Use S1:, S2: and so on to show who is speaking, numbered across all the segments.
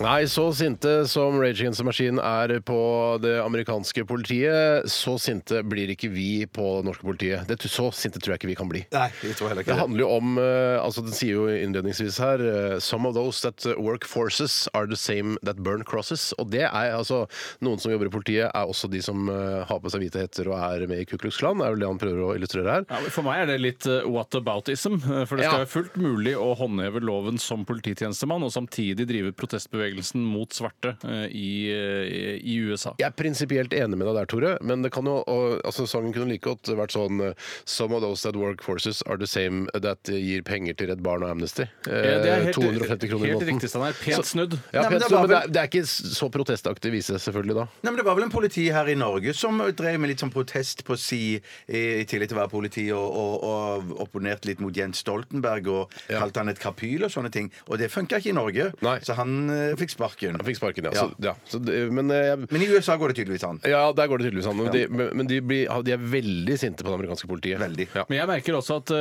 S1: Nei, så sinte som Rage Against the Machine er på det amerikanske politiet, så sinte blir ikke vi på det norske politiet. Det, så sinte tror jeg ikke vi kan bli.
S2: Nei, jeg tror heller
S1: Det
S2: ikke det.
S1: handler jo om eh, altså Den sier jo innledningsvis her eh, Some of those that work forces are the same that burn crosses. Og det er altså Noen som jobber i politiet, er også de som eh, har på seg hvite hetter og er med i Ku Klux Klan. Det er vel det han prøver å illustrere her.
S3: Ja, men for meg er det litt eh, whataboutism. eh, For det
S1: Ja.
S3: skal være fullt mulig å håndheve loven som polititjenestemann, og samtidig drive protestbevegelsen mot svarte eh, i, eh, i USA.
S1: Jeg er prinsipielt enig med deg der, Tore, men det kan jo, og, altså, sangen kunne like godt vært sånn eh, Some of those that work forces are the same that gir penger til Redd Barn og Amnesty.
S3: Eh,
S1: Eh,
S3: det er helt-
S1: 250 kroner i
S3: helt
S1: måneden.
S3: riktig, Steinar. Pent
S1: Så-
S3: snudd.
S1: Ja,
S2: Nei, men
S1: pent
S2: det
S1: snudd,
S2: var
S1: men det
S2: vel-
S1: er, det er ikke så protestaktig vise, selvfølgelig, da.
S2: Nei, men Det var vel en politi her i Norge som drev med litt sånn protest på si, i i tillegg til å være politi, og, og, og opponerte litt mot Jens Stoltenberg og
S1: Ja.
S2: kalte han et kapyl og sånne ting. Og det funka ikke i Norge,
S1: Nei.
S2: så han eh, fikk sparken.
S1: Jeg fikk sparken, ja.
S2: Ja.
S1: Så, ja. Så, det- men eh, jeg
S2: Men i USA går det tydeligvis an.
S1: ja, der går det tydeligvis an. Men, de, men men de, blir, de er veldig sinte på det amerikanske politiet.
S2: Veldig.
S1: Ja.
S3: Men jeg merker også at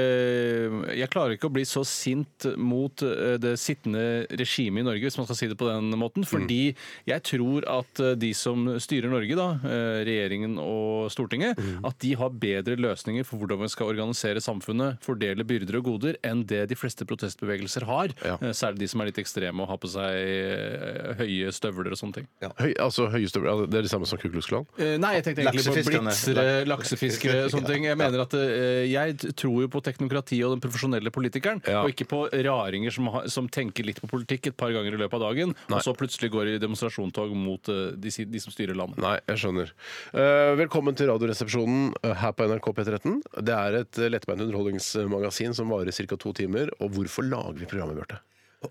S3: eh, jeg klarer ikke å bli så sint mot eh, det sittende regimet i Norge, hvis man skal si det på den måten.
S1: Mm.
S3: Fordi jeg tror at eh, de som styrer Norge, da, eh, regjeringen og Stortinget,
S1: Mm.
S3: at de har bedre løsninger for hvordan vi skal organisere samfunnet, fordele byrder og goder, enn det de fleste protestbevegelser har.
S1: Ja.
S3: Eh, Særlig de som er litt ekstreme og har på seg eh, høye støvler og sånne ting.
S1: Høy, altså, høyestøvler, altså, det er det samme som Ku Klux Klan?
S3: Eh, Nei, jeg tenkte egentlig på
S2: Laksefiskerne.
S3: blitzere, laksefiskere og sånne ting. Jeg mener at eh, jeg t- tror jo på teknokratiet og den profesjonelle politikeren,
S1: Ja.
S3: og ikke på raringer som, har- som tenker litt på politikk et par ganger i løpet av dagen, og så plutselig går i demonstrasjonstog mot eh, de, si- de som styrer landet.
S1: Nei, jeg skjønner. Eh, velkommen til Radioresepsjonen eh, her på NRK P13. Det er et eh, lettbeint underholdningsmagasin som varer ca. to timer. Og hvorfor lager vi programmet, Bjarte?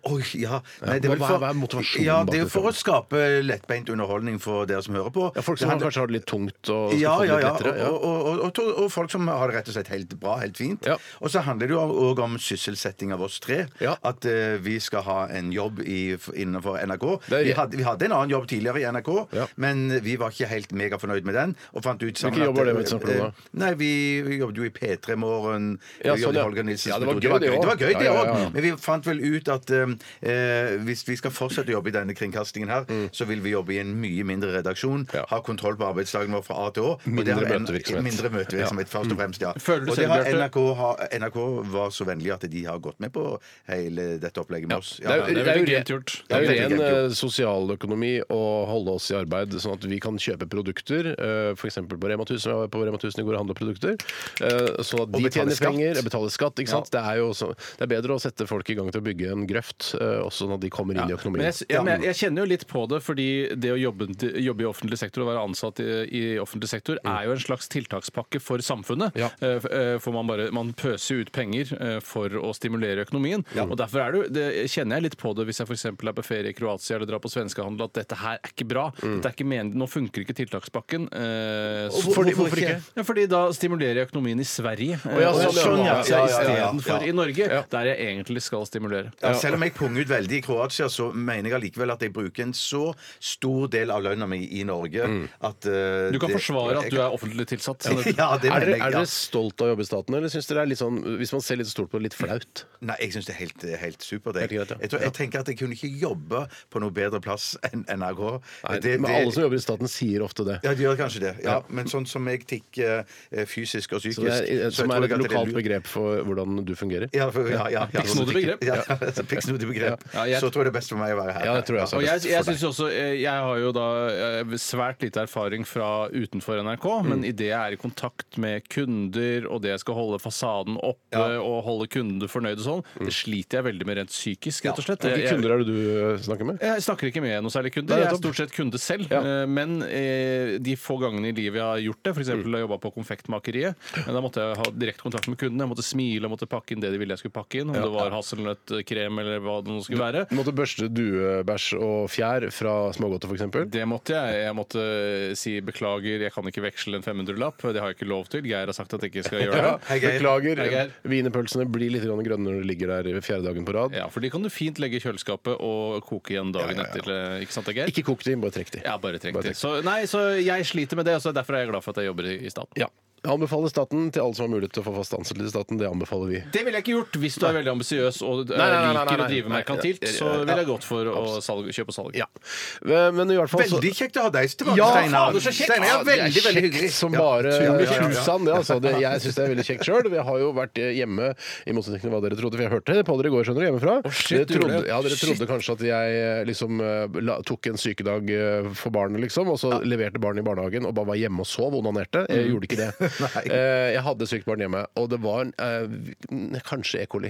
S2: Oi, ja. Nei,
S1: hva-
S2: vel for-
S1: hva er motivasjonen
S2: Ja,
S1: bak
S2: det er jo
S1: dette?
S2: for å skape lettbeint underholdning for dere som hører på.
S1: Ja, folk
S2: Det
S1: som
S2: handler-
S1: kanskje har det litt tungt og skal
S2: Ja,
S1: få det
S2: ja,
S1: litt
S2: ja.
S1: lettere. Ja.
S2: Og, og, og, og, to- og folk som har det rett og slett helt bra, helt fint.
S1: Ja.
S2: Og så handler det jo òg om sysselsetting av oss tre.
S1: Ja.
S2: At eh, vi skal ha en jobb i, innenfor NRK.
S1: Det er-
S2: Vi, hadde, vi hadde en annen jobb tidligere i NRK,
S1: Ja.
S2: men vi var ikke helt megafornøyd med den. Og fant ut sammen
S1: Hvilken jobb var det
S2: eh,
S1: vi snakket om da?
S2: eh, Nei, vi, vi jobbet jo i P3 Morgen.
S1: Ja, sånn,
S2: vi jobbet i
S1: ja.
S2: Holger Nilsens
S1: Ja, det var
S2: metode.
S1: gøy, det også.
S2: Det var gøy,
S1: Ja,
S2: det
S1: ja,
S2: òg.
S1: ja, ja.
S2: Men vi fant vel ut at eh, eh, hvis vi skal fortsette å jobbe i denne kringkastingen her, så vil vi jobbe i en mye mindre redaksjon,
S1: Mm. Ja.
S2: ha kontroll på arbeidsdagen vår fra A til Å. og
S1: Mindre
S2: det har en-
S1: møtevirksomhet. Mm.
S2: Mindre møtevirksomhet, først og fremst, ja.
S3: Føler du
S2: og det
S3: selv,
S2: har
S3: Bjarte?
S2: NRK, har- NRK var så vennlig at de har gått med på hele dette opplegget med oss. Ja,
S1: Det er,
S2: ja,
S1: jo-
S3: det er
S1: det er jo
S3: veldig
S1: ren-
S3: greit gjort.
S1: det er jo
S2: Ja, veldig
S1: ren
S2: greit
S1: eh, sosialøkonomi å holde oss i arbeid, sånn at vi kan kjøpe produkter, f.eks. på Rema 1000. Jeg var på Rema 1000 i går og handla produkter. eh, Sånn at de
S2: betale
S1: tjener
S2: skatt.
S1: penger, og betaler skatt. Ikke sant? Det, er jo så, det er bedre å sette folk i gang til å bygge en grøft, eh, også sånn at de kommer inn i
S3: Men
S1: økonomien.
S3: jeg, ja, men jeg, jeg kjenner jo litt på det, fordi det å jobbe, jobbe i offentlig sektor og være ansatt i, i offentlig sektor
S2: Mm.
S3: er jo en slags tiltakspakke for samfunnet.
S1: Ja.
S3: Eh, f- eh, For man, bare, man pøser jo ut penger eh, for å stimulere økonomien. Og derfor er det, jo- det kjenner jeg litt på det hvis jeg f.eks. er på ferie i Kroatia eller drar på svenskehandel, at dette her er ikke bra.
S2: Mm.
S3: Det er ikke men, nå funker ikke tiltakspakken. eh, så-
S2: hvorfor- hvorfor ikke?
S3: Ja, fordi da stimulerer jeg økonomien i Sverige. eh,
S1: ja,
S3: og
S1: sånn, ja.
S3: sånn, ja,
S2: Ja, ja, ja, ja.
S3: Istedenfor i Norge, der jeg egentlig skal stimulere.
S2: Ja, selv om jeg punger ut veldig i Kroatia, så mener jeg allikevel at jeg bruker en så stor del av lønna mi i Norge
S1: Mm.
S2: at eh,
S3: Du kan
S2: det-
S3: forsvare at du er offentlig tilsatt.
S2: Ja, det
S1: Er
S2: mener
S1: dere,
S2: jeg.
S1: er
S2: Ja.
S1: dere stolt av å jobbe i staten, eller syns dere det er litt sånn, hvis man ser litt stort på det, litt flaut?
S2: Nei, jeg syns det er helt, helt supert. Jeg.
S1: Helt greit, ja.
S2: Jeg, tror, jeg tenker at jeg kunne ikke jobbe på noe bedre plass enn NRK.
S1: Nei, men alle som jobber i staten, sier ofte det.
S2: ja, de gjør kanskje det. Ja, Men sånn som jeg tikker eh, fysisk og psykisk
S1: Så det er,
S2: så jeg
S1: som
S2: tror
S1: er et
S2: nok at det er
S1: lokalt
S2: lurt-
S1: begrep for hvordan du fungerer.
S2: Ja, for, ja, ja, ja.
S3: Pikksnodig begrep.
S2: Ja, ja, Pikksnodig begrep.
S3: Ja, jeg-
S2: Så tror jeg det er best for meg å være her.
S1: Ja, det tror jeg også.
S3: Og jeg,
S1: For
S3: jeg
S1: deg.
S3: synes jo også, eh, jeg har jo da eh, svært lite erfaring fra utenfor NRK, men idet jeg er i kontakt med kunder, og det jeg skal holde fasaden oppe og holde kundene fornøyde og sånn, det sliter jeg veldig med rent psykisk, rett og slett. Jeg-
S1: Hvilke
S3: jeg-
S1: kunder er det du eh, snakker med?
S3: Jeg snakker ikke med noe særlig kunder.
S1: Nei,
S3: Jeg er
S1: nettopp.
S3: stort sett kunde selv.
S1: Ja.
S3: eh, Men eh, de få gangene i livet jeg har gjort det, f.eks.
S1: Mm.
S3: da jeg jobba på Konfektmakeriet, eh, da måtte jeg ha direkte kontakt med kundene. Jeg måtte smile og måtte pakke inn det de ville jeg skulle pakke inn. Om det var hasselnøttkrem eller eller hva det nå skulle være.
S1: Du måtte børste duebæsj og fjær fra smågodter, f.eks.
S3: Det måtte jeg. Jeg måtte eh, si beklager, jeg kan ikke veksle en 500-lapp. Det har jeg ikke lov til. Geir har sagt at jeg ikke skal gjøre det.
S2: Hei, Geir.
S1: Beklager.
S3: Hei, Geir.
S1: Wienerpølsene blir litt grann grønne når de ligger der fjerde dagen på rad.
S3: Ja, for de kan du fint legge i kjøleskapet og koke igjen dagen
S1: Ja, ja, ja.
S3: etter. eh, Ikke sant, det, Geir?
S1: Ikke kok de, bare trekk de.
S3: Ja, bare trekk
S1: Bare
S3: det.
S1: trekk.
S3: Så, nei, så jeg sliter med det, så derfor er jeg glad for at jeg jobber i i staten.
S1: Ja. Jeg anbefaler staten til alle som har mulighet til å få fast ansettelse i staten. Det anbefaler vi.
S3: Det ville jeg ikke gjort hvis du er veldig ambisiøs og eh,
S1: Nei, nei, nei, nei,
S3: liker å
S1: nei.
S3: drive
S1: Nei,
S3: merkantilt.
S1: ja, ja,
S3: Så
S1: ja.
S3: ville jeg gått for å salg, kjøpe og salg.
S1: Ja. Eh, Men i hvert fall så
S2: Veldig kjekt å ha deg tilbake,
S1: Ja,
S2: Steinar.
S3: fader, så kjekt.
S2: Steinar, ja,
S1: Ja, det Ah, er
S2: veldig, veldig hyggelig.
S1: Som
S2: Ja,
S1: bare
S2: tusen- ja, ja, ja.
S1: husan. Det, altså. det, jeg syns det er veldig kjekt sjøl. Jeg har jo vært hjemme, i motsetning til hva dere trodde, for jeg hørte på dere i går, skjønner du, hjemmefra.
S3: shit,
S1: dere
S3: du gjorde
S1: trodde,
S3: det.
S1: ja, dere trodde kanskje at jeg eh, liksom eh, la, tok en sykedag eh, for barnet, liksom, og så leverte barnet i barnehagen og bare var hjemme og sov og onanerte. Jeg gjorde ikke det. Eh, jeg hadde sykt barn hjemme, og det var en, eh, vi- kanskje E. coli.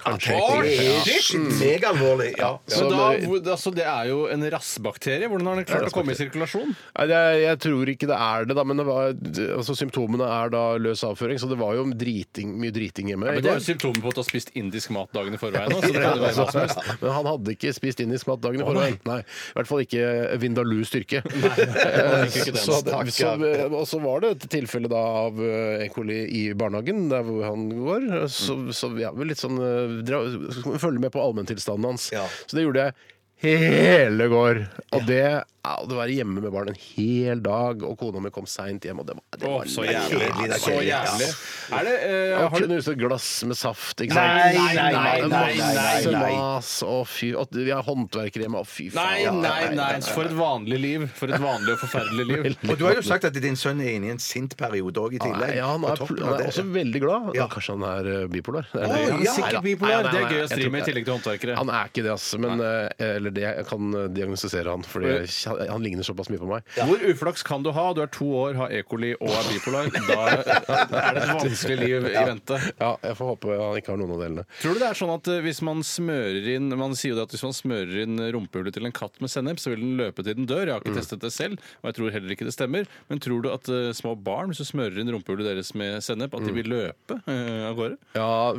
S1: Kanskje E. coli.
S2: Shit, Megalvorlig. Ja.
S3: Så
S1: Ja,
S3: da,
S1: men-
S3: hvor- altså, det er jo en rassbakterie. Hvordan har den klart å komme i sirkulasjon?
S1: Nei, det er, jeg tror ikke det er det, da, men det var, altså, symptomene er da løs avføring. Så det var jo driting, mye driting hjemme.
S3: Men det er jo symptomer på at du har spist indisk mat dagen i forveien. nå, Så det kan jo være hva som helst.
S1: men han hadde ikke spist indisk mat dagen i
S3: Å, nei.
S1: forveien. Nei. I hvert fall ikke Vindaloo styrke. Eh,
S3: han fikk ikke den.
S1: Så det-
S3: Stakkars.
S1: så- Og så var det et tilfelle da av eh, E. coli i barnehagen, der hvor han går. Eh, Så, så ja, litt sånn eh, dra, så skal vi Følge med på allmenntilstanden hans.
S2: Ja.
S1: Så det gjorde jeg. Hele går! Og det, ja, det var hjemme med barn en hel dag, og kona mi kom seint hjem, og det var, det
S3: Å,
S1: var
S3: så
S1: leit.
S3: jævlig.
S2: kjedelig, det er
S3: Så
S2: kjedelig, ja.
S3: jævlig. Er det, eh,
S1: Jeg
S3: har
S1: har
S3: du,
S1: knust et glass med saft, ikke
S2: Nei,
S1: sant?
S2: nei, nei, nei, nei, nei,
S1: Masse
S2: nei.
S1: mas, og fy og Vi har håndverkere hjemme, og fy
S3: nei,
S1: Ja,
S3: nei, nei. For et vanlig liv. For et vanlig og forferdelig liv.
S2: Og du har jo sagt at din sønn er inne i en sint periode òg, i tillegg.
S1: Nei, ja, han
S2: På
S1: er,
S2: toppen
S1: han
S2: av
S1: er
S2: det.
S1: også veldig glad.
S2: Ja.
S1: Da kanskje han er eh, bipolar. Det er
S2: Oi,
S1: det-
S2: han er
S1: Nei,
S3: sikkert
S1: da.
S3: bipolar.
S1: Nei,
S3: Det
S1: nei,
S3: er
S1: nei,
S3: gøy å
S1: jeg
S3: stri
S1: tror
S3: med i
S1: ikke-
S3: tillegg til håndverkere.
S1: Han er ikke det, ass. Men, eh, eller det, jeg kan eh, diagnostisere han, fordi jeg- han ligner såpass mye på meg.
S3: Hvor uflaks kan du ha? Du er to år, har E. coli og er bipolar. Da er det et vanskelig liv i vente.
S1: Ja, jeg får håpe han ikke har noen av delene.
S3: Tror du det er sånn at eh, hvis man smører inn Man sier jo det at hvis man smører inn rumpehullet til en katt med sennep, så vil den løpe til den dør. Jeg har ikke testet det selv, og jeg tror heller ikke det stemmer. Men tror du at eh, små barn, hvis du smører inn rumpehullet deres med sennep, at de vil løpe eh, av gårde?
S1: Ja,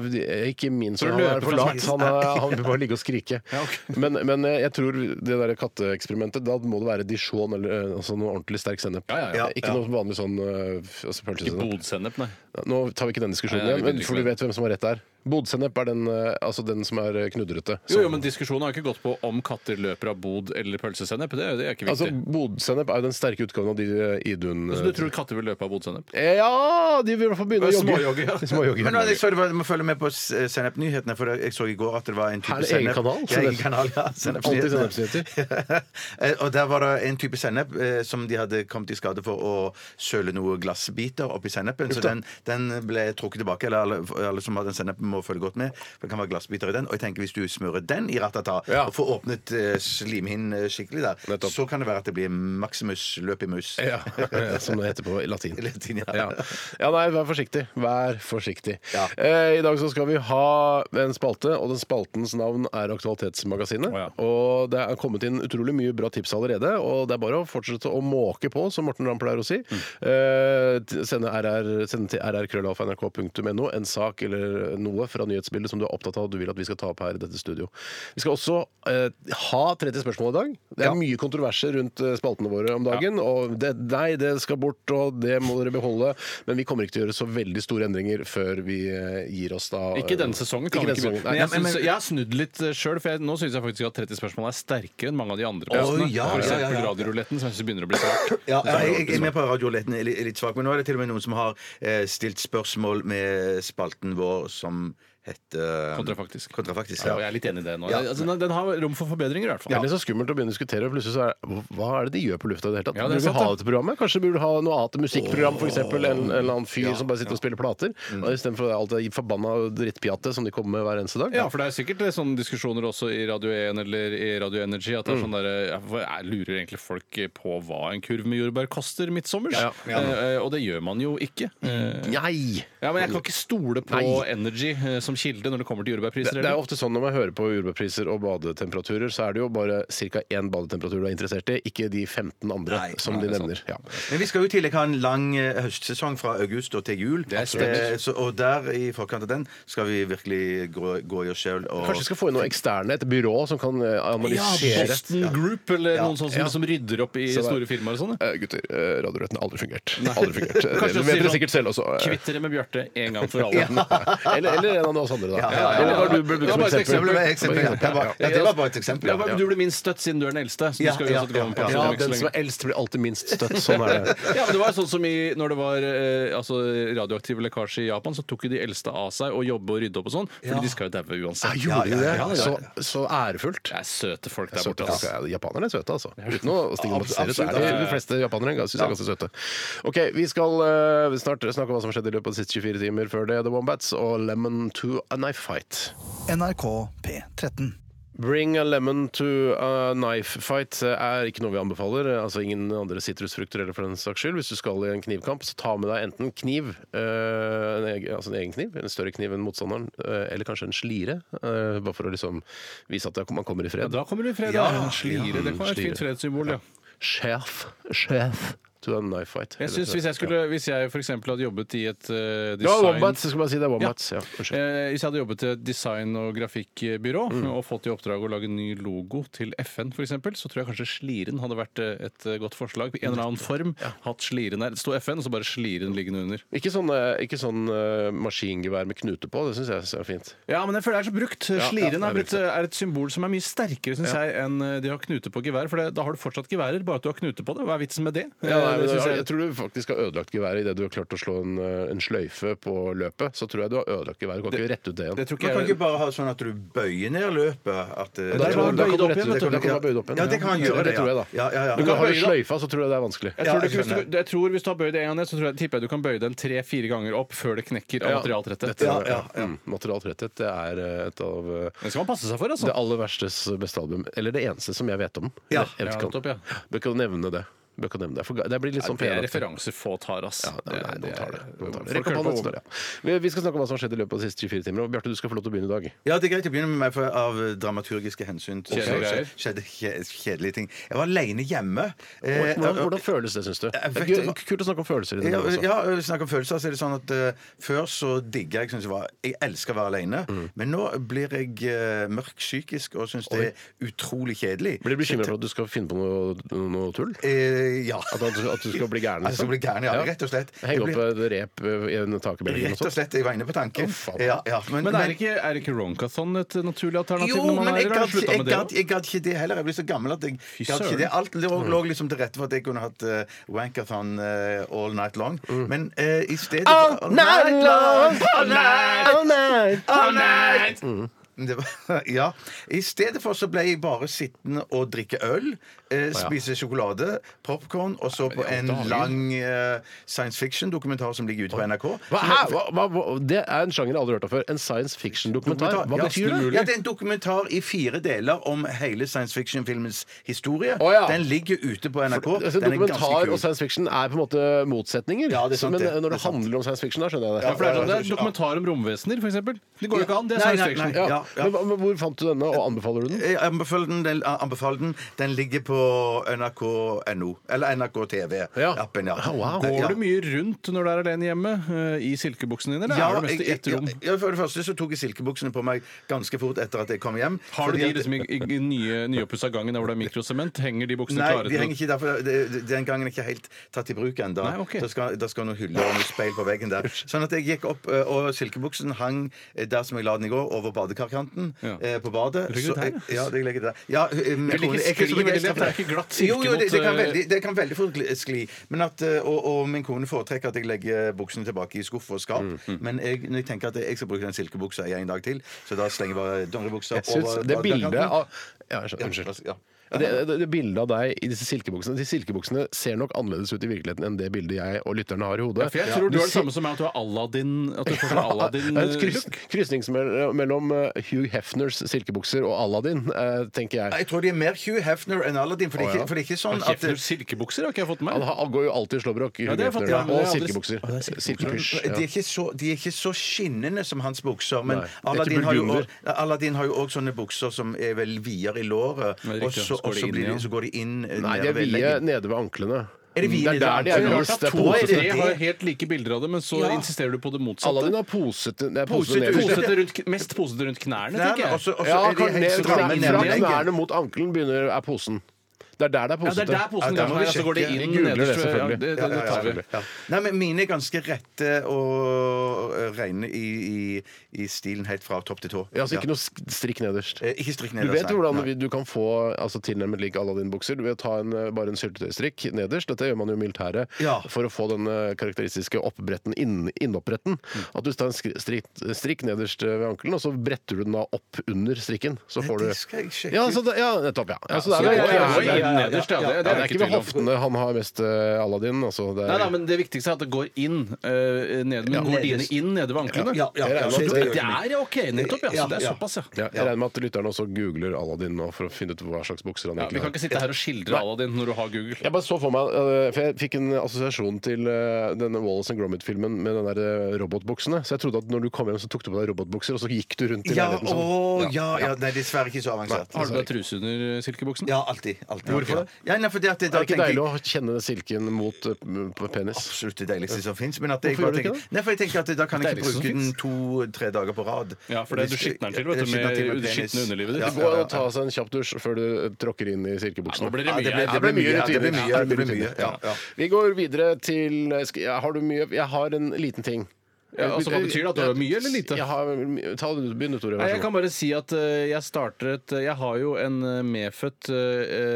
S1: ikke min
S3: du
S1: sønn. Han er
S3: løper
S1: for
S3: fra
S1: lat. Han, er, han vil bare ligge og skrike.
S3: Ja, ok.
S1: men, men eh, jeg tror det der katteeksperimentet, da må det være dijon eller eh, altså noe ordentlig sterk sennep.
S3: Ja, ja, ja.
S1: Ikke noe vanlig sånn eh, altså
S3: Ikke
S1: pølsesennep.
S3: bodsennep, nei.
S1: Nå tar vi ikke den diskusjonen
S3: Nei, nei, vi
S1: igjen,
S3: begynner
S1: men
S3: ikke
S1: for du
S3: med
S1: vet hvem som har rett der. Bodsennep er den, eh, altså den som er eh, knudrete.
S3: Jo, jo, men diskusjonen har ikke gått på om katter løper av bod eller pølsesennep. Det, er- det er ikke
S1: altså,
S3: viktig.
S1: bodsennep er jo den sterke utgaven av de eh, idun...
S3: så Altså, du tror katter vil løpe av bodsennep?
S1: Eh, Ja, de vil i hvert fall begynne å jogge.
S3: Småjogge, ja.
S1: Småjogge.
S2: Men nå, jeg så det var, Du må følge med på s- Sennep-nyhetene, for jeg så i går at det var en
S1: Her er
S2: type
S1: det egen kanal,
S2: Ja, egen
S1: Sennep.
S2: kanal, ja.
S1: Alltid sennepsnyheter.
S2: Eh, og der var det en type sennep eh, som de hadde kommet i skade for å søle noen glassbiter oppi sennepen. Så den, den ble trukket tilbake. Eller alle, alle som har den sennepen, må følge godt med. For det kan være glassbiter i den. Og jeg tenker hvis du smører den i ratata
S1: Ja.
S2: og får åpnet eh, slimhinnen eh, skikkelig der,
S1: Nettopp.
S2: så kan det være at det blir maximus løpimus.
S1: Ja, som det heter på latin.
S2: Latin, ja.
S1: Ja. ja, nei, vær forsiktig. Vær forsiktig.
S2: Ja.
S1: Eh, I dag så skal vi ha en spalte, og den spaltens navn er Aktualitetsmagasinet.
S3: Å, ja.
S1: Og det er kommet inn utrolig mye bra tips allerede, og det er bare å fortsette å måke på, som Morten Ramm pleier å si. Eh, t- sende, RR, sende til rrkrøllalfa.nrk.no en sak eller noe fra nyhetsbildet som du er opptatt av og du vil at vi skal ta opp her i dette studio. Vi skal også eh, ha 30 spørsmål i dag. Det er mye kontroverser rundt eh, spaltene våre om dagen. Og det, nei, det skal bort, og det må dere beholde. Men vi kommer ikke til å gjøre så veldig store endringer før vi eh, gir oss da eh,
S3: Ikke denne sesongen. Kan vi
S1: Ikke denne
S3: ikke begynne.
S1: sesongen.
S3: Men
S1: Nei,
S3: jeg,
S2: Nei, men-
S3: synes, jeg har snudd litt sjøl, for jeg, nå syns jeg faktisk at 30 spørsmål er sterkere enn mange av de andre.
S2: Oi,
S3: plassene.
S2: ja,
S3: For
S2: ja, ja,
S3: eksempel
S2: ja.
S3: Radioruletten, som jeg synes begynner å bli svak.
S2: Ja, jeg, jeg,
S3: liksom
S2: jeg er med på radioletten er litt, er litt svak, men nå er det til og med noen som har eh, stilt spørsmål med spalten vår som heter
S3: Kontrafaktisk.
S2: Kontrafaktisk,
S3: Ja, og jeg
S2: ja.
S3: er litt enig i det nå.
S2: Ja.
S3: Altså, den, den har rom for forbedringer, i hvert fall.
S1: Det er litt så skummelt å begynne å diskutere, og plutselig så er det Hva er det de gjør på lufta i det hele tatt?
S3: Ja, det er
S1: burde vi
S3: sant,
S1: ha
S3: det.
S1: dette programmet? Kanskje burde vi ha noe annet musikkprogram, f.eks. En, en eller annen fyr som bare sitter og spiller plater? Mm. Istedenfor alt det forbanna drittpjatet som de kommer med hver eneste dag?
S3: Ja, for det er sikkert eh, sånne diskusjoner også i Radio 1 eller i Radio Energy at det er
S2: Mm.
S3: sånn der, eh, ja, hva- jeg lurer egentlig folk på hva en kurv med jordbær koster midtsommers.
S1: Ja,
S3: Eh, eh, og det gjør man jo ikke. Eh,
S2: Mm.
S1: Nei!
S3: ja, men jeg kan ikke stole på
S1: Nei.
S3: Energy eh, som som kilde når det kommer til
S1: Det,
S3: jordbærpriser?
S1: det er
S3: eller?
S1: ofte sånn Når man hører på jordbærpriser og badetemperaturer, så er det jo bare ca. én badetemperatur du er interessert i, ikke de 15 andre
S2: Nei,
S1: som
S3: nei,
S1: de
S3: det er
S1: nevner. Ja.
S2: Men vi skal jo i tillegg ha en lang eh, høstsesong fra august og til jul.
S3: er
S2: Eh, så, og der, i forkant av den, skal vi virkelig gå, gå i oss sjøl og
S1: Kanskje vi skal få inn noen eksterne, et byrå som kan eh, analysere
S3: Boston Group eller noen sånne som,
S1: Ja.
S3: som rydder opp i
S1: Så det-
S3: store firmaer og sånn? ja.
S1: Eh, gutter, eh, Radiorøtten har aldri fungert. Aldri fungert. Eh,
S3: Kanskje du sier
S1: Det vet dere
S3: sånn,
S1: sikkert selv også. eh.
S3: Kvitt dere med Bjarte en gang for alle.
S1: eller, eller en av oss andre, da.
S2: Ja, ja, ja.
S1: Eller hva du burde bruke
S3: Ja,
S1: som
S3: bare et
S1: eksempel.
S2: Det var et eksempel, ja. Det var- ja, det var bare et eksempel.
S3: Ja, men
S2: Ja.
S3: du blir minst støtt siden du er den eldste. Så du
S2: Ja,
S3: skal jo
S2: ja,
S3: uansett gå med
S2: ja,
S3: pensjon
S1: Ja,
S3: om ikke så
S1: den som
S3: lenge.
S1: er eldst, blir alltid minst støtt. Sånn er det.
S3: Ja, men det var sånn som i, når det var eh, altså, radioaktive lekkasjer i Japan, så tok jo de eldste av seg å jobbe og rydde opp og sånn, fordi de skal jo daue uansett.
S1: gjorde de det?
S3: ja, ja.
S1: Så, så ærefullt.
S3: Det er søte folk der
S1: Søte
S3: borte.
S1: folk.
S3: Altså.
S1: Ja, Japanerne er søte, altså. Uten å stigmatisere, så
S2: Absolutt,
S1: er det
S3: absolutt.
S1: de fleste japanere syns jeg er ganske søte. OK, vi skal eh, snart snakke om hva som skjedde i løpet av de siste 24 timer før det. The Wombats og Lemon to a Knife Fight.
S4: NRK P13.
S1: Bring a lemon to a knife fight er ikke noe vi anbefaler. Altså Ingen andre sitrusfrukter eller for den saks skyld. Hvis du skal i en knivkamp, så ta med deg enten kniv, eh, en egen, altså en egen kniv, en større kniv enn motstanderen, eh, eller kanskje en slire, eh, bare for å liksom vise at det- man kommer i fred.
S3: Da kommer du i fred.
S2: Ja,
S3: da. En slire. Det kan være et
S1: slire.
S3: fint fredssymbol, ja.
S1: Chef, chef to a knife fight.
S3: Jeg synes Hvis jeg skulle, hvis jeg for eksempel hadde jobbet i et eh,
S1: Ja,
S3: design...
S1: Wombats. Jeg skal bare si det er Wombats. Ja. unnskyld.
S3: Eh, hvis jeg hadde jobbet i et design- og grafikkbyrå og fått i oppdrag å lage en ny logo til FN, f.eks., så tror jeg kanskje sliren hadde vært eh, et eh, godt forslag. I en eller annen form. Hatt sliren der. Det sto FN, og så bare sliren liggende under.
S1: Ikke sånn, eh, ikke sånn eh, maskingevær med knute på. Det syns jeg er fint.
S3: Ja, men jeg føler det er så brukt.
S1: ja, det
S3: Sliren
S1: er
S3: er, blitt, eh,
S1: brukt,
S3: er et symbol som er mye sterkere, syns jeg, enn eh, de har knute på gevær. For det, da har du fortsatt geværer, bare at du har knute på det. Hva er vitsen med det?
S1: Ja,
S3: Eh,
S1: nei, men
S3: det synes
S1: jeg,
S3: jeg-
S1: jeg tror du faktisk har ødelagt geværet idet du har klart å slå en, eh, en sløyfe på løpet. Så tror jeg du har ødelagt geværet. Du kan ikke rette ut det igjen.
S3: det tror
S2: Man
S3: ikke
S2: kan
S3: jeg
S2: ikke bare ha sånn at du bøyer ned løpet? At, eh,
S1: Da
S3: er
S1: kan
S3: bare å
S1: du- da
S3: bøye det opp igjen,
S1: kan du rette ut-
S3: vet du.
S1: da kan du ha bøyd opp igjen.
S2: Ja, det kan han gjøre,
S1: Det tror jeg, da.
S2: ja. Ja, ja, ja.
S1: Du kan
S2: Ja,
S1: ha
S3: bøye det
S1: sløyfa, så tror jeg det er vanskelig.
S3: Jeg
S2: Ja,
S3: tror, du,
S2: jeg
S3: hvis,
S2: skjønner.
S3: du, jeg tror Hvis du har bøyd det en gang ned, så tror jeg, tipper jeg du kan bøye den tre-fire ganger opp før det knekker av
S1: Ja.
S3: materialtretthet.
S1: Dette,
S2: Ja, ja, ja.
S1: Mm, material tretthet det er eh, et av eh,
S3: Den skal man passe seg for, altså.
S1: det aller verstes beste album. Eller det eneste som jeg vet om.
S2: Ja.
S1: Jeg vet ikke om-
S3: Ja, nettopp, ja.
S1: Bør ikke nevne det. Bør ikke nevne det. For det blir litt sånn
S3: det er
S1: PR-aktig.
S3: referanser få tar, ass.
S1: Ja, nei, nei, noen tar det.
S3: Folk
S1: Noen tar det. Rekk opp
S3: hører på
S1: hånden,
S3: Wombats.
S1: står det, ja. Vi- Vi skal snakke om hva som har skjedd i løpet av de siste 24 timer. Og Bjarte, du skal få lov til å begynne i dag.
S2: Ja, det er greit å begynne med meg for, av eh, dramaturgiske hensyn. til-
S3: Kjedelige greier.
S2: Skjedde kje- kjedelige ting. Jeg var aleine hjemme. Eh,
S1: Hvordan, hvordan føles det, syns du? Det
S2: Jeg eh, vet
S1: er
S2: ikke hva-
S1: gu- Kult å snakke om følelser i det. altså?
S2: Ja,
S1: også.
S2: ja, snakk om følelser. Så er det sånn at eh, Før så digga jeg synes jeg, var, jeg elsker å være alene,
S1: Mm.
S2: men nå blir jeg eh, mørk psykisk og syns det er utrolig kjedelig.
S1: Blir du bekymra for at du skal finne på noe, noe tull?
S2: Eh, ja.
S1: At, at, at du skal bli gæren?
S2: Jeg skal bli gæren, ja, rett og slett.
S1: Henge
S2: Jeg
S1: opp
S2: blir-
S1: et rep eh, i en takbelge?
S2: Rett og slett. Jeg var inne på tanken.
S1: sånn? Å, faen.
S2: ja, ja, men,
S3: Men er ikke, er ikke Ronkathon et naturlig alternativ?
S2: jo,
S3: når man
S2: men
S3: er,
S2: jeg
S3: eller har
S2: gadd
S3: du sluttet
S2: jeg
S3: med det
S2: gadd-
S3: også?
S2: jeg gadd ikke det heller. Jeg ble så gammel at jeg gadd ikke
S3: søren.
S2: det. Alt lå, lå liksom til rette for at jeg kunne hatt eh, wankathon eh, all night long.
S3: Mm.
S2: Men eh, i stedet for-
S1: all night, all night.
S2: Det var, ja. I stedet for så ble jeg bare sittende og drikke øl, eh, spise sjokolade, popkorn, og så på en lang eh, science fiction-dokumentar som ligger ute på NRK.
S1: Hva, hæ? hva, hva, hva, det er en sjanger jeg aldri har hørt om før. En science fiction-dokumentar. Hva
S2: ja,
S1: betyr det?
S2: Ja, det er en dokumentar i fire deler om hele science fiction-filmens historie.
S1: Å, ja.
S2: Den ligger ute på NRK.
S1: Altså,
S2: Den er ganske
S1: dokumentar
S2: kul.
S1: og science fiction er på en måte motsetninger.
S2: Ja, det er sant,
S1: men
S2: det.
S1: eh, når
S2: Det
S1: det
S2: er sant.
S1: handler om science fiction, da skjønner jeg det.
S2: Ja,
S3: For det er sånn, det er
S2: Ja.
S3: dokumentar om romvesener, f.eks. Det går jo ikke an. Det er
S2: Nei,
S3: science
S2: nei,
S3: fiction.
S2: nei.
S1: Ja.
S2: Ja, ja.
S1: Men, hva- men hvor fant du denne, og anbefaler du den?
S2: Jeg anbefaler den, den, anbefaler den. Den ligger på nrk.no. Eller NRK
S1: Ja.
S2: TV-appen, ja.
S1: Ah, wow.
S2: Nei, ja.
S3: Går du mye rundt når du er alene hjemme eh, i silkebuksene dine, eller
S2: Ja,
S3: er du mest i
S2: jeg-
S3: ett rom?
S2: jeg- ja, for det første så tok jeg silkebuksene på meg ganske fort etter at jeg kom hjem.
S3: Har du
S2: fordi
S3: de
S2: at-
S3: liksom i, i, i nye, nyoppussa gangen der hvor det er mikrosement? Henger de buksene
S2: Nei,
S3: klare
S2: de
S3: til å-
S2: henger ikke der, for det- det- den gangen er ikke helt tatt i bruk ennå.
S3: Nei, ok.
S2: Da skal, da skal noen hyller og noe speil på veggen der. Sånn at jeg gikk opp, eh, og silkebuksen hang eh, der som jeg la den i går, over badekarkanten
S3: Ja.
S2: eh, på badet.
S3: Du legger
S2: Så jeg-
S3: det der, ja.
S2: ja, det legger jeg der. Ja, eh, min
S3: liker
S2: kone- jeg er ikke så
S3: skli veldig
S2: begeistret
S3: lett,
S2: for
S3: det er ikke glatt
S2: Jo, jo, det, det, kan
S3: silke mot,
S2: veldig, det kan veldig fort gli- skli. Men at, eh, og, og min kone foretrekker at jeg legger buksene tilbake i skuff og skap.
S3: Mm,
S2: Men jeg, når jeg tenker at jeg skal bruke den silkebuksa i en dag til, så da slenger jeg bare dongeribuksa
S1: Jeg syns det bildet
S2: badekarkanten.
S1: av ja, jeg skjønner,
S2: Ja,
S1: Unnskyld.
S2: ja.
S1: Det, det, det Bildet av deg i disse silkebuksene De silkebuksene ser nok annerledes ut i virkeligheten enn det bildet jeg og lytterne har i hodet.
S3: For jeg tror du er det
S1: ser-
S3: samme som meg, at du er Aladdin. At du får
S1: Ja,
S3: sånn Aladdin
S1: det er et kryss, krysning som er mellom eh, Hugh Hefners silkebukser og Aladdin, eh, tenker jeg.
S2: Jeg tror de er mer Hugh Hefner enn Aladdin. For det
S1: Å,
S2: er
S1: ja.
S2: ikke, for det er ikke sånn
S3: Har
S2: at
S3: Hefner silkebukser har ikke jeg fått med
S1: Han
S3: meg.
S1: har- går jo alltid i slåbrok. Hugh
S3: Ja, det har jeg fått med meg,
S1: Hefner, og
S3: men jeg har aldri-
S1: silkebukser.
S3: Å, det er
S1: Silkepysj.
S2: de er, ikke så, de er ikke så skinnende som hans bukser, men
S1: Nei, det er
S2: Aladdin
S1: ikke
S2: har, jo
S1: burgunder.
S2: også, Aladdin har jo også sånne bukser som er vel videre i låret,
S3: Ja, riktig.
S2: og så,
S3: Så går
S2: og
S3: de
S2: så,
S3: inn
S2: blir de,
S3: igjen.
S2: så går de inn eh,
S1: Nei, de er
S2: nedover
S1: vide
S2: leggen.
S1: nede ved anklene.
S2: Er det vide
S1: det er der
S2: nede
S1: de
S2: ved
S1: er
S2: anklene?
S1: låst. Det er
S2: To av
S1: posete.
S2: tre.
S3: Tre har helt like bilder av det, men så
S2: Ja.
S3: insisterer du på det motsatte.
S1: Aladdin er posete. Det er posete
S2: Posete
S1: nederst.
S2: ut.
S3: Posete rundt, mest posete rundt knærne,
S2: Nei,
S3: tenker
S2: men altså
S3: jeg.
S2: også- også
S1: Ja,
S2: er de
S1: kan-
S2: helt
S1: ned-
S2: stramme
S1: fra
S2: ned
S1: fra
S2: ved leggen.
S1: knærne mot ankelen begynner er posen. Det er der det er
S3: Ja, det
S1: posete.
S3: er der posen
S2: Ja, der må
S3: kanskje
S2: vi
S3: er, så går det
S2: sjekke.
S3: inn
S1: Vi googler
S3: nederst.
S1: det, selvfølgelig.
S3: det,
S2: Ja,
S3: det, det
S2: ja,
S3: tar vi.
S2: ja. Nei, men Mine er ganske rette og eh, rene i, i, i stilen helt fra topp til tå.
S1: Ja, altså
S2: Ja.
S1: ikke noe sk- strikk nederst.
S2: Eh, Ikke strikk
S1: Du
S2: nederst.
S1: vet
S2: nei.
S1: hvordan
S2: Nei.
S1: vi- du kan få altså, tilnærmet lik Aladdin-bukser ved å ta en, eh, bare en syltetøystrikk nederst. Dette gjør man jo i militæret
S2: Ja.
S1: for å få den eh, karakteristiske oppbretten, inn, innoppbretten.
S3: Mm.
S1: At du tar en skri- strikk, strikk nederst eh, ved ankelen, og så bretter du den da opp under strikken. Så får du
S2: Det skal jeg sjekke
S1: ja,
S2: ut.
S1: så det, ja, nettopp, ja. ja, så det
S3: Så
S1: er,
S3: det
S1: vel-
S3: er
S1: ja,
S3: jo
S1: det er,
S3: inn nederst, ja. Det,
S1: ja,
S3: det
S1: det er ikke ved
S3: tvil om.
S1: hoftene han har mest eh, Aladdin. Altså, det
S3: Nei, nei,
S1: er,
S3: men Det viktigste er at det går inn. eh, ned, men går de inn, inn nede ved anklene?
S2: Ja, ja, ja,
S1: Jeg regner
S2: så
S1: med at
S2: det-
S3: Det er OK, nettopp. Ja, så det er
S2: Ja, ja.
S3: såpass, ja.
S1: ja, jeg regner med at lytterne også googler Aladdin nå for å finne ut hva slags bukser han
S3: Ja, Vi kan
S1: egentlig har.
S3: ikke sitte her og skildre Aladdin når du har Google.
S1: Jeg bare så for meg, øh, for jeg fikk en assosiasjon til øh, denne Wallace and Gromit-filmen med den der øh, robotbuksene. Så jeg trodde at når du kom hjem, så tok du på deg robotbukser, og så gikk du rundt i
S2: Ja,
S1: leiligheten sånn.
S2: å, ja, ja. Nei, dessverre ikke så avansert.
S3: Har du deg truse under silkebuksen?
S2: altså- Ja, alltid. alltid
S1: Hvorfor
S2: Ja.
S1: det?
S2: Ja, nei, fordi at det?
S1: Er det ikke
S2: da tenker jeg-
S1: deilig å kjenne silken mot øh, m- på penis?
S2: Absolutt det deiligste som fins. Men at jeg
S1: Hvorfor
S2: bare
S1: gjør du ikke
S2: tenker, nei, for jeg tenker at da kan jeg ikke
S3: Deiligste som
S2: bruke den to-tre dager på rad.
S3: Ja, for det- du skitner den til, vet du,
S2: Jeg skitner
S3: med
S2: til
S3: det
S2: penis.
S3: skitne underlivet ditt.
S2: Ja,
S1: Det går an å ta seg en kjapp dusj før du øh, tråkker inn i
S3: Nå
S1: silkebuksene.
S3: blir
S2: Ja,
S3: det mye.
S2: det ble-
S3: her.
S1: Ja, det blir mye
S2: Ja, det blir
S1: rutiner.
S2: mye,
S1: Ja,
S2: det blir mye,
S1: rutiner.
S2: ja, ja.
S1: Vi går videre til skal- ja, Har du mye? Jeg har en liten ting.
S3: Ja, altså, hva betyr det? At du har mye eller lite?
S1: Jeg har, mye- ta det du begynn, Tore.
S3: Nei,
S1: Vær
S3: jeg
S1: så god.
S3: kan bare si at eh, jeg starter et Jeg har jo en eh, medfødt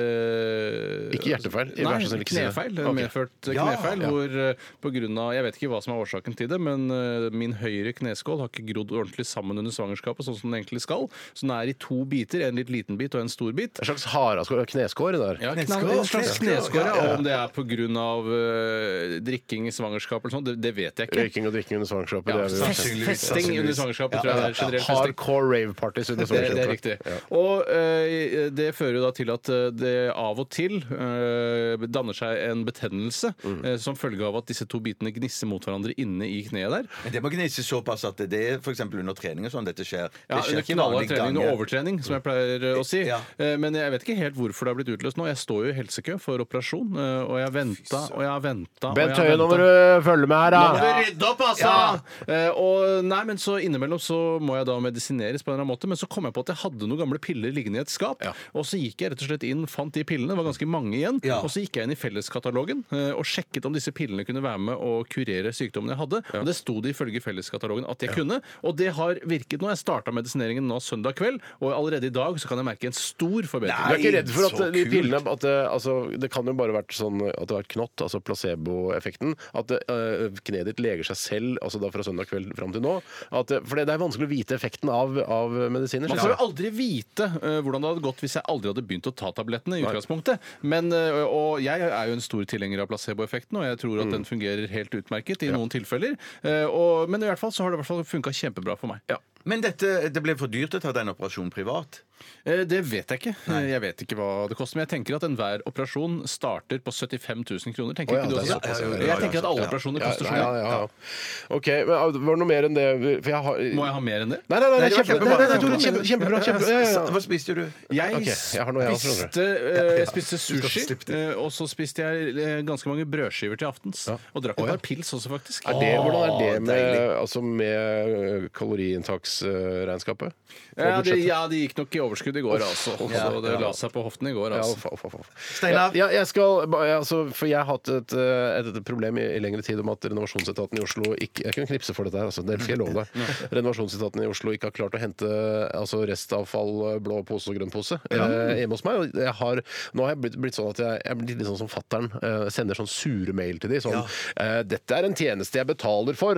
S3: eh,
S1: Ikke hjertefeil?
S3: Nei,
S1: Vær så snill, ikke si det.
S3: knefeil. En
S1: Ok.
S3: medfødt
S2: Ja,
S3: knefeil
S2: ja.
S3: hvor eh, på grunn av Jeg vet ikke hva som er årsaken til det, men eh, min høyre kneskål har ikke grodd ordentlig sammen under svangerskapet, sånn som den egentlig skal. Så den er i to biter. En litt liten bit og en stor bit.
S1: En slags haraskår? Kneskår? Der.
S3: Ja,
S2: Kneskår,
S3: knall- en slags
S2: kneskår,
S3: kneskår, ja.
S2: ja, ja.
S3: Om det er pga. Uh, drikking i svangerskap eller sånn, det, det vet jeg ikke.
S1: Røyking og drikking under svangerskapet.
S3: Ja,
S1: det er vi jo
S3: fest-
S1: kjent.
S3: festing under svangerskapet tror jeg det er generelt. festing.
S1: Hardcore rave-parties under
S3: Det, det er
S1: svangerskapet.
S3: riktig. Og eh, det fører jo da til at eh, det av og til eh, danner seg en betennelse eh, som følge av at disse to bitene gnisser mot hverandre inne i kneet der.
S2: Men det må gnise såpass at det er for eksempel under trening og sånn dette skjer.
S3: Ja,
S2: det skjer
S3: under knallhard
S2: vanlig
S3: trening
S2: gange.
S3: og overtrening, som jeg pleier eh, å si.
S2: Ja.
S3: Eh, Men jeg vet ikke helt hvorfor det har blitt utløst nå. Jeg står jo i helsekø for operasjon, eh, og jeg har venta og jeg har venta
S1: Bent Høie, nå må du eh, følge med her,
S3: Må
S1: da!
S3: vi rydde opp, altså! Eh, og nei, men så Innimellom så må jeg da medisineres, på en eller annen måte, men så kom jeg på at jeg hadde noen gamle piller liggende i et skap. Og så gikk jeg rett og slett inn, fant de pillene, det var ganske mange igjen.
S2: Ja.
S3: Og så gikk jeg inn i felleskatalogen eh, og sjekket om disse pillene kunne være med å kurere sykdommen jeg hadde. Og det sto det ifølge felleskatalogen at jeg kunne. Og det har virket nå. Jeg starta medisineringen nå søndag kveld, og allerede i dag så kan jeg merke en stor
S1: Du er
S3: forbedring.
S1: ikke redd for at
S2: Så
S1: de
S2: kult.
S1: pillene at det, altså, det kan jo bare vært sånn at det har vært knott, altså placeboeffekten. At det, eh, kneet ditt leger seg selv altså da fra søndag kveld fram til nå. At, det- for det, det er vanskelig å vite effekten av, av medisiner.
S3: Man
S1: synes
S3: får jo
S1: jeg.
S3: aldri vite eh, hvordan det hadde gått hvis jeg aldri hadde begynt å ta tablettene. i utgangspunktet. Men, eh, og jeg er jo en stor tilhenger av placeboeffekten, og jeg tror at
S1: Mm.
S3: den fungerer helt utmerket i noen tilfeller. Eh, og, men i hvert fall så har det i hvert fall funka kjempebra for meg.
S2: Men dette, det ble for dyrt å ta den operasjonen privat.
S3: Eh, det vet jeg ikke. Eh, Jeg vet ikke hva det koster, men jeg tenker at enhver operasjon starter på 75 000 kroner. Tenker
S1: Å ja,
S3: ikke du
S1: det er
S3: også?
S1: såpass,
S2: ja, ja, ja, ja,
S3: Jeg tenker at alle
S2: ja.
S3: operasjoner
S1: Ja,
S3: koster sånn, så
S1: ja,
S3: mye.
S1: ja, ja. OK. Men ah, det var det noe mer enn det? For jeg har
S3: Må jeg ha mer enn det?
S1: Nei, nei, nei,
S2: Nei,
S1: nei,
S2: det var
S1: kjempe, nei, nei,
S2: kjempebra.
S1: nei Tore, kjempe, kjempebra. Kjempe, ja, ja, ja.
S2: Hva spiste du?
S3: Jeg,
S1: Ok, jeg har noe jeg også,
S3: spiste, eh, spiste sushi, eh, og så spiste jeg eh, ganske mange brødskiver til aftens. Og drakk et par pils også, faktisk.
S1: Er det, hvordan er det med,
S2: deilig.
S1: altså med ø, kaloriinntaksregnskapet?
S3: Ja, det, ja, det gikk nok i overskudd i går, altså. så det la seg på hoften i går,
S1: Ja,
S3: altså.
S1: fa- fa- fa- fa.
S2: Steinar?
S1: Ja, ja, jeg skal, ba- ja, altså, for jeg har hatt et, eh, et, et problem i, i lengre tid om at renovasjonsetaten i Oslo ikke, Jeg kunne knipse for dette her, altså, det skal jeg love deg. Renovasjonsetaten i Oslo ikke har klart å hente altså, restavfall, eh, blå pose og grønn pose, eh, hjemme hos meg. Og jeg har, nå har jeg blitt, blitt sånn at jeg, jeg blir litt sånn som fattern. Eh, sender sånn sure mail til de sånn eh, 'Dette er en tjeneste jeg betaler for.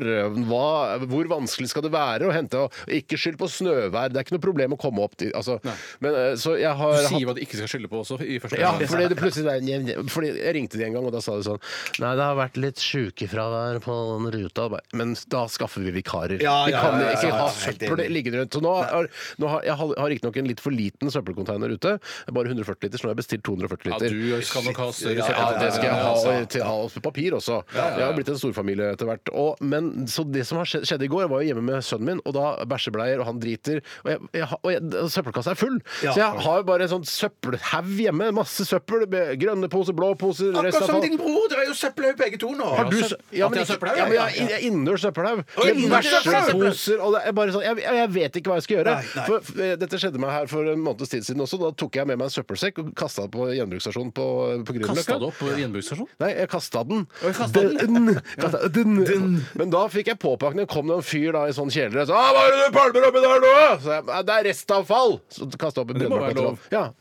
S1: Hva, hvor vanskelig skal det være å hente?' Og Ikke skyld på snøvær. Det er ikke noe problem å komme opp dit. Altså, men, eh, så jeg har
S3: Du
S1: hatt-
S3: sier hva du ikke skal skylde på også. i første
S1: ja,
S3: omgang.
S1: fordi det plutselig er en- Fordi Jeg ringte de en gang, og da sa de sånn Nei, det har vært litt sjukefravær på den ruta. Bare, Men da skaffer vi vikarer.
S2: Ja,
S1: vi
S2: ja,
S1: kan
S2: ja, ja,
S1: ikke
S2: ja,
S1: ha
S2: ja, helt
S1: søppel
S2: enig.
S1: liggende rundt. Så nå, har- nå har jeg har har riktignok en litt for liten søppelcontainer ute. Bare 140 liter, så nå har jeg bestilt 240
S3: Ja,
S1: liter.
S3: du skal nok ha større
S1: Ja, altså.
S3: søppel.
S1: det skal jeg ha,
S3: Ja, altså.
S1: og til, ha også papir også. Jeg har blitt en storfamilie etter hvert. Og, men, så det som har skjedd, skjedde i går, jeg var jo hjemme med sønnen min, og da bæsjebleier, og han driter, og, jeg, jeg, har- og jeg, søppelkassa er full.
S2: Ja.
S1: Så jeg har jo bare en sånn søppelhaug hjemme, masse søppel, med grønne poser, blå poser, resten
S2: Akkurat
S1: av
S2: som din bror! Dere er jo søppelhaug begge to nå.
S1: har du
S3: søpp-
S1: sø- ja,
S3: at jeg har
S1: men ikke-
S3: søppelhaug,
S1: ja, men
S3: ja,
S1: jeg er innendørs søppelhaug. Med
S2: innendørs søppelhaug!
S1: bæsjeposer, og det er bare sånn, jeg, jeg vet ikke hva jeg skal gjøre.
S2: Nei, nei.
S1: For, eh, dette skjedde meg her for en måneds tid siden også. Da tok jeg med meg en søppelsekk og kasta den på gjenbruksstasjonen på, på Grünerløkka.
S3: Kasta det opp på gjenbruksstasjonen?
S1: Nei, jeg kasta den.
S3: Oi, kastet
S1: den. Kastet den. Men da fikk jeg påpakning. Kom det en fyr da i sånn kjeledress. «Ah, 'Hva er det du pælmer oppi der nå?' Så jeg, «Nei, 'Det er restavfall'. Så kasta opp en
S3: det må være
S1: brennbar
S3: lov.
S1: Ja.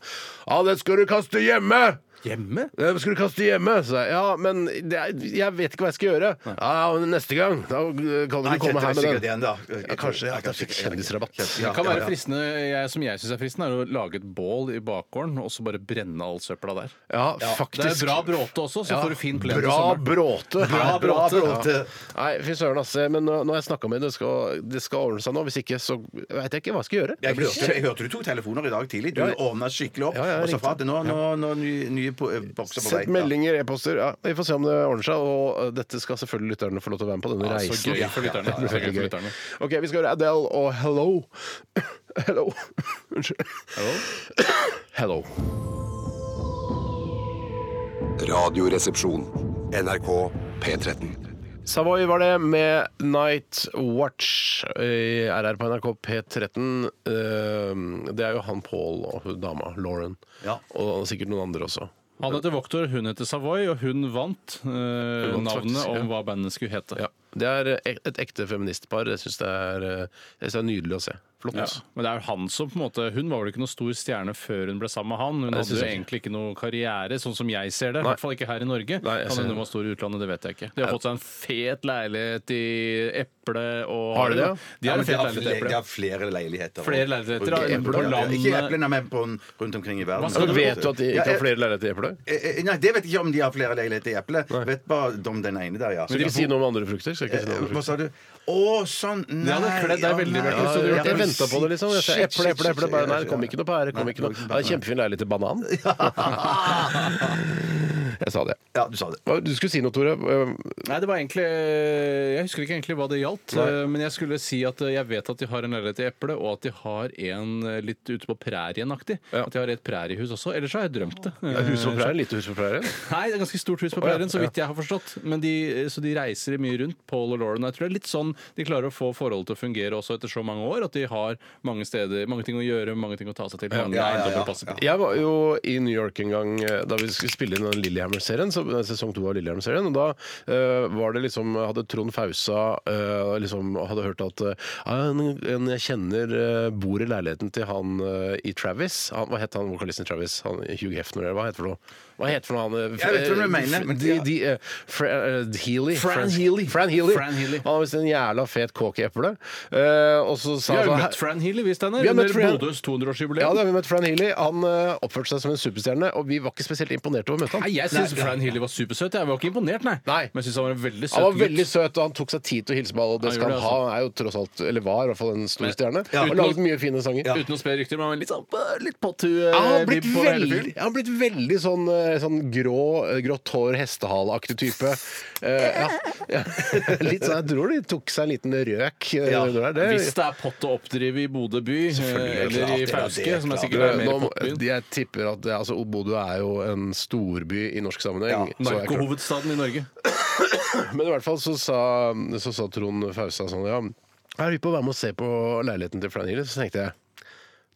S1: ja, det skal du kaste hjemme!
S3: Hjemme?
S1: Det skal du kaste hjemme, sa jeg. Ja, men det er, jeg vet ikke hva jeg skal gjøre. Ja, ja, men neste gang, da eh, kan du
S2: Nei,
S1: komme her
S2: Kjente var
S1: med
S2: sikkert
S1: den.
S2: igjen, da.
S1: Ja, kanskje at jeg fikk kjendisrabatt.
S2: Ja,
S3: Det kan
S2: ja,
S3: være
S2: ja.
S3: fristende, jeg, Som jeg syns er fristende, er å lage et bål i bakgården og så bare brenne all søpla der.
S1: Ja,
S3: Det er
S1: faktisk.
S3: bra bråte også, så
S1: Ja,
S3: får du fin plen til
S1: Bra
S3: sommeren.
S1: bråte.
S3: Bra bråte.
S1: Ja. Nei, fy søren, asse. Men nå nå har jeg snakka med henne. Det skal, det skal ordne seg nå. Hvis ikke, så veit jeg ikke hva jeg skal gjøre.
S2: Jeg hørte, jeg hørte du tok telefoner i dag tidlig. Du
S1: Ja.
S2: ordna skikkelig opp.
S1: Ja, ja, jeg
S2: og så
S1: ringte.
S2: fra at nå, nå, nå nye, nye po- eh, bokser på vei.
S1: Sett meldinger, e-poster. Ja, vi får se om det ordner seg. Og eh, dette skal selvfølgelig lytterne få lov til å være med på. Denne
S3: Ja, så
S1: reisen.
S3: gøy for lytterne.
S1: det blir
S3: Så gøy for
S1: veldig gøy.
S3: lytterne.
S1: OK, vi skal høre Adele og Hello. Hello. Unnskyld. Hello.
S5: Radioresepsjon. NRK P13.
S1: Savoy var det med Night Watch i RR på NRK P13. Eh, Det er jo han Paul og hun dama, Lauren.
S2: Ja.
S1: Og sikkert noen andre også.
S3: Han heter Voktor, hun heter Savoy, og hun vant eh,
S1: vant
S3: navnet
S1: faktisk, ja.
S3: om hva bandet skulle hete.
S1: Ja. Det er ek- et ekte feministpar. Jeg syns det, er, eh, jeg synes det er nydelig å se. Flott.
S3: Ja, Men det er jo han som på en måte Hun var vel ikke noe stor stjerne før hun ble sammen med han. Hun
S1: det
S3: hadde jo
S1: synes jeg ikke.
S3: egentlig ikke noe karriere, sånn som jeg ser det. I
S1: Nei.
S3: hvert fall ikke her i Norge.
S1: Nei, jeg
S3: kan
S1: ser
S3: hende
S1: det.
S3: hun var stor i utlandet, det vet jeg ikke. De har fått seg en fet leilighet i Eple og
S1: Har de det, ja?
S3: De
S2: Ja,
S3: har en
S2: men de
S3: fet
S2: har
S3: leilighet i
S2: fle- de
S3: Eple.
S2: har flere leiligheter.
S3: Flere
S2: og-
S3: leiligheter, ja,
S2: og- Eple-
S3: på landet.
S2: Ikke eplene, men på, en- rundt omkring i verden.
S3: Hva
S1: Ja,
S3: skal
S1: men vet du at de
S2: Ja,
S1: ikke har
S2: jeg-
S1: flere lerreter i eplet?
S2: Eh, eh, Nei, det vet jeg ikke om de har flere leiligheter i Eplet. Vet bare om den ene der, ja.
S1: Skal ikke si noe om andre frukter? Skal ikke si noe om andre
S2: Eh, Hva
S1: frukter.
S2: sa du? Å, sånn Nei!
S3: Ja, det kler deg
S2: ja,
S3: veldig,
S2: nei,
S3: Bjarte, så du gjorde
S2: ja, ja,
S1: Jeg venta på det, liksom. Jeg sa Eple,
S2: shit, shit,
S1: eple, eple.
S2: shit,
S1: Bare
S2: shit,
S1: nei, det
S2: shit,
S1: kom
S2: ja.
S1: ikke noe pære. Kom ikke noe. Ja, kjempefin leilighet til banan. Jeg sa det.
S2: Ja, du sa det.
S1: Hva- Du skulle si noe, Tore. Eh,
S3: Nei, det var egentlig Jeg husker ikke egentlig hva det gjaldt, eh,
S1: Nei.
S3: men jeg skulle si at eh, jeg vet at de har en leilighet i Eple, og at de har en eh, litt ute på prærien-aktig.
S1: Ja.
S3: At de har et præriehus også. Ellers har jeg drømt det.
S1: Hus på prærien? Lite hus på prærien?
S3: Nei, det er ganske stort hus på
S1: Å, ja,
S3: prærien, så
S1: ja.
S3: vidt jeg har forstått. Men de, eh, så de reiser mye rundt, Paul og Lauren. og Jeg tror det er litt sånn de klarer å få forholdet til å fungere også etter så mange år. At de har mange steder, mange ting å gjøre, mange ting å ta seg til. Mange
S2: ja, ja,
S3: eiendommer
S2: ja.
S3: å passe på.
S1: Jeg var jo i New York en gang eh, da vi skulle spille inn den Lillehammer-serien, så- eh, sesong to av Lillehammer-serien. Og da eh, var det liksom Hadde Trond Fausa eh, liksom hadde hørt at eh, «Ja, en, en jeg kjenner eh, bor i leiligheten til han eh, i Travis. Han, hva het han vokalisten i Travis? Han, Hugh Hefner, eller hva het for noe? Hva het for noe han eh,
S2: Jeg vet hvem du mener, men-
S1: de, de, eh, Fra, eh, Healy.
S3: Fran
S1: Fran-
S3: Healy.
S1: Fran Healy.
S3: Fran Healy.
S1: Han har visst en jævla fet kåk i eplet. Eh, og så sa
S3: Vi har jo
S1: han-
S3: møtt Fran Healy, hvis den
S1: Vi
S3: er
S1: har møtt
S3: under
S1: Fran-
S3: Bodøs 200-årsjubileum.
S1: Ja, da har vi møtt Fran Healy. Han eh, oppførte seg som en superstjerne, og vi var ikke spesielt imponert over å møte
S3: Nei,
S1: han.
S3: jeg syns Fran Healy var supersøt. Jeg var ikke imponert, nei.
S1: Nei.
S3: Men jeg syns han var en veldig søt
S1: Han var veldig søt, og han tok seg tid til å hilse på alle. og Det
S3: Han
S1: skal
S3: gjorde
S1: han
S3: det, altså.
S1: ha. Han er jo tross alt, eller var i hvert fall, en stor stjerne.
S2: Ja.
S1: Og laget mye fine sanger.
S3: Uten å spre rykter, men han var litt sånn øh, litt pottu
S1: Ja, han
S3: øh,
S1: har blitt,
S3: vibb på hele
S1: veldig,
S3: fyren.
S1: han har blitt veldig sånn, eh, sånn grå, eh, grått hår, hestehaleaktig type. Eh, ja. Ja. Litt sånn, Jeg tror de tok seg en liten røk. eh,
S2: Ja.
S1: under der.
S3: Hvis det er pott å oppdrive i Bodø by, øh,
S2: det er
S3: eller
S2: klart,
S3: i
S2: det er
S3: Fauske,
S2: det,
S3: som er
S2: klart.
S3: sikkert er mer
S1: Nå må-
S3: pottbyen
S1: jeg tipper at det, altså, Bodø er jo en storby i norsk sammenheng. så jeg klart-
S3: Narkohovedstaden i Norge.
S1: Men i hvert fall så sa, så sa Trond Fausa sånn, ja, jeg er hypp på å være med og se på leiligheten til Fran Healy, så tenkte jeg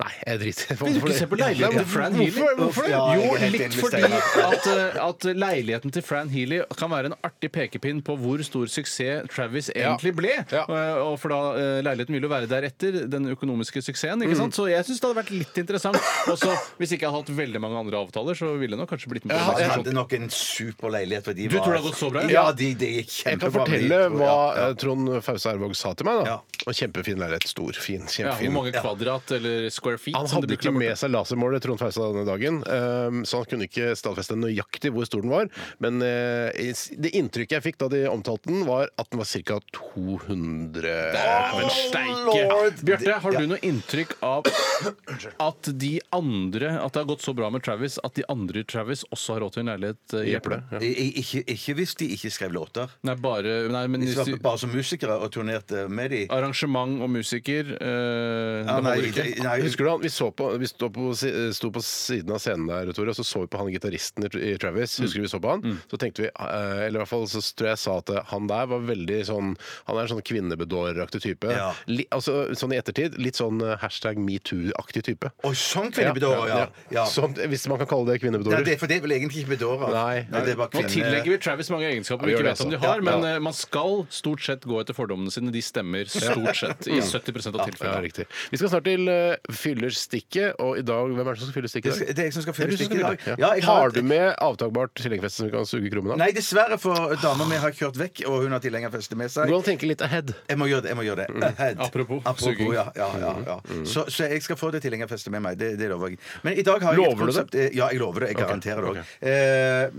S1: Nei, jeg driter
S3: Vil du ikke se på leiligheten til Fran Healy?
S1: Hvorfor, hvorfor det?
S2: Ja, jeg
S3: Jo,
S2: er helt
S3: litt
S2: enig med
S3: fordi
S2: Steinar.
S3: at, eh, at leiligheten til Fran Healy kan være en artig pekepinn på hvor stor suksess Travis egentlig ble.
S1: Ja.
S3: Eh, Og for da, eh, leiligheten vil jo være deretter, den økonomiske suksessen.
S1: Mm.
S3: ikke sant? Så jeg syns det hadde vært litt interessant. Også, hvis ikke jeg hadde hatt veldig mange andre avtaler, så ville jeg nok kanskje blitt med. på
S2: Han
S3: det.
S2: hadde nok en super leilighet. for de
S3: Du
S2: var-
S3: tror det har gått så bra, ja?
S2: Ja, de, de gikk
S1: Jeg kan
S2: kjempebra.
S1: fortelle
S2: med de to,
S1: hva
S2: ja.
S1: eh, Trond Fause Ervåg sa til meg. da
S2: Ja.
S1: En Kjempefin leilighet. Stor, fin.
S3: Ja, hvor
S1: kjempefin
S3: mange kvadrat eller square feet?
S1: Han
S3: som
S1: hadde
S3: det
S1: ikke
S3: brukte
S1: med seg lasermålet Trond Fausa denne dagen, ehm, så han kunne ikke stadfeste nøyaktig hvor stor den var. Men eh, det inntrykket jeg fikk da de omtalte den, var at den var ca. 200
S3: Men
S2: lord!
S3: steike! Bjarte, har
S2: Ja.
S3: du noe inntrykk av at de andre At det har gått så bra med Travis at de andre Travis også har råd til en leilighet eh, i Eple?
S2: I- i- Ikke, ikke hvis de ikke skrev låter.
S3: Nei, bare Nei, men
S2: Hvis
S3: hvis
S2: de var
S3: du
S2: bare som musikere og turnerte med de.
S1: Ah,
S3: Arrangement og musiker eh,
S2: Ja,
S3: Det holder ikke.
S2: det- nei,
S1: Husker du han, Vi, så på, vi sto, på, si- sto på siden av scenen der, Tore, og så så vi på han gitaristen i Tr- i Travis.
S2: Mm.
S1: Husker du vi så på han? Så tenkte vi, eh, eller i hvert fall så tror jeg jeg sa at eh, han der var veldig sånn Han er en sånn kvinnebedåreraktig type.
S2: Ja.
S1: Li, altså, sånn i ettertid, litt sånn eh, hashtag metoo-aktig type.
S2: Å, sånn kvinnebedårer, ja. ja.
S1: Som, Sånn, hvis man kan kalle det
S2: Nei,
S1: kvinnebedårer.
S2: det, for det er vel egentlig ikke bedårer.
S1: Nei.
S2: det er bare eh,
S3: Nå
S2: kvinne-
S3: tillegger vi Travis mange egenskaper vi
S1: Ja, vi
S3: ikke
S1: gjør
S3: vet om de
S1: det,
S3: har,
S1: altså. Ja,
S3: men eh, man skal stort sett gå etter fordommene sine. De stemmer stort sett i 70 av
S1: Ja,
S3: tilfellene.
S1: riktig. Vi skal snart til uh, Fyllerstikket, og i dag Hvem er det som skal fylle stikket?
S2: Det skal- det er jeg som skal fylle
S1: Det er du
S2: stikket i
S1: fylle
S2: dag.
S1: stikket,
S2: Ja,
S1: Ja.
S2: jeg har-
S1: har du med avtakbart tilhengerfeste som vi kan suge krummen av?
S2: Nei, dessverre, for dama mi har kjørt vekk, og hun har tilhengerfeste med seg.
S1: Går det an å tenke litt ahead?
S2: Jeg må gjøre det. jeg må gjøre det Ahead.
S3: Mm. Apropos suging. Mm.
S2: Apropos ja, ja, ja, ja. Så, så jeg skal få det tilhengerfestet med meg. Det, det lover jeg. Men i dag har jeg
S1: Lover du
S2: et
S1: det?
S2: konsept eh, Ja, jeg lover det. Jeg garanterer det òg.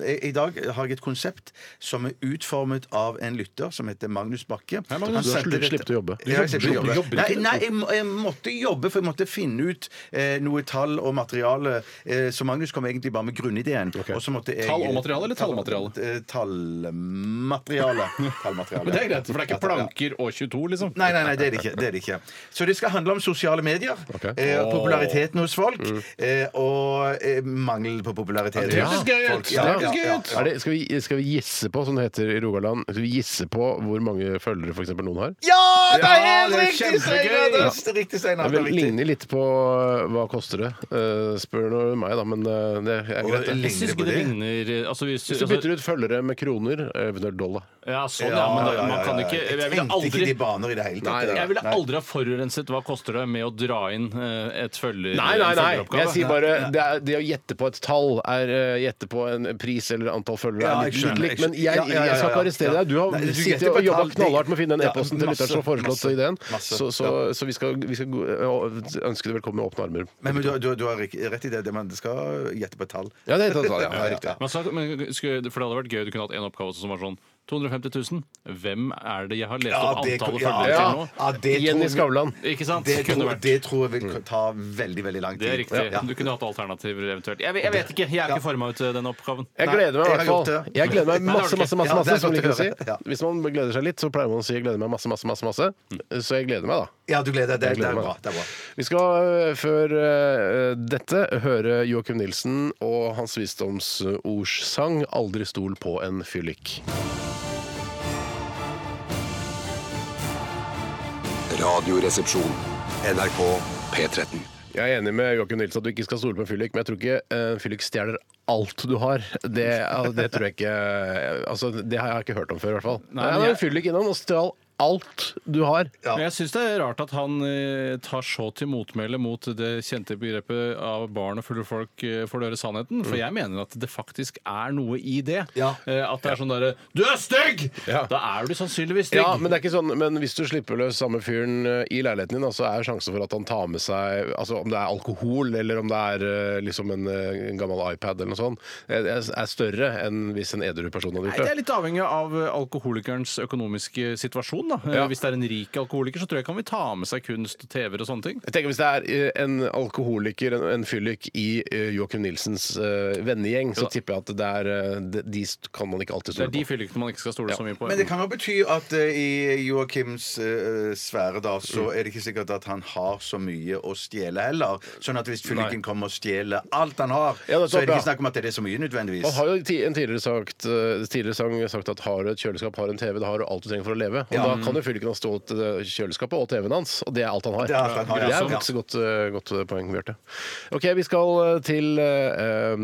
S2: Eh, I dag har jeg et konsept som er utformet av en lytter som heter Magnus Bakke.
S3: Hei, Magnus.
S2: Han
S1: Du har
S2: sendte
S1: slutt-
S2: dette-
S1: sluppet å jobbe.
S2: Ja, jeg slipper å
S3: Jobber-
S2: jobbe.
S3: jobber
S2: Nei,
S3: ikke du?
S2: nei jeg, må- jeg måtte jobbe, for jeg måtte finne ut eh, noe tall og materiale. Eh, så Magnus kom egentlig bare med grunnideen.
S1: Ok.
S2: Og så måtte jeg
S3: Tall og materiale, eller tallmateriale?
S2: Eh, Tallmateriale. Tallmateriale.
S3: Men det er greit, for det er ikke
S2: Ja.
S3: planker og 22, liksom.
S2: Nei, nei, nei, det er det ikke. Det er det ikke. Så det skal handle om sosiale medier.
S1: Ok. Mm.
S2: Eh, og populariteten hos folk. Eh, og eh, mangel på popularitet.
S1: Ja, det
S2: hos
S1: er
S3: gøy ut.
S2: folk.
S3: Ja, det er gøy ut.
S1: Er det, skal, vi, skal vi gisse på, som det heter i Rogaland, skal vi gisse på hvor mange følgere for eksempel noen har?
S2: Ja, det er
S3: Ja,
S2: helt
S3: det er
S2: riktig,
S3: kjempegøy.
S2: Steinar! Det er riktig, Steinar.
S1: Det
S2: Det er
S1: vil
S2: riktig.
S1: ligner litt på eh, hva koster det. Eh, spør nå meg, da, men eh, det er greit. det.
S2: ligner
S3: Jeg syns
S2: på
S3: ikke det
S2: det?
S3: ligner eh, altså, hvis,
S1: Hvis du bytter ut følgere med kroner, eh, eventuelt dollar
S3: Ja, sånn, ja. Men da, man kan jo ikke Jeg ville
S2: tenkte ikke
S3: aldri
S2: de baner i det hele
S1: Nei,
S2: tatt.
S3: jeg ville aldri ha forurenset hva koster det med å dra inn eh, et følger... en følgeroppgave.
S1: Jeg sier bare det, er, det å gjette på et tall, er eh, gjette på en pris eller antall følgere,
S2: Ja,
S1: er litt
S2: jeg skjønner,
S1: litt
S2: jeg
S1: likt. Men jeg,
S2: skjønner. Ja, ja, ja,
S1: jeg skal ikke
S2: ja,
S1: arrestere
S2: ja.
S1: deg. Du har
S2: Nei, du
S1: sittet
S2: gjetter på
S1: og
S2: et
S1: jobba
S2: tall.
S1: knallhardt med å finne den
S2: Ja,
S1: e-posten til lytteren som har foreslått
S2: masse,
S1: ideen.
S2: masse,
S1: Så, så, så vi skal, vi skal gå- øh, ønske deg velkommen med åpne armer.
S2: Men, men du, du, du har rik- rett i det. det- Man skal gjette på et tall.
S1: Ja, det er et tall, ja, det er riktig.
S3: Men så- men skulle, for det hadde vært gøy å kunne hatt en oppgave som var sånn 250 000. Hvem er det jeg har lest opp
S2: det-
S3: antallet
S2: ja,
S3: følgere til nå?
S2: ja, det tror
S1: Jenny
S2: jeg-
S1: Skavlan.
S3: Ikke sant?
S2: Det
S3: kunne
S2: tror,
S3: vært.
S2: det tror jeg
S1: Mm.
S2: vil ta veldig veldig lang tid.
S3: Det er riktig.
S2: Ja.
S3: Du kunne hatt alternativer eventuelt. Jeg, vet- jeg vet ikke. Jeg er ikke forma ut til den oppgaven.
S1: Jeg
S2: Nei,
S1: gleder meg i
S2: jeg
S1: hvert
S2: har
S1: fall.
S2: gjort det.
S1: Jeg gleder meg
S3: Nei, det har
S1: masse,
S3: du
S1: masse,
S3: ikke.
S1: masse,
S2: Ja, det
S1: masse
S2: er
S1: som
S2: godt
S1: liker å
S2: å
S1: si.
S2: høre. Ja.
S1: Hvis man gleder seg litt, så pleier man å si 'jeg gleder meg masse, masse, masse'. masse. Så jeg gleder meg, da.
S2: Ja, du gleder deg. Det,
S1: Jeg
S2: det
S1: gleder
S2: er
S1: meg.
S2: bra. Det er bra.
S1: Vi skal øh, før øh, dette høre Joakim Nilsen og hans visdomsordssang 'Aldri stol på en fyllik'.
S5: Radioresepsjon. NRK P13.
S1: Jeg er enig med Joakim Nilsen at du ikke skal stole på en fyllik, men jeg tror ikke eh, en fyllik stjeler alt du har. Det, altså, det tror jeg ikke Altså, det har jeg ikke hørt om før, i hvert fall. Nei,
S3: men
S1: det var en
S3: jeg-
S1: fyllik innom og stjal alt du har.
S2: Ja.
S3: Men jeg syns det er rart at han eh, tar så til motmæle mot det kjente begrepet av barn og fulle folk eh, får høre sannheten,
S1: Mm.
S3: for jeg mener at det faktisk er noe i det.
S2: Ja.
S3: Eh, At det er sånn derre Du er stygg!
S1: Ja.
S3: Da er du sannsynligvis stygg.
S1: Ja, men det er ikke sånn, men hvis du slipper løs samme fyren eh, i leiligheten din, da, så er sjansen for at han tar med seg altså om det er alkohol eller om det er eh, liksom en, eh, en gammel iPad eller noe sånt, eh, er er større enn hvis en edru person hadde
S3: Nei,
S1: gjort
S3: det
S1: det.
S3: er litt avhengig av eh, alkoholikerens økonomiske situasjon. da. Eh,
S1: Ja.
S3: Hvis det er en rik alkoholiker, så tror jeg kan vi ta med seg kunst, TV-er og sånne ting.
S1: Jeg tenker Hvis det er eh, en alkoholiker, en, en fyllik, i eh, Joakim Nilsens eh, vennegjeng, så
S3: Ja.
S1: tipper jeg at det er, eh, de, de st- kan man ikke alltid
S3: Det er
S1: stole
S3: de
S1: på.
S3: fyllikene man ikke skal stole så mye på.
S2: Men det kan jo bety at eh, i Joakims eh, sfære da,
S3: Mm.
S2: så er det ikke sikkert at han har så mye å stjele heller. Sånn at hvis fylliken kommer og stjeler alt han har,
S1: Ja, det er
S2: så er det
S1: topp,
S2: ikke
S1: ja.
S2: snakk om at det er så mye nødvendigvis.
S1: Man har jo ti- en tidligere, sagt, eh, tidligere sang sagt at har du et kjøleskap, har du en TV, da har du alt du trenger for å leve. Og
S2: Ja. Mm.
S1: da kan jo fylliken ha stjålet eh, kjøleskapet og TV-en hans, og det er alt han har.
S2: Det er alt han har,
S1: Det er
S2: ja.
S1: faktisk et godt, eh, godt poeng, Bjarte. OK, vi skal eh, til eh, eh,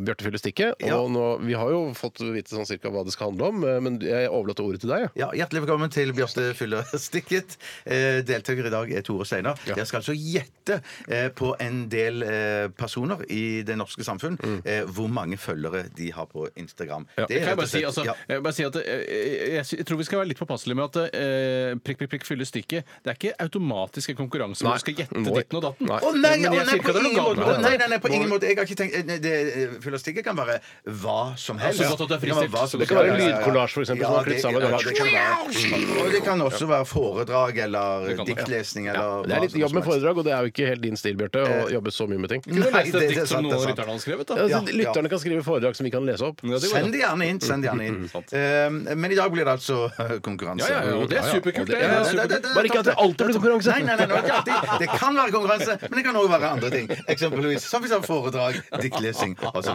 S1: Bjarte fyller stikket. Og
S2: Ja.
S1: nå, vi har jo fått vite sånn cirka hva det skal handle om, eh, men jeg overlater ordet til deg. jeg.
S2: Ja, Hjertelig velkommen til Bjarte Fyller Stikket. Eh, Deltaker i dag er Tore Steinar.
S1: Ja.
S2: Dere skal altså gjette eh, på en del eh, personer i det norske samfunn eh, hvor mange følgere de har på Instagram.
S3: Mm. Ja. kan
S2: Det er
S3: jeg,
S2: rett og
S3: bare si,
S2: slett-
S3: altså,
S2: ja.
S3: jeg, vil bare si at, eh, jeg, jeg, jeg tror vi skal være litt påpasselige med at eh, prikk, prikk, prikk fyller stykket. Det er ikke automatisk en konkurranse
S1: Nei.
S3: hvor du skal gjette
S1: Nei.
S3: ditten og datten.
S1: Nei.
S2: Å nei,
S3: Men
S2: å
S3: jeg
S2: nei,
S3: sier ikke
S2: på
S3: at det er
S2: ingen
S3: noe
S2: måte!
S3: galt med
S2: Å nei,
S3: det.
S2: nei, nei, på ingen måte. Jeg har ikke tenkt eh, det, Fyller stikket kan være hva som helst.
S3: Ja, så godt at det er fristilt.
S2: kan være hva som
S3: Det
S1: kan være en
S2: helst. Ja, ja, ja.
S1: lydkollasj, for eksempel, som
S2: Ja,
S1: er klippet
S2: det-
S1: sammen.
S2: ja, det kan være. Og det kan også være foredrag eller
S3: Det kan det.
S2: diktlesning
S1: Ja,
S2: eller
S1: det er
S2: hva
S1: litt
S2: som
S1: jobb med
S2: helst.
S1: foredrag, og det er jo ikke helt din stil, Bjarte, å jobbe så mye med ting.
S3: Du
S2: Nei,
S3: leste
S2: det-
S3: et
S2: det er
S3: dikt som
S2: sant, det er
S3: noen av
S2: sant.
S3: rytterne hadde skrevet. Da.
S1: Altså,
S2: Ja, ja.
S1: lytterne kan skrive foredrag som vi kan lese opp.
S3: Ja, det går
S2: Send det gjerne inn. send det gjerne inn
S3: Sant.
S2: Eh, Men i dag blir det altså konkurranse.
S3: Ja, Sånn. ja, ja, og det er
S1: Ja, ja.
S3: superkult.
S1: Og
S3: Det,
S1: det- Ja,
S3: det
S1: ja,
S3: er
S1: det-
S3: superkult.
S1: Bare ikke at det alltid blir konkurranse.
S2: Nei, nei, nei, det, er ikke alltid. det kan være konkurranse, men det kan òg være andre ting. Eksempelvis som vi sa, foredrag, diktlesing osv.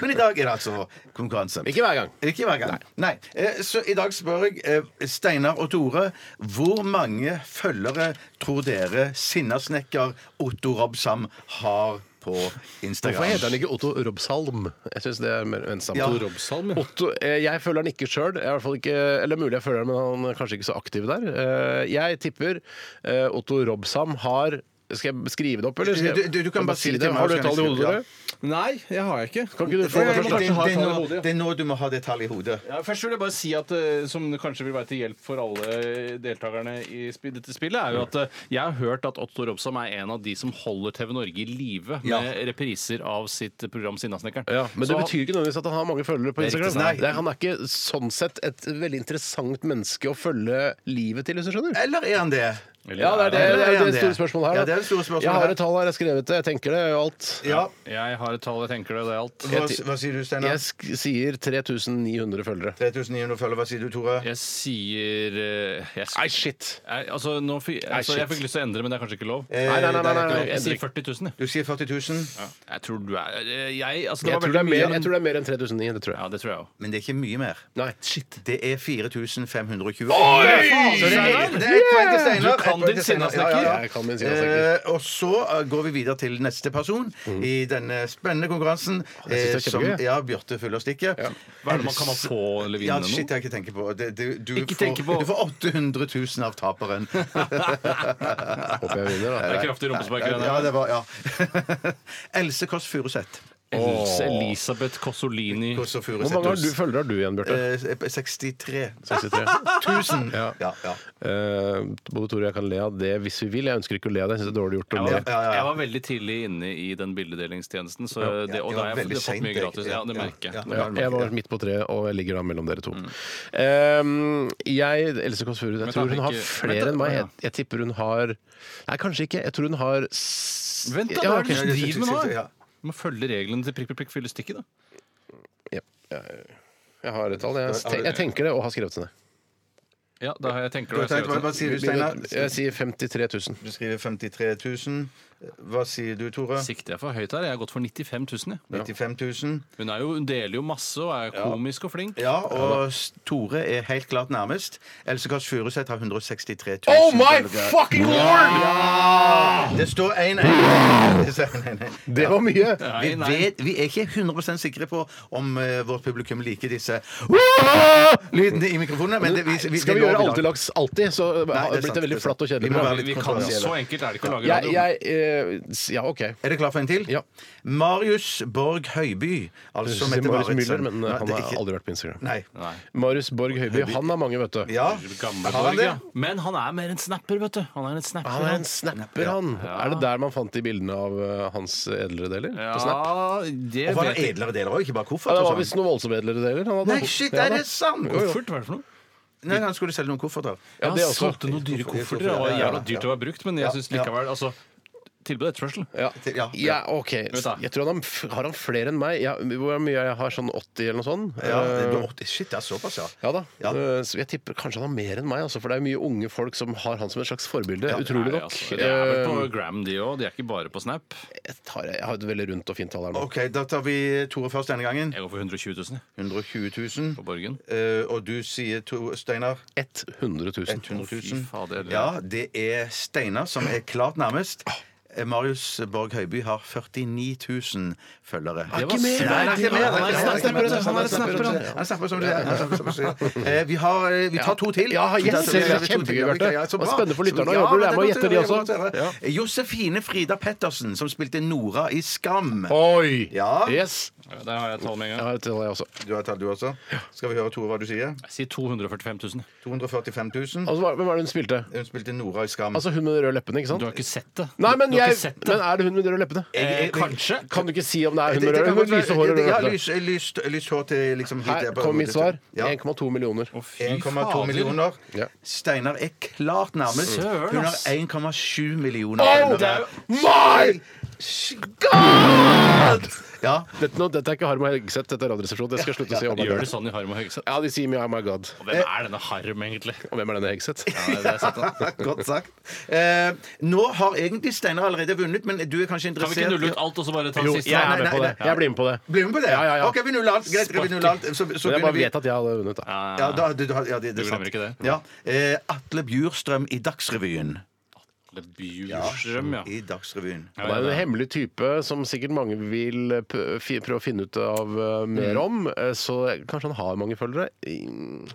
S2: Men i dag er det altså konkurranse.
S1: Ikke hver gang.
S2: Ikke hver gang. Nei. Eh, Så i dag spør jeg eh, Steinar og Tore hvor mange følgere tror dere sinnasnekker Otto Robsam har på Instagram?
S1: Hvorfor heter han ikke Otto Robsalm? Jeg synes det er mer ensomt.
S2: Ja.
S3: Otto Robsalm, ja.
S1: Otto, eh, jeg føler han ikke sjøl. Eller mulig jeg føler han, men han er kanskje ikke så aktiv der. Eh, Jeg tipper eh, Otto Robsam har Skal jeg skrive det opp, eller? Skal jeg-
S2: Du- du- du kan bare si det til meg,
S1: Har du
S2: så
S1: et
S2: kan
S1: tall i
S2: jeg
S1: hodet?
S2: skrive,
S1: Tore?
S3: Nei, jeg har jeg ikke.
S1: Kan ikke du få det
S2: Det,
S1: først?
S2: er-
S1: Kanskje
S2: det, er-
S1: har
S2: det,
S1: et tall
S2: er
S1: i
S2: nå,
S1: hodet, ja.
S2: det er nå du må ha det tallet i hodet.
S3: Ja, først vil jeg bare si at eh, Som kanskje vil være til hjelp for alle deltakerne i sp- dette spillet, er jo at eh, jeg har hørt at Otto Robsam er en av de som holder TV Norge i live med
S2: Ja.
S3: repriser av sitt program Sinnasnekkeren.
S1: Ja, men det
S3: Så-
S1: betyr ikke nødvendigvis at han har mange følgere på
S3: Det er riktig,
S1: Instagram.
S2: nei.
S1: Det er- han er ikke sånn sett et veldig interessant menneske å følge livet til, hvis du skjønner.
S2: Eller er han det?
S1: Ja, det er det,
S2: Eller
S1: det, er
S2: han
S1: det store spørsmålet her. da.
S2: Ja, det er det store spørsmålet
S1: jeg har
S2: her.
S1: et tall her, jeg har skrevet det, jeg tenker det og alt.
S2: Ja.
S3: Jeg har et tall, jeg tenker det, det er alt.
S2: Hva, hva sier du, Steinar?
S1: Jeg sk sier 3900 følgere.
S2: 3900 følgere. Hva sier du, Tore?
S3: Jeg sier eh, jeg, s-
S1: Nei, shit!
S3: jeg, altså, nå, fi- altså, Jeg
S1: shit.
S3: fikk lyst til å endre, men det er kanskje ikke lov.
S2: Eh,
S1: Nei, nei, nei, nei, nei,
S2: det er
S1: nei.
S2: ikke
S3: Jeg
S1: endrer
S3: sier
S1: ikke.
S3: 40 000, jeg.
S2: Du sier 40 000,
S3: Jeg tror du er eh, Jeg, altså, det
S1: Jeg
S3: var
S1: tror det er
S3: veldig mye.
S1: mer, jeg tror det er mer enn 3900, det tror jeg.
S3: Ja, det tror jeg òg.
S2: men det er ikke mye mer.
S1: Nei.
S2: Det er 4520.
S1: Oi!
S2: Så det er, det er et poeng til Steinar.
S3: Du kan
S2: Et poeng til
S3: din
S2: Steinar.
S3: sinnasnekker.
S1: Jeg kan min sinnasnekker.
S2: Eh, og så eh, går vi videre til neste person i denne spennende konkurransen.
S1: jeg
S2: eh,
S1: synes det er
S2: som
S1: kjempegøy.
S2: ja, Bjarte følger stikket.
S3: Hva er det man kan man få eller vinne
S2: Ja,
S3: nå?
S2: shit, jeg har ikke tenkt på det. Du, du,
S3: Ikke
S2: får,
S3: tenke på.
S2: du får 800 000 av taperen.
S1: Håper jeg vinner, da.
S3: Det er kraftig rumpespark i den her.
S2: Ja, det var, ja. Else Kåss Furuseth.
S3: Else Elisabeth Cossolini.
S2: Kåss og
S1: Hvor
S2: Furuseth.
S1: mange har du, følgere har du igjen, Bjarte?
S2: Eh, 63
S3: Eh.
S1: 63.
S2: 000.
S1: Ja.
S2: Ja, ja.
S1: Eh, både Tore og jeg kan le av det hvis vi vil. Jeg ønsker ikke å le av det. Jeg synes det er dårlig gjort å
S3: Jeg
S1: le.
S3: var,
S2: ja, ja.
S3: jeg var veldig tidlig inne i den bildedelingstjenesten, så det, og
S2: det
S3: da
S2: var
S3: har jeg
S2: veldig
S3: fått mye
S2: sent,
S3: gratis.
S2: jeg.
S3: Ja, det
S2: Ja,
S3: merker jeg.
S2: ja.
S1: Ja, jeg var midt på treet, og jeg ligger da mellom dere to. Ehm, jeg Else Kåss Furuseth, jeg
S3: da,
S1: tror hun har
S3: ikke-
S1: flere
S3: vent da,
S1: enn
S3: å,
S1: meg.
S3: ja.
S1: Jeg, jeg tipper hun har Nei, kanskje ikke. Jeg tror hun har s-
S3: Vent, da!
S1: ja,
S3: Hva er
S1: ok.
S3: det du driver med nå?
S2: Ja.
S3: Du må følge reglene til prikk, prikk, prikk, fylle stikket, da.
S1: Ja, jeg- Jeg har et tall. Jeg, te- jeg tenker det, og har skrevet det ned.
S3: Ja, da har jeg tenker
S2: Du har
S3: det.
S2: tenkt, hva, hva sier du, Steinar?
S1: Jeg sier 53 000.
S2: Du skriver 53 000. Hva sier du, Tore?
S3: Sikter jeg for høyt her? Jeg har gått for 95 000, jeg.
S2: 95 000.
S3: Hun er jo, hun deler jo masse og er komisk og flink.
S2: Ja, og Tore er helt klart nærmest. Else Kåss Furuseth har 163 000.
S1: Oh my
S2: følgere.
S1: fucking lord!
S2: Det står 1-1. Det står 1-1.
S1: Det var mye.
S2: Vi,
S3: Nei, nei.
S2: vet, vi er ikke 100 sikre på om eh, vårt publikum liker disse uh, lydene i mikrofonene. Men det, vi, vi,
S1: Skal vi
S2: det lover
S1: gjøre
S2: i dag.
S1: alt til laks alltid, så
S2: Nei,
S1: har
S2: det
S1: det
S2: er
S1: blitt
S2: sant,
S1: det
S2: det er
S1: veldig flatt og
S2: sant. Vi
S1: kjedelig.
S2: må
S1: program.
S2: være litt
S3: Vi kan
S2: kontroversielle.
S3: Så enkelt er det ikke å lage
S1: Jeg,
S3: radio.
S1: jeg eh, s- Ja, OK.
S2: Er dere klar for en til?
S1: Ja.
S2: Marius Borg Høiby.
S1: Jeg
S2: Altså
S1: synes det
S2: Mette
S1: er Marius
S2: Maritsen.
S1: Müller, men
S2: Nei,
S1: eh, han
S2: det er
S1: har
S2: ikke-
S1: aldri vært på Instagram.
S2: Nei.
S3: Nei.
S1: Marius Borg Høiby, han har mange, vet du.
S2: Ja.
S3: Gamle
S2: Har han
S3: Borg,
S2: det?
S3: ja. Men han er mer en snapper, vet du. Han er en snapper.
S1: Han er en snapper, han. Er det der man fant de bildene av eh, hans edlere deler?
S3: Ja,
S1: På Snap?
S3: det
S2: Og var
S3: vet
S2: det
S3: jeg.
S2: edlere deler òg, ikke bare
S1: Ja,
S2: koffert?
S1: det
S2: og
S1: var
S2: sånn?
S1: visst noen voldsomme edlere deler. Han hadde.
S2: Nei, shit, er det sant?
S3: Koffert, hva er det for noe?
S2: Nei, han skulle selge noen kofferter.
S1: Ja,
S3: Ja,
S1: det
S3: han
S1: også.
S3: solgte noen dyre
S2: Kofferter,
S3: kofferter. Det var
S2: ja, ja,
S3: jævla dyrt
S2: ja.
S3: å være brukt, men jeg syns likevel altså tilbud og etterspørsel.
S1: Ja.
S2: Ja.
S1: ja, OK.
S3: da.
S1: Jeg tror han har f- har han flere enn meg. Ja, hvor mye jeg har sånn 80 eller noe sånt?
S2: Ja, det
S1: Eh,
S2: ble 80. Shit, det er såpass, ja.
S1: Ja da.
S2: Ja.
S1: Eh, Så jeg tipper kanskje han har mer enn meg, altså, for det er mye unge folk som har han som et slags forbilde. utrolig
S3: Nei,
S1: nok.
S3: altså, det er vel
S1: Eh,
S3: på Gram, de òg. De er ikke bare på Snap.
S1: jeg, tar, jeg har et veldig rundt og fint tall her nå.
S2: OK, da tar vi Tore først denne gangen.
S3: Jeg går for 120 000 jeg,
S2: 120
S3: på
S2: 000.
S3: Borgen.
S2: Eh, og du sier, Tor- Steinar?
S1: 100 000.
S2: 100
S3: Fy
S2: 000.
S3: fader.
S2: Ja, det er Steinar som er klart nærmest. Eh, Marius Borg Høiby har 49 000
S3: Det var mer.
S2: følgere.
S3: Han
S2: Nei, det er ikke mer.
S3: er
S2: Det er ikke
S3: snapper,
S2: mer.
S3: altså. Han er snapper,
S2: Han er snapper, som du sier. Han er snapper, som du sier. Eh, Vi, har, eh, vi tar to til.
S1: Ja, yes,
S2: Vi tar to
S1: det er
S2: til. Vi tar to
S1: kjempegøy,
S2: til. Ja,
S1: Bjarte.
S2: ja, så
S1: Det er
S2: bra.
S1: spennende for lytterne å
S2: Ja,
S1: jobbe.
S2: det
S1: Jeg må
S2: er
S1: gjette de
S2: godt å
S1: også.
S2: gjøre, det er godt å gjøre. Josefine Frida Pettersen, som spilte Nora i Skam.
S1: Oi!
S2: Ja.
S1: Yes!
S3: Ja, Der har jeg et tall med en
S1: Jeg
S3: gang.
S1: har et tall, jeg også.
S2: Du har et tall, du også? Skal vi høre, Tore, hva du sier?
S3: Jeg sier 245 000.
S2: 245 000.
S1: Altså, hva- hvem var det hun spilte?
S2: Hun spilte Nora i Skam.
S1: Altså hun med de røde leppene, ikke sant?
S3: Du har ikke sett det.
S1: Nei, men,
S3: du har
S1: jeg,
S3: ikke sett det.
S1: men er det hun med de røde leppene?
S3: eh, kanskje.
S1: Kan du ikke si om det er hun
S2: Det-
S1: med
S2: det
S1: røde
S2: kan
S1: Hun med
S2: godt være-
S1: lyse hår og
S2: det-
S1: røde
S2: ja,
S1: lepper?
S2: lyst, lyst, lyst hår til liksom hit
S1: Her
S2: der på
S1: kom mitt
S2: hodet.
S1: svar.
S2: Ja.
S1: 1,2 millioner.
S3: Fy
S2: 1,2
S3: fader.
S2: millioner.
S1: Ja.
S2: Steinar er klart nærmest.
S3: Søren,
S2: Hun har
S3: ass.
S2: 1,7 millioner.
S1: Oh,
S2: følgere.
S1: my God!
S2: Ja.
S1: Dette, nå, dette er ikke Harm og Hegseth, dette er Radioresepsjonen. Det skal jeg slutte å si. Oh my
S3: Gjør det
S1: God.
S3: sånn i Harm og Hegseth?
S1: Ja, de sier mye oh my God.
S3: Og Hvem er denne Harm, egentlig?
S1: Og hvem er denne Hegseth?
S3: Ja, det er sant, da.
S2: Godt sagt. Eh, nå har egentlig Steinar allerede vunnet, men du er kanskje
S3: Kan vi
S2: interessert
S3: ikke nulle ut alt og så bare ta
S1: Jo,
S3: den siste?
S1: jeg er med på det.
S2: nei, nei.
S1: Jeg blir med på det.
S2: Blir du med på det?
S1: Ja, ja, ja.
S2: OK, vi nuller alt. Greit, vi nuller alt. Så, så
S1: Men jeg
S2: begynner
S1: bare
S2: vi-
S1: vet at jeg hadde vunnet, da.
S2: ja, da, du, du, har- ja, det, det
S3: Du
S2: er sant.
S3: glemmer ikke det?
S2: Ja. Eh, Atle Bjurstrøm i Dagsrevyen.
S3: Atle Bjurstrøm, ja.
S2: I Dagsrevyen.
S3: Ja,
S1: Han
S3: ja,
S1: er en
S3: ja.
S1: hemmelig type som sikkert mange vil eh, p- fi- prøve å finne ut av eh, mer
S2: Mm.
S1: om. eh, Så kanskje han har mange følgere. Mm.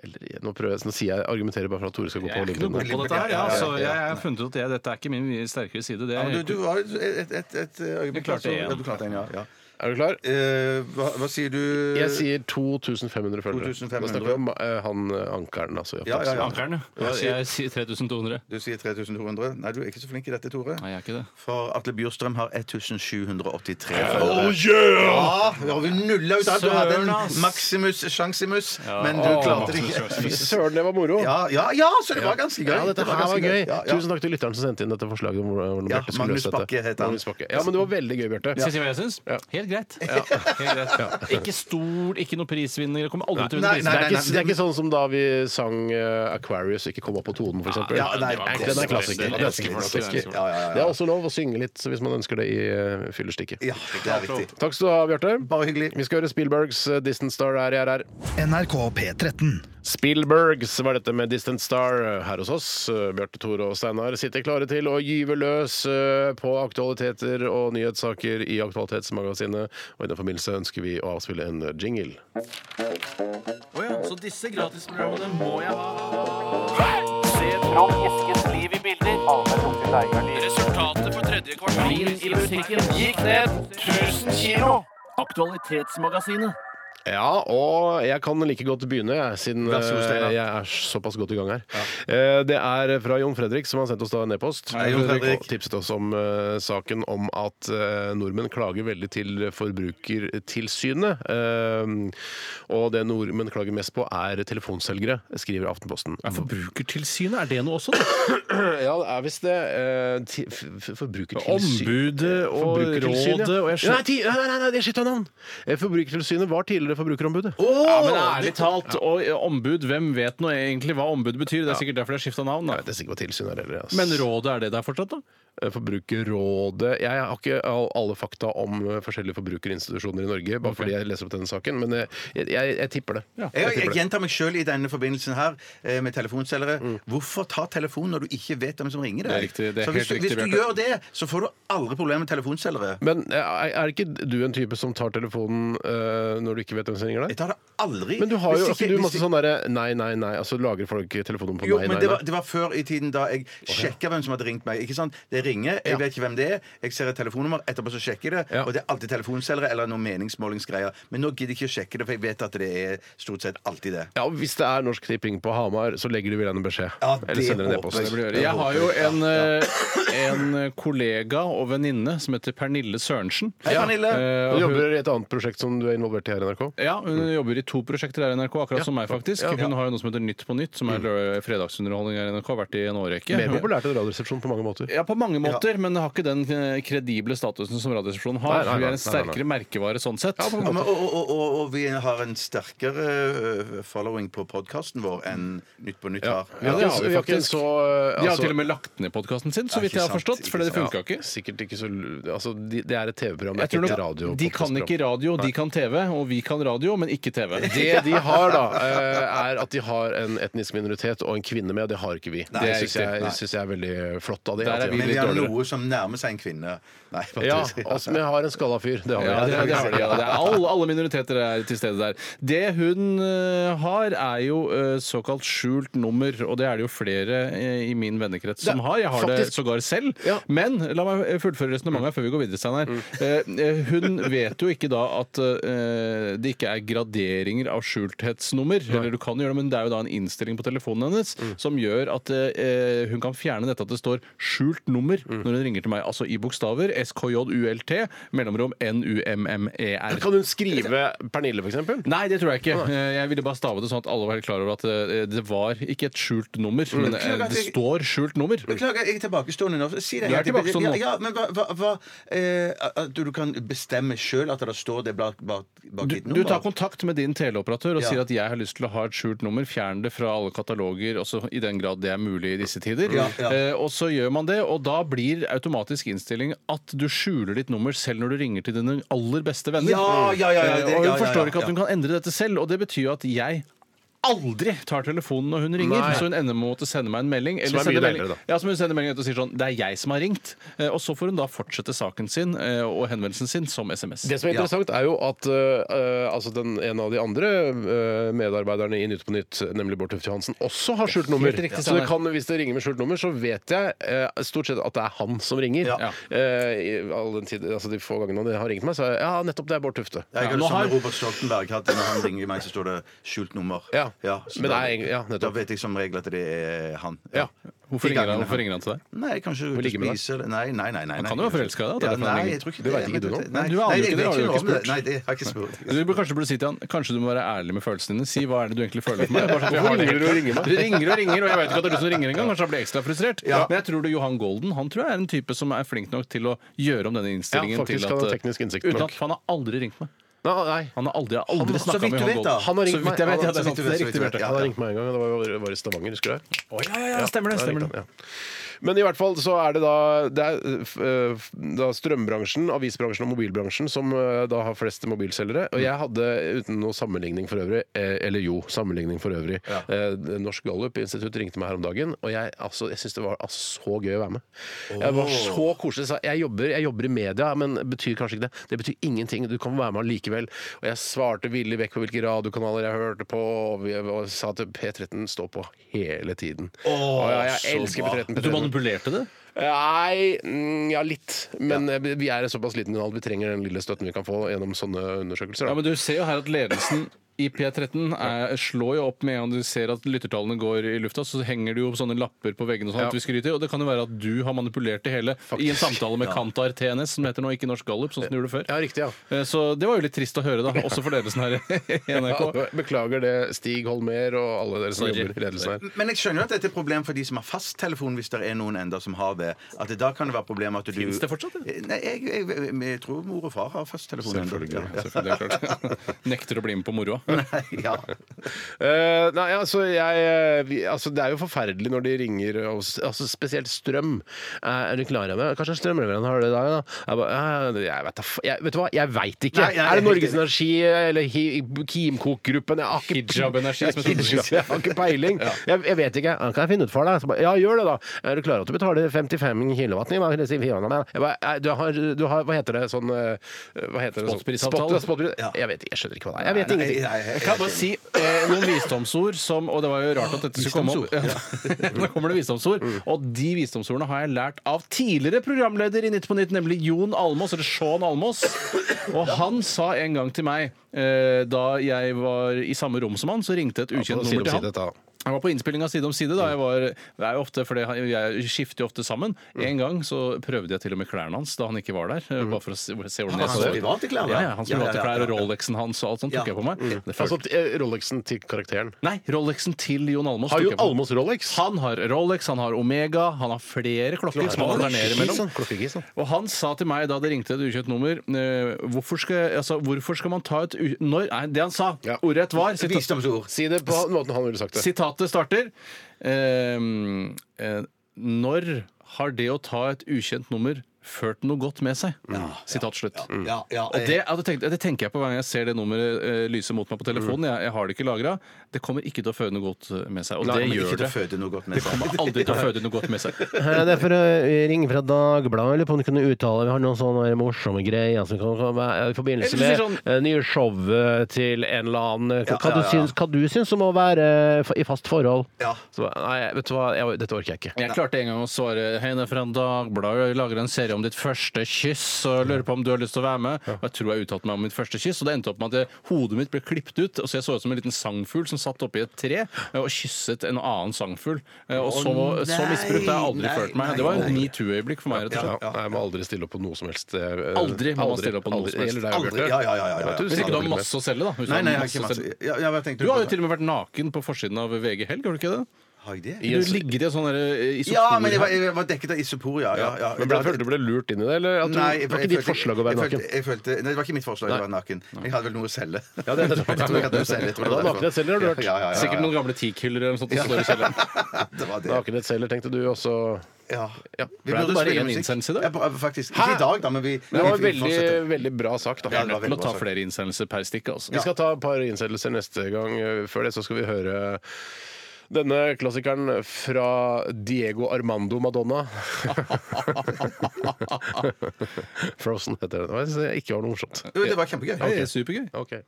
S1: Eller, nå, prøver jeg, nå sier jeg, argumenterer bare for at Tore skal gå
S3: Jeg er
S1: på
S3: ikke noe god
S1: Olympiaden.
S3: på dette her. Ja, altså, jeg jeg har funnet ut at jeg, dette er ikke min sterkere side. Det
S2: Ja, men
S3: er,
S2: du, du var et, et, et, et øyeblikk
S3: klarte én.
S2: altså. Ja, Du klarte en, ja. ja.
S1: Er du klar?
S2: Eh, hva, hva sier du?
S1: Jeg sier 2500 følgere.
S2: 2500.
S1: Da snakker vi om eh, han eh, ankeren, altså. i
S2: Ja, ja, ja.
S1: Aftenposten.
S3: Ankeren, ja. Jeg sier 3200.
S2: Du sier 3200. Nei, du er ikke så flink i dette, Tore.
S3: Nei, jeg er ikke det.
S2: For Atle Bjurstrøm har 1783
S1: Oh,
S2: følgere.
S1: yeah!
S2: Ja, da har vi nulla ut alt. Du hadde
S3: Søren,
S2: en
S3: ass.
S2: maximus chansimus,
S3: Ja.
S2: men du
S3: Åh,
S2: klarte det ikke.
S3: Maximus Maximus.
S1: Søren, det var moro.
S2: Ja, ja, ja, så det var ganske gøy.
S1: Ja, dette
S2: Det
S1: her var
S2: ganske
S1: gøy.
S2: Ja, ja.
S1: Tusen takk til lytteren som sendte inn dette forslaget. om hvordan
S2: Ja,
S1: Bjarte skulle
S2: Magnus
S1: løse dette.
S2: Bakke het han.
S1: Magnus Bakke. Ja, men det var veldig gøy, Bjarte.
S3: Skal jeg si hva jeg syns?
S1: Ja.
S3: Helt greit. Helt greit. Ikke stor, ikke noe prisvinner. Jeg kommer aldri til å vinne
S2: Nei, nei,
S1: Det er,
S2: nei,
S3: prisvinner.
S1: ikke, det er ikke sånn som da vi sang eh, Aquarius og ikke kom opp på tonen, f.eks.
S2: Ja, nei,
S3: det var
S2: den er
S3: klassiker.
S1: klassiker.
S3: Jeg elsker
S2: Den er
S3: klassiker.
S1: klassiker.
S2: Ja, ja, ja,
S1: Det er også lov å synge litt hvis man ønsker det i eh, fyllestikket.
S2: ja, det er riktig.
S1: Takk skal du ha, Bjarte.
S2: Bare hyggelig.
S1: Vi skal høre Spielbergs eh, 'Distant Star' er jeg er her.
S6: NRK P13.
S1: Spielbergs var dette med Distant Star eh, her hos oss. Bjarte Tore og Steinar sitter klare til å gyve løs eh, på aktualiteter og nyhetssaker i Aktualitetsmagasinet. Og i den forbindelse ønsker vi å avspille en jingle.
S3: Så disse gratisprogrammene må jeg ha. Resultatet for tredje kvartal i musikken gikk ned 1000 kilo. Aktualitetsmagasinet.
S1: Ja, og jeg kan like godt begynne, jeg, siden
S2: Vær så god, Steinar.
S1: eh, jeg er såpass godt i gang her. Eh, Det er fra Jon Fredrik, som har sendt oss da en e-post. Eh,
S2: Hei, Jon Fredrik.
S1: Og tipset oss om eh, saken om at eh, nordmenn klager veldig til Forbrukertilsynet. Eh, og det nordmenn klager mest på, er telefonselgere, skriver Aftenposten.
S3: Forbrukertilsynet, er det noe også? da?
S1: Ja, det er visst det. eh, ti- f- f- Forbrukertilsyn...
S3: Ombudet og
S1: Forbrukertilsynet.
S3: rådet og jeg
S1: nei, ti- nei, nei, nei, det er skitt av navn! Eh, Forbrukertilsynet var tidligere Forbrukerombudet.
S3: Ja, men ærlig talt, og eh, ombud, hvem vet nå egentlig hva ombud betyr? Det er sikkert derfor de har skifta navn.
S1: Jeg
S3: da.
S1: vet ikke hva tilsyn er heller. ass. Eh,
S3: Men rådet, er det der fortsatt, da?
S1: Forbrukerrådet Jeg har ikke all- alle fakta om eh, forskjellige forbrukerinstitusjoner i Norge, bare fordi jeg leser opp denne saken, men eh, jeg, jeg, jeg tipper det.
S2: Jeg, jeg
S1: tipper det.
S2: gjentar meg sjøl i denne forbindelsen her eh, med telefonselgere. Hvorfor ta telefonen når du ikke vet hvem som ringer
S3: Mm.
S2: deg?
S3: Det er riktig, det er
S2: så hvis,
S3: helt
S2: du, hvis
S3: riktig,
S2: du
S3: Bjarte.
S2: gjør det, så får du aldri problemer med telefonselgere.
S1: Men eh, er er ikke du en type som tar telefonen eh, når du ikke vet hvem som ringer
S2: Jeg
S1: deg?
S2: tar det aldri.
S1: Men du har jo
S2: Hvis
S1: ikke du
S2: hvis
S1: masse sånn derre nei, nei, nei, altså lagrer folk telefonnummer på
S2: Jo,
S1: nei,
S2: men
S1: nei,
S2: det var,
S1: nei?
S2: det var før i tiden da jeg sjekka hvem som hadde ringt meg. Ikke sant? Det ringer, jeg vet ikke hvem det er, jeg ser et telefonnummer, etterpå så sjekker jeg det.
S1: Ja.
S2: Og det er alltid telefonselgere eller noen meningsmålingsgreier. Men nå gidder jeg ikke å sjekke det, for jeg vet at det er stort sett alltid det.
S1: Ja, og Hvis det er Norsk Tipping på Hamar, så legger de vel igjen en beskjed.
S2: Ja, det
S1: Eller sender en
S2: håper
S1: e-post.
S2: jeg.
S1: Det blir-
S3: Jeg har jo en, eh, en kollega og venninne som heter Pernille Sørensen.
S2: Hei, Pernille!
S3: Eh, og
S1: Du
S3: hun-
S1: jobber i et annet prosjekt som du er involvert i her i NRK? NRK.
S3: Ja, hun jobber i to prosjekter her i NRK, akkurat
S1: Mm. Ja.
S3: som meg, faktisk.
S1: Ja. Mm.
S3: Hun har jo noe som heter Nytt på nytt, som er lø- fredagsunderholdning her i NRK. Har vært i en årrekke.
S1: Mer populært enn Radioresepsjonen på mange måter.
S3: Ja, på mange måter, men har ikke den eh, kredible statusen som Radioresepsjonen
S1: Nei,
S3: har.
S1: nei,
S3: Vi
S1: nei,
S3: er en
S1: nei, nei.
S3: sterkere merkevare sånn sett.
S1: på en
S2: Ja, men, og, og, og, og vi har en sterkere ø, following på podkasten vår enn Nytt på Nytt har.
S1: Ja, det har vi
S3: faktisk.
S1: faktisk. Så, altså,
S3: De har til og med lagt ned podkasten sin, så
S2: Ja,
S3: vidt
S2: ikke
S3: jeg har
S2: sant,
S3: forstått.
S2: ikke
S3: For det
S2: sant.
S3: funka ikke.
S1: Sikkert ikke så Altså, de, det er et TV-program, det
S3: Jeg
S1: er
S3: tror
S1: ikke et
S3: nok,
S1: radio.
S3: de kan ikke radio, de kan TV, og vi kan radio, men ikke TV.
S1: Det de har, da, eh, er at de har en etnisk minoritet og en kvinne med, og det har ikke vi. det
S2: riktig.
S1: syns jeg,
S2: Nei.
S1: synes jeg er veldig flott av de.
S3: Der
S1: at
S3: er
S1: de
S3: vi
S1: har det.
S2: Men vi
S3: litt
S2: har
S3: dårligere.
S2: noe som nærmer seg en kvinne. Nei,
S1: Ja,
S2: faktisk.
S1: altså, vi har en skalla fyr. Det har vi.
S3: Ja, det, det har de. Ja, det er alle, alle minoriteter er til stede der. Det hun eh, har, er jo eh, såkalt skjult nummer, og det er det jo flere eh, i min vennekrets som
S1: Det-
S3: har. Jeg har det
S1: faktisk-
S3: sågar selv.
S1: Ja.
S3: Men la meg fullføre resonnementet før vi går videre, Steinar. Eh, eh, Hun vet jo ikke da at eh, det ikke er graderinger av skjulthetsnummer. Eller du kan gjøre det, men det er jo da en innstilling på telefonen hennes
S1: Mm.
S3: som gjør at eh, hun kan fjerne dette at det står skjult nummer
S1: Mm.
S3: når hun ringer til meg. Altså i bokstaver. SKJULT, mellomrom NUMMER.
S1: Kan hun skrive Pernille, for eksempel?
S3: E Nei, det tror jeg ikke. Eh, Jeg ville bare stave det sånn at alle var helt klar over at eh, det var ikke et skjult nummer,
S1: Mm.
S3: men eh, det står skjult nummer.
S2: Beklager, jeg er tilbakestående nå. Si det.
S3: Du er tilbakestående nå.
S2: Ja, ja, men hva, hva, hva eh, At du kan bestemme sjøl at det står det bak, bak, bak
S3: Du,
S2: ditt
S3: du
S2: nummer?
S3: tar kontakt med din teleoperatør og
S2: Ja.
S3: sier at jeg har lyst til å ha et skjult nummer. Fjern det fra alle kataloger, også i den grad det er mulig i disse tider.
S2: Ja, ja.
S3: Eh, og så gjør man det, og da blir automatisk innstilling at du skjuler ditt nummer selv når du ringer til dine aller beste venner.
S2: Ja, ja, ja, ja, det-
S3: Eh, og hun
S2: ja, ja,
S3: forstår
S2: ja,
S3: ikke at hun kan endre dette selv, og det betyr jo at jeg Aldri tar telefonen når hun ringer,
S1: Nei.
S3: så hun ender med å måtte sende meg en melding.
S1: Som er
S3: sende
S1: mye
S3: melding-
S1: deiligere, da.
S3: Ja, som hun sender melding ut og sier sånn Det er jeg som har ringt. Eh, Og så får hun da fortsette saken sin eh, og henvendelsen sin som SMS.
S1: Det som er interessant, er jo at eh, eh, altså den, en av de andre eh, medarbeiderne i Nytt på Nytt, nemlig Bård Tufte Johansen, også har skjult nummer.
S3: Helt riktig,
S1: så det
S3: Steinar.
S1: kan, hvis det ringer med skjult nummer, så vet jeg eh, stort sett at det er han som ringer.
S2: Ja.
S1: Eh, i all den tid, altså De få gangene han har ringt meg, så er jeg, ja, nettopp det er Bård Tufte.
S2: Ja,
S3: Ja,
S2: jeg har
S3: nå
S2: det sånn
S3: har-
S2: med Robert Stoltenberg at når han ringer meg, så står det skjult nummer.
S1: Ja,
S2: så
S1: men
S2: da,
S1: det er- ja, nettopp.
S2: da vet jeg som regel at det er han.
S1: Ja.
S3: Hvorfor
S2: De
S3: ringer, han,
S2: gangene
S3: hvorfor ringer han til deg?
S2: Nei, kanskje
S1: Hvor
S2: ut og
S1: ligger man da?
S2: spise eller Nei, nei, nei. nei, nei.
S3: kan jo være forelsket i deg, at det er
S2: Ja,
S3: derfor han
S2: nei,
S3: ringer.
S2: jeg tror ikke
S1: Det
S2: det.
S1: vet ikke
S2: men-
S1: du nå.
S2: Nei,
S3: Du aner jo
S2: nei,
S3: ikke, det har
S2: jeg vet
S3: du jo
S2: noe
S3: ikke
S2: om det.
S3: spurt.
S2: Nei, det har jeg ikke spurt.
S3: Du bør kanskje burde si til han Kanskje du må være ærlig med følelsene dine. Si hva er det du egentlig føler for meg. Bare sånn,
S1: Jeg
S3: hvorfor
S1: har det
S3: ringer du og
S1: helt
S3: ringer meg? Du ringer og ringer, og jeg vet ikke at det er du som ringer engang. Kanskje han blir ekstra frustrert. Men jeg tror det Johan Golden han tror jeg er en type som er flink nok til å gjøre om denne innstillingen.
S1: Ja, faktisk
S3: til
S1: kan
S3: at, uh,
S1: han teknisk innsikt
S3: uten
S1: nok.
S3: at, for han har aldri ringt meg.
S1: Nei, nei.
S3: Han har aldri, jeg har aldri
S2: så
S3: snakka med
S2: vidt du
S3: Johan
S2: vet,
S3: Golden.
S2: da.
S1: Han har ringt
S3: så vidt jeg
S1: meg.
S3: vet, ja, det er
S2: Så
S3: sant.
S2: vidt du
S3: Det er
S2: vet, så vidt
S3: riktig,
S2: du vet,
S3: Bjarte.
S2: ja.
S1: Han har ringt meg en gang, og det var jo var i Stavanger, husker du det?
S3: Å, Ja, ja, ja, stemmer det.
S1: Ja,
S3: stemmer
S1: riktig,
S3: det.
S1: ja. Men i hvert fall så er det da, det er, eh, f- da strømbransjen, avisbransjen og mobilbransjen som eh, da har flest mobilselgere. Og jeg hadde, uten noe sammenligning for øvrig, eh, eller jo, sammenligning for øvrig eh, Norsk Gallup-institutt ringte meg her om dagen, og jeg, altså, jeg syntes det var altså, så gøy å være med. Jeg var så koselig. Jeg sa, Jeg jobber, jeg jobber i media, men betyr kanskje ikke det. Det betyr ingenting. Du kan være med allikevel. Og jeg svarte villig vekk på hvilke radiokanaler jeg hørte på, og, vi, og sa at P13 står på hele tiden.
S2: Åh,
S1: og jeg, jeg
S2: så
S1: elsker
S2: bra.
S1: P13.
S3: Du
S1: P13.
S3: manipulerte det?
S1: Nei, mm, ja, litt. Men eh, vi er en såpass liten kanal. Vi trenger den lille støtten vi kan få gjennom sånne undersøkelser.
S3: Ja,
S1: Da.
S3: men Du ser jo her at ledelsen i P13 er, slår jo opp med en gang du ser at lyttertallene går i lufta, så henger det jo sånne lapper på veggene og sånn
S1: Ja.
S3: at vi skryter. Og det kan jo være at du har manipulert det hele i en samtale med Kantar TNS, som det heter nå, ikke Norsk Gallup, sånn som du gjorde før.
S1: Ja, riktig, ja.
S3: Eh, Så det var jo litt trist å høre, da. Også for ledelsen her i NRK.
S1: Beklager det, Stig Holmer og alle dere som
S3: Sorry.
S1: jobber i ledelsen her.
S2: Men jeg skjønner jo at dette er et problem for de som har fasttelefon, hvis det er noen enda som har det. At det da kan det være problem at du Eh,
S3: Finnes det fortsatt,
S2: Nei, jeg, jeg, jeg, jeg tror mor og far har fasttelefon. enda.
S1: Selvfølgelig.
S2: Ja.
S3: Selvfølgelig, det er klart. Nekter å bli med på moroa.
S2: Nei, ja.
S1: Eh, nei, altså, jeg, eh, vi, altså Det er jo forferdelig når de ringer, og, s- altså, spesielt strøm. Eh, er du klar over det? Kanskje strømleverandøren har det i dag? Da? Jeg, bare, eh, jeg vet, da f- jeg, vet du hva, jeg veit ikke.
S2: Nei, nei,
S1: er det Norges
S2: riktig.
S1: Energi eller Hi- Kimkok-gruppen? Jeg har ikke
S3: Hijab Energi,
S1: Ja,
S3: som heter.
S1: Hijab, Jeg har ikke peiling. jeg, jeg vet ikke. Ja, Kan jeg finne ut for deg? Så bare, Ja, gjør det, da. Er du klar over at du betaler 55 kilowatt? i hva- i firmaet? Jeg bare, nei, Du har, du har Hva heter det? Sånn eh, Hva heter det? Sånn-
S3: Spotprisavtale.
S1: Spot- spotpris-
S2: Ja.
S1: Jeg vet ikke. Jeg skjønner ikke hva det er. Jeg vet
S2: Nei,
S1: ingenting.
S2: nei, jeg-
S3: Jeg kan bare si eh, noen visdomsord som Og det var jo rart at dette skulle komme opp. Ja. Nå kommer det visdomsord.
S2: Mm.
S3: Og de visdomsordene har jeg lært av tidligere programleder i Nytt på Nytt, nemlig Jon Almås, eller Sean Almås. Og han sa en gang til meg, eh, da jeg var i samme rom som han, så ringte et ukjent
S1: Si
S3: nummer
S1: det,
S3: til
S1: si
S3: han.
S1: det, da.
S3: Jeg var på innspillinga Side om side. da jeg var, det er jo ofte, for det- Jeg skifter jo ofte sammen.
S2: Mm.
S3: En gang så prøvde jeg til og med klærne hans da han ikke var der. eh, Bare for å se, se hvordan jeg
S2: Hans
S3: så ut.
S2: private klær, da.
S3: Ja, ja, hans
S2: Mm. Ja, ja,
S3: private
S2: ja,
S3: klær og
S2: ja, ja.
S3: Rolexen hans og alt sånt tok
S2: Ja. Mm.
S3: jeg på meg. Det følte-
S1: Altså eh, Rolexen til karakteren.
S3: Nei, Rolexen til Jon Almaas.
S1: Har
S3: tok
S1: jo
S3: jeg på meg.
S1: Almos Rolex.
S3: Han har Rolex, han har Omega, han har flere klokker som han alternerer mellom.
S1: Klokkegis, han.
S3: Og han sa til meg da det ringte et ukjent nummer eh, hvorfor, skal, altså, hvorfor skal man ta et u... Når, nei, det han sa,
S1: Ja.
S3: ordrett var sita-
S2: Visdomsord.
S1: Si det på den måten han ville sagt det.
S3: Sitatet starter ehm, eh, Når har det å ta et ukjent nummer ført noe godt med seg? Sitat slutt.
S2: Ja, ja,
S3: Mm. Og det, ja, det, tenker, det tenker jeg på hver gang jeg ser det nummeret eh, lyse mot meg på telefonen. Jeg, jeg har det ikke lagra. Det kommer ikke til å føre noe godt eh, med seg. Og
S2: Nei,
S3: det
S2: men
S3: gjør
S2: ikke til å
S3: det.
S2: føde noe godt med seg.
S3: Kommer aldri til å føde noe godt med seg.
S7: Her er Eh, det for å ringe fra Dagbladet. Lurer på om du kunne uttale Vi har noen sånne morsomme greier som kan kan være i forbindelse
S3: Eller
S7: med
S3: du sier sånn-
S7: eh, nye showet til en eller annen. eh, Hva,
S2: ja,
S7: du
S2: ja.
S7: syns- hva du syns om å være eh, i fast forhold?
S2: Ja.
S7: Så, nei, vet du hva, jeg, dette orker jeg ikke.
S3: Jeg klarte en gang å svare Heine fra Dagbladet, jeg lager en serie om ditt første kyss og lurer på om du har lyst til å være med. Og jeg tror jeg uttalte meg om mitt første kyss, og det endte opp med at det, hodet mitt ble klippet ut, og så jeg så ut som en liten sangfugl som satt oppi et tre eh, og kysset en annen sangfugl. Eh, Og så, så misbrukt har jeg aldri
S2: nei,
S3: følt meg.
S2: nei,
S3: Det var
S2: nei.
S3: et metoo-øyeblikk for meg, rett og slett.
S1: Ja, jeg må aldri stille opp på noe som helst. eh,
S3: Aldri må man stille opp på noe
S1: aldri.
S3: som helst.
S1: Gjelder deg,
S2: Aldri.
S1: Bjarte?
S2: Ja, ja, ja, ja, ja.
S1: Jeg vet
S3: Hvis ikke du
S1: aldri
S3: har
S1: mer.
S3: masse å selge, da. Hvis du
S2: Nei,
S3: har
S2: nei, jeg har
S3: masse
S2: ikke
S3: å
S2: masse
S3: selge.
S2: ja, ja, jeg tenkte
S3: Du har jo
S2: på-
S3: til og med vært naken på forsiden av VG Helg, har du ikke det?
S2: Har jeg det?
S3: Du ligger i en sånn derre eh, isopor
S2: Ja, men jeg var, jeg var dekket av isopor, ja. ja, ja.
S1: Men ble, følte du ble lurt inn i det? Eller at du,
S2: Nei, jeg-
S1: det var
S2: jeg
S1: ikke ditt
S2: følte-
S1: forslag å være
S2: jeg
S1: naken?
S2: følte- jeg følte- Nei, det var ikke mitt forslag å være naken. Jeg hadde vel noe å selge.
S1: Ja, det-
S2: Jeg tror jeg hadde noe å selge. jeg tror
S1: Ja, da
S2: det var
S1: nakenhet selger, har du hørt.
S2: Ja, ja, ja, ja.
S3: Sikkert noen gamle teakhyller eller noe sånt som står i kjelleren.
S2: Det var det.
S1: Nakenhet selger, tenkte du også.
S2: Ja.
S1: Ja.
S3: Ble
S2: Vi
S3: det
S2: burde
S3: bare
S2: spille
S3: én
S2: musikk.
S3: innsendelse i dag?
S2: Ja, på- faktisk. Ikke i dag, da, men vi
S1: Det var en
S2: vi- vi
S1: veldig,
S2: fortsetter.
S1: veldig bra sak, da.
S2: Ja, det
S3: Vi
S2: var
S3: er nødt til å
S2: veldig
S3: ta
S2: bra sagt.
S3: flere innsendelser per stikk. Altså.
S1: Vi skal ta et par innsettelser neste gang. Før det så skal vi høre denne klassikeren fra Diego Armando Madonna. Frozen heter den. Jeg synes det ikke var noe morsomt.
S2: Jo, det var kjempegøy.
S3: Det er supergøy.
S1: Ok.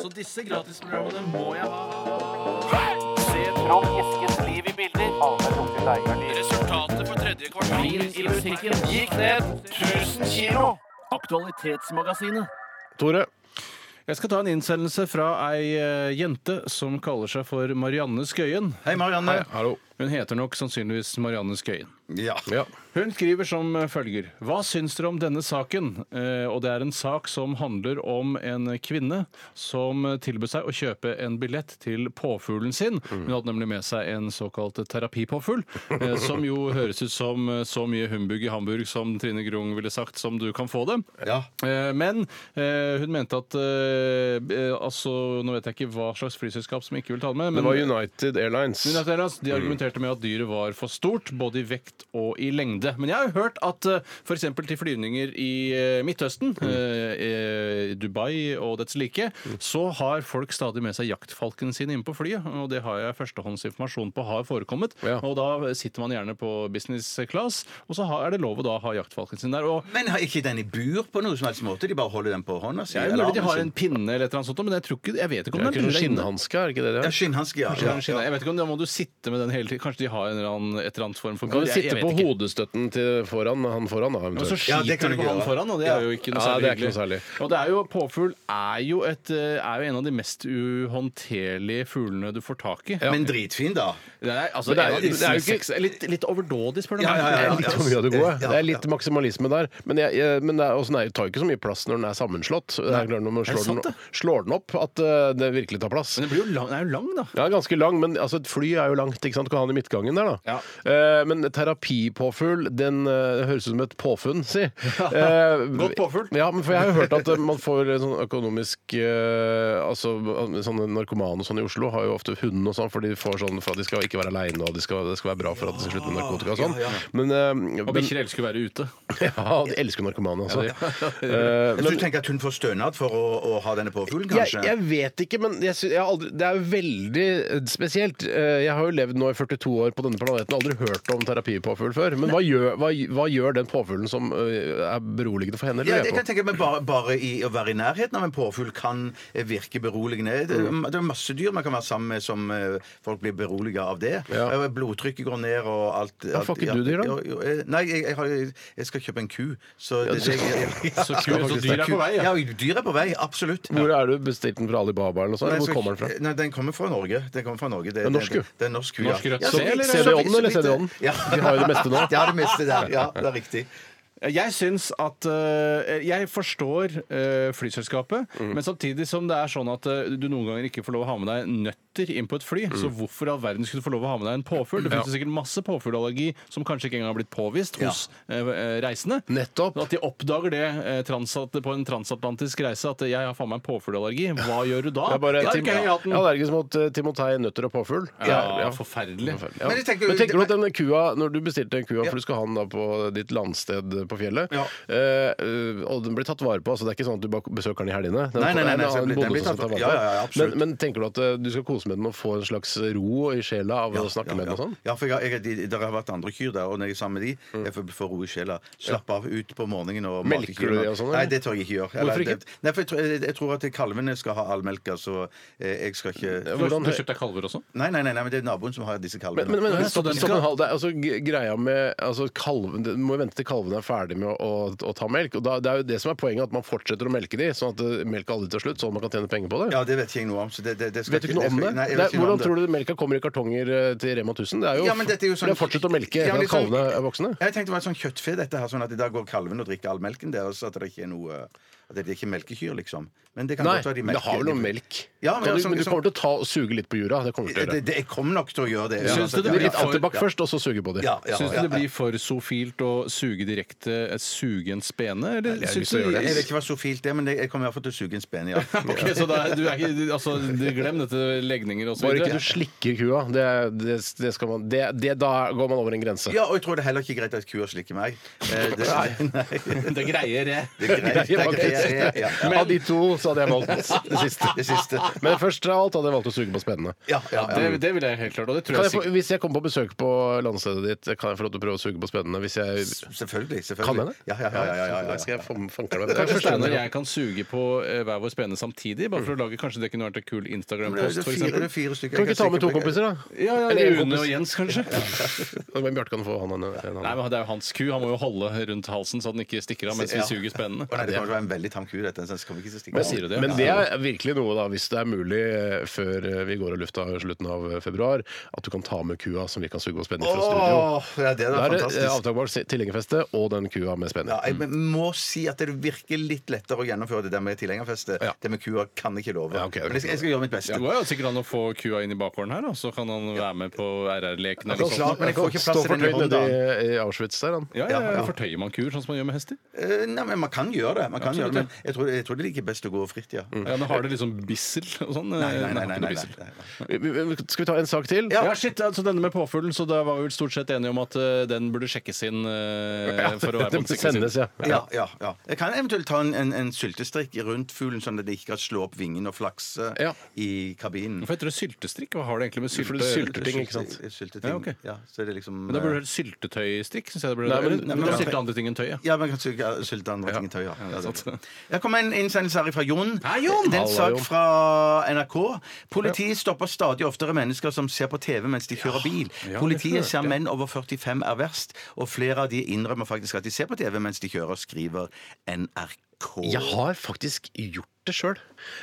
S3: Så disse gratisprogrammene må jeg ha. Resultatet for tredje kvartal i musikken gikk ned 1000 kilo. Aktualitetsmagasinet.
S1: Tore,
S3: Jeg skal ta en innsendelse fra ei eh, jente som kaller seg for Marianne Skøyen.
S2: Hei, Marianne.
S1: hallo.
S3: Hun heter nok sannsynligvis Marianne Skøyen.
S2: Ja.
S1: Ja.
S3: Hun skriver som eh, følger. Hva syns dere om denne saken? Eh, og det er en sak som handler om en kvinne som tilbød seg å kjøpe en billett til påfuglen sin.
S1: Mm.
S3: Hun hadde nemlig med seg en såkalt terapipåfugl, eh, som jo høres ut som eh, så mye humbug i Hamburg som Trine Grung ville sagt som du kan få det.
S2: Ja.
S3: Eh, Men eh, hun mente at eh, eh, Altså, nå vet jeg ikke hva slags flyselskap som ikke vil ta det med.
S1: Det
S3: Men
S1: var United Airlines.
S3: United Airlines
S1: Mm.
S3: de argumenterte med at dyret var for stort, både i vekt og i lengde. Men jeg har jo hørt at f.eks. til flyvninger i eh, Midtøsten,
S1: Mm.
S3: eh, eh, Dubai og dets like, så har folk stadig med seg jaktfalken sin inne på flyet. Og det har jeg førstehåndsinformasjon på har forekommet.
S1: Ja.
S3: Og da sitter man gjerne på business class, og så har- er det lov å da ha jaktfalken sin der. Og
S2: Men har ikke den i bur på noe som helst måte? De bare holder den på hånda si?
S3: det er jo
S2: eller
S3: mulig de har en
S2: armen sin?
S3: pinne eller et eller annet sånt, men jeg, tror ikke, jeg vet ikke om
S1: Det er
S3: den
S1: ikke noen
S3: lurer inne.
S1: skinnhanske, er det ikke det de
S2: Ja,
S1: har?
S2: skinnhanske, ja.
S3: Ja, ja. Jeg vet ikke om da må du sitte med den hele tiden. Kanskje de har en eller annen, et eller annet form for
S1: Kan du
S3: Jeg- jeg
S1: sitte
S3: vet
S1: på
S3: ikke.
S1: hodestøtten til foran, han foran, da,
S3: Og så
S1: eventuelt?
S2: Ja, det
S3: skiter
S2: kan
S3: du
S2: du
S3: på
S2: ikke
S3: han
S2: gjøre.
S3: foran, og det
S2: Ja.
S3: er jo ikke noe
S1: Ja,
S3: særlig
S1: det er ikke noe
S3: hyggelig. Og det er jo, Påfugl er jo, et, eh, er jo en av de mest uhåndterlige fuglene du får tak i.
S2: Men dritfin, da.
S3: Det er, altså,
S1: Men det er
S3: en
S1: jo-
S3: av de
S1: det er jo ikke-
S3: seks- litt, litt overdådig, spør du
S2: Ja,
S3: meg.
S2: ja, ja,
S3: Det
S2: ja.
S3: er
S1: Litt
S3: litt-
S1: for mye av det gode.
S2: Ja,
S1: Det er litt maksimalisme der. Men, jeg, jeg, men det, er, også, nei, det tar jo ikke så mye plass når den er sammenslått. Det er klart når man
S3: Er det
S1: slår,
S3: sant,
S1: den, slår den opp at eh, det virkelig tar plass.
S3: Men den blir jo lang, den er jo lang, da.
S1: Ja, ganske lang, men altså, et fly er jo langt. ikke sant? Du kan ha den i midtgangen der, da. Eh, men terapipåfugl, den eh, høres ut som et påfunn, si. Eh,
S3: Godt påfugl.
S1: Ja, men for jeg har jo hørt at eh, man får eh, sånn økonomisk eh, Altså sånne narkomane og sånn i Oslo har jo ofte hund og sånn, for de får sånn for at de skal ikke være aleine, og de skal, det skal være bra for at de skal slutte med narkotika og sånn. Men, eh,
S3: Og
S1: men
S3: bikkjer elsker å være ute.
S1: Ja, de elsker narkomane, altså. Eh,
S2: Jeg tror du tenker at hun får stønad for å, å ha denne påfuglen, kanskje?
S1: Jeg, jeg vet ikke, men jeg sy- jeg har aldri, det er jo veldig eh, spesielt. Eh, Jeg har jo levd nå i 40 42 år på denne planeten og aldri hørt om terapipåfugl før. Men hva gjør, hva, hva gjør den påfuglen som øh, er beroligende for henne?
S2: Ja,
S1: lurer jeg
S2: det kan jeg
S1: på?
S2: tenke meg bare, bare i å være i nærheten av en påfugl kan eh, virke beroligende. Det,
S1: Mm.
S2: det er masse dyr man kan være sammen med som eh, folk blir beroliget av det.
S1: Ja.
S2: Eh, Blodtrykket går ned og alt. alt
S1: får ikke
S2: ja,
S1: du dyr, da?
S2: jo, jo, eh, Nei, jeg, jeg, har, jeg skal kjøpe en ku. Så, det,
S1: du skal-
S2: jeg-
S3: Så ku-
S2: Ja,
S3: så
S2: faktisk,
S3: dyr er
S2: ku-
S3: på vei, ja.
S2: Ja, dyr er på vei. Absolutt.
S1: Hvor er du bestilt den fra Alibaba eller noe sånt?
S2: Nei, jeg
S1: Hvor
S2: skal
S1: kommer den
S2: ikke-
S1: fra?
S2: Nei, den kommer fra Norge. Den kommer fra Norge. Det,
S1: er norsk, jo.
S2: det, det er norsk, ku, ja.
S3: Norsk rødt
S2: Ja,
S3: se,
S2: så-
S3: eller
S2: så-
S1: CD -ånden,
S2: så- så-
S1: eller CD -ånden?
S2: Ja.
S1: De har jo det meste nå.
S2: Ja, det meste der. Ja, det er riktig.
S3: Jeg syns at eh, Jeg forstår eh, flyselskapet,
S1: Mm.
S3: men samtidig som det er sånn at eh, du noen ganger ikke får lov å ha med deg nøtter inn på et fly,
S1: Mm.
S3: så hvorfor i all verden skulle du få lov å ha med deg en påfugl? Det finnes jo sikkert masse påfuglallergi som kanskje ikke engang har blitt påvist hos eh, eh, reisende.
S1: Nettopp.
S3: At de oppdager det eh, transat, på en transatlantisk reise, at eh, 'jeg har faen meg en påfuglallergi', hva gjør du da?
S1: Det er bare
S3: Da
S1: Tim,
S3: ikke jeg hatt den.
S1: jeg er allergisk mot eh, timotei, nøtter og påfugl.
S3: Ja, forferdelig.
S1: Ja. Men,
S2: Men jeg tenker-
S1: tenker du at denne kua, når du bestilte den kua,
S2: Ja.
S1: for du skal ha den da på ditt landsted på fjellet,
S2: Ja.
S1: eh, eh, og den blir tatt vare på, altså det er ikke sånn at du bare besøker den i helgene? Den
S2: Nei, nei, nei, nei,
S1: er
S2: så
S1: en
S2: blir-
S1: bonde
S2: den blir
S1: som skal ta
S2: tatt
S1: vare
S2: vare- ja,
S1: på.
S2: ja, ja, absolutt.
S1: men, men tenker du at eh, du skal kose med den og få en slags ro i sjela av å snakke
S2: ja,
S1: med den og sånn? Mm.
S2: Ja, for jeg, jeg, de, der har vært andre kyr der, og når jeg er sammen med de, jeg får, får ro i sjela. Slappe av ut på morgenen og mate
S1: Melker du
S2: kyrne.
S1: de og sånn, eller?
S2: Nei, det tør jeg ikke gjøre.
S1: Hvorfor ikke?
S2: Det, nei, for jeg, tror- jeg, jeg tror at kalvene skal ha allmelka, så eh, jeg skal ikke
S3: Du har-
S1: Hvordan-
S3: Du har kjøpt deg kalver også?
S2: Nei, nei, nei, nei, men det er naboen som har disse kalvene.
S1: Men, men, men,
S3: Nei, så
S1: stopp,
S3: den
S1: stopp
S3: skal-
S1: en halv. Det er, altså, g- greia med altså, kalven, Du må jo vente til kalvene er ferdig med å, å, å ta melk. Og da, det er jo det som er poenget, at man fortsetter å melke de, sånn at eh, melk aldri til slutt, sånn at man kan tjene penger på det.
S2: ja, det vet ikke jeg noe om. Så det, det, det skal
S1: Vet du ikke noe
S2: jeg
S1: om
S2: skal-
S1: det?
S2: Nei, jeg
S1: det
S2: vet
S1: er,
S2: ikke noe om
S1: hvordan
S2: det.
S1: tror du melka kommer i kartonger eh, til Rema 1000? Det er jo,
S2: Ja, men dette er jo sånn-
S1: det fortsatt å melke
S2: Ja,
S1: ja,
S2: men litt sånn-
S1: kalvene er voksne.
S2: Jeg tenkte det var et sånn kjøttfe, dette her, sånn at i dag går kalven og drikker all melken deres. At det ikke er noe At det ikke er melkekyr, liksom. Men det kan
S1: Nei,
S2: godt være de
S1: men det har vel noe
S2: melker-
S1: melk.
S2: Ja,
S1: Kan
S2: men
S1: du,
S2: altså,
S1: men du
S2: liksom-
S1: kommer til å ta og suge litt på jorda. Det kommer du til å
S2: det,
S1: gjøre.
S2: det, Jeg kom nok til å gjøre det.
S3: Syns du det
S2: Ja,
S3: blir
S1: Litt
S2: ja,
S1: antibac
S2: ja.
S1: først, og så suge på de.
S2: Ja, ja,
S3: Syns
S2: ja,
S3: du det
S2: ja.
S3: blir for sofilt å suge direkte eh, suge en spene? Eller
S1: jeg har
S3: syns
S1: lyst til å
S3: du-
S1: gjøre
S2: Jeg vet ikke hva sofilt er, men jeg jeg kommer i hvert fall til å suge en spen, ja.
S3: Ok, så da, er- du er ikke, du- altså, du- glem dette legninger og så
S1: Bare ikke
S3: videre.
S1: du slikker kua. Det, det, det skal man, det, det, da går man over en grense.
S2: Ja, og jeg tror det er heller ikke greit at kua slikker meg. Eh, Det, nei,
S3: Det greier jeg.
S2: det er greit. Det er greit. Ja, ja.
S1: Av de to så hadde jeg valgt det siste.
S2: Det siste.
S1: Men først av alt hadde jeg valgt å suge på spennene.
S2: Ja, ja, ja.
S3: Det, det vil jeg helt klart. Og det tror jeg
S1: Kan jeg få,
S3: sikkert.
S1: hvis jeg kommer på besøk på landstedet ditt, kan jeg få lov til å prøve å suge på spennene? Hvis jeg,
S2: Selvfølgelig. selvfølgelig.
S1: kan jeg det?
S2: Ja, ja, ja, ja, ja, ja,
S1: Da skal
S2: ja.
S1: jeg fan- fanker deg med
S3: Kanskje
S1: det.
S3: Steinar og jeg kan suge på eh, hver vår spene samtidig, bare for å lage kanskje det kunne vært en kul
S2: Mm. Det er
S3: Instagram-post, for
S2: fire, det er
S3: eksempel.
S2: fire stykker.
S1: Kan vi
S2: jeg
S1: ikke ta med to
S2: stikke på-
S1: kompiser, da?
S3: Ja, ja,
S1: Eller en
S3: Rune og
S1: kompis.
S3: Jens, kanskje?
S1: Men Bjarte kan få han en. en
S3: Nei,
S1: annen.
S3: men Det er jo hans ku. Han må jo holde rundt halsen så den ikke stikker av mens vi
S2: Ja.
S3: suger spenene.
S2: Å, nei, det kommer til å være en veldig tam ku, dette. Så jeg kommer ikke til å stikke
S3: Men
S2: av.
S3: sier du det?
S1: Men det er virkelig noe, da, hvis det er mulig eh, før eh, vi går av lufta i slutten av eh, februar, at du kan ta med kua som vi kan suge på spenning fra studio.
S2: Åh, ja, det er
S1: Da
S2: da
S1: er det eh,
S2: fantastisk.
S1: avtakbart si- tilhengerfeste og den kua med
S2: Ja,
S1: spenning.
S2: jeg må si at det virker litt lettere å gjennomføre det der med tilhengerfestet.
S1: Ja.
S2: Det med kua kan jeg ikke love.
S1: Ja, ok, det
S2: Men jeg skal, jeg skal gjøre mitt beste.
S3: Det går jo sikkert an å få kua inn i bakgården her, da. Så kan han være med på RR-leken. eller
S2: Det er
S3: sånt.
S2: klart, men jeg får ikke plass
S1: Stå
S2: til den i
S1: fortøyd
S2: hånden.
S1: nede
S2: da.
S1: i i Auschwitz der, han.
S3: Ja, ja,
S2: Ja,
S3: ja.
S2: ja.
S3: Fortøyer man kuer sånn som man gjør med hester?
S2: Eh, Nei, men Man kan gjøre det, man kan gjøre det men jeg tror, jeg tror det liker best å gå fritt, ja.
S3: Ja, men Har det liksom bissel og sånn?
S2: Nei, nei, nei.
S3: Den har
S2: nei,
S3: ikke noe
S2: nei,
S3: bissel.
S2: nei, nei.
S1: Vi- vi- Skal vi ta en sak til?
S3: Ja. shit, altså Denne med påfuglen, så da var vi vel stort sett enige om at eh, den burde sjekkes inn. eh, for å være
S1: Det
S3: på den sikre
S1: sendes,
S3: siden.
S1: ja.
S2: Ja, ja, ja. Jeg kan eventuelt ta en, en, en syltestrikk rundt fuglen, sånn at det ikke kan slå opp vingen og flakse
S1: Ja.
S2: i kabinen.
S3: Hvorfor heter det syltestrikk? Hva har det egentlig med sylte
S1: For
S3: å
S1: det
S3: gjøre?
S1: sylter ting, ikke sant?
S2: Sylte- Sylteting.
S3: Ja, ok.
S2: ja, så er det liksom
S3: Men Da burde det hett syltetøystrikk. Synes jeg det burde
S1: Nei, men-
S3: Eller-
S1: nei,
S2: men-
S3: da sylte andre ting enn tøyet.
S2: Ja, man kan suge sylte andre ting i tøy. Ja.
S3: det er
S2: Ja, det er
S3: sant.
S2: det. Jeg kom med en innsendelse her fra Jon.
S3: Hei, Jon!
S2: Det er en
S1: Halla,
S2: sak
S1: Jon.
S2: fra NRK. Politiet stopper stadig oftere mennesker som ser på TV mens de kjører bil. Politiet ser menn over 45 er verst, og flere av de innrømmer faktisk at de ser på TV mens de kjører, skriver NRK.
S1: Jeg har faktisk gjort det sjøl.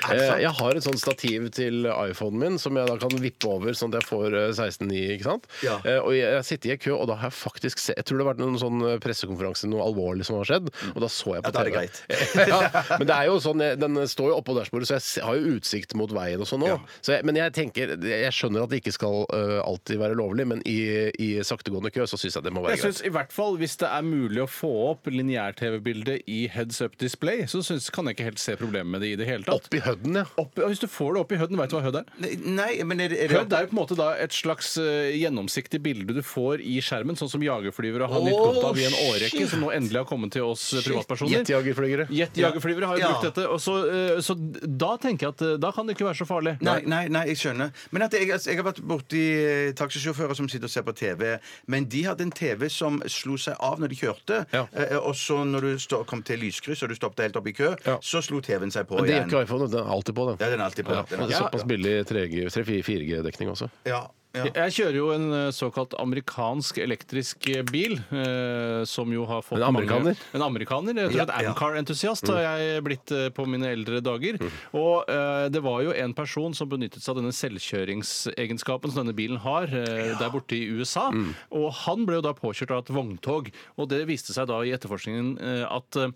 S2: Er det sant?
S1: Jeg har et sånt stativ til iPhonen min som jeg da kan vippe over sånn at jeg får eh, 16.9. ikke sant?
S2: Ja.
S1: Eh, Og jeg jeg sitter i en kø, og da har jeg faktisk sett Jeg tror det har vært noen sånn eh, pressekonferanse, noe alvorlig som har skjedd, og da så jeg på
S2: Mm. Ja, da er det
S1: TV. ja, men det er jo sånn, jeg- den står jo oppå dashbordet, så jeg se- har jo utsikt mot veien og sånn nå.
S2: Ja.
S1: Så jeg- Men jeg tenker, jeg skjønner at det ikke skal eh, alltid være lovlig, men i, i saktegående kø så syns jeg det må være
S3: Jeg
S1: greit.
S3: synes i hvert fall Hvis det er mulig å få opp lineær-TV-bildet i heads up display, så synes, kan jeg ikke helt se problemet med det i i det hele tatt.
S1: Oppi hødden, ja.
S3: Opp- ja, hvis du får det opp i hødden, veit du hva hødd er?
S2: Nei, Nei, men er, det- er det
S3: Hødd er jo på en måte da et slags eh, gjennomsiktig bilde du får i skjermen, sånn som jagerflyvere har nytt
S2: Åh,
S3: godt av i en årrekke,
S2: shit.
S3: som nå endelig har kommet til oss eh, privatpersoner.
S1: Jetjagerflygere.
S3: Jetjagerflyvere har jo
S2: Ja.
S3: brukt dette. Og så, eh, så da tenker jeg at eh, da kan det ikke være så farlig.
S2: Nei, nei, nei, jeg skjønner. Men at jeg, altså, jeg har vært borti eh, taxisjåfører som sitter og ser på TV. Men de hadde en TV som slo seg av når de kjørte.
S3: Ja.
S2: Eh, og så når du stå, kom til lyskryss og du stoppet helt opp i kø,
S3: Ja.
S2: så slo TV-en seg på
S1: Men det gjør
S2: igjen.
S1: ikke iPhone. Den er alltid på, den.
S2: Ja, den er alltid på.
S1: Ja,
S2: Den er
S1: det er
S2: alltid på.
S1: såpass billig 3-4G-dekning også.
S2: Ja, ja.
S3: Jeg kjører jo en eh, såkalt amerikansk elektrisk eh, bil, eh, som jo har fått
S1: En amerikaner?
S3: Mange, en amerikaner, jeg tror
S2: Ja,
S3: et
S2: ja. Mm.
S3: Amcar-entusiast har jeg blitt eh, på mine eldre dager. Og eh, det var jo en person som benyttet seg av denne selvkjøringsegenskapen som denne bilen har, eh, der borte i USA.
S2: Mm.
S3: Og han ble jo da påkjørt av et vogntog, og det viste seg da i etterforskningen eh, at eh,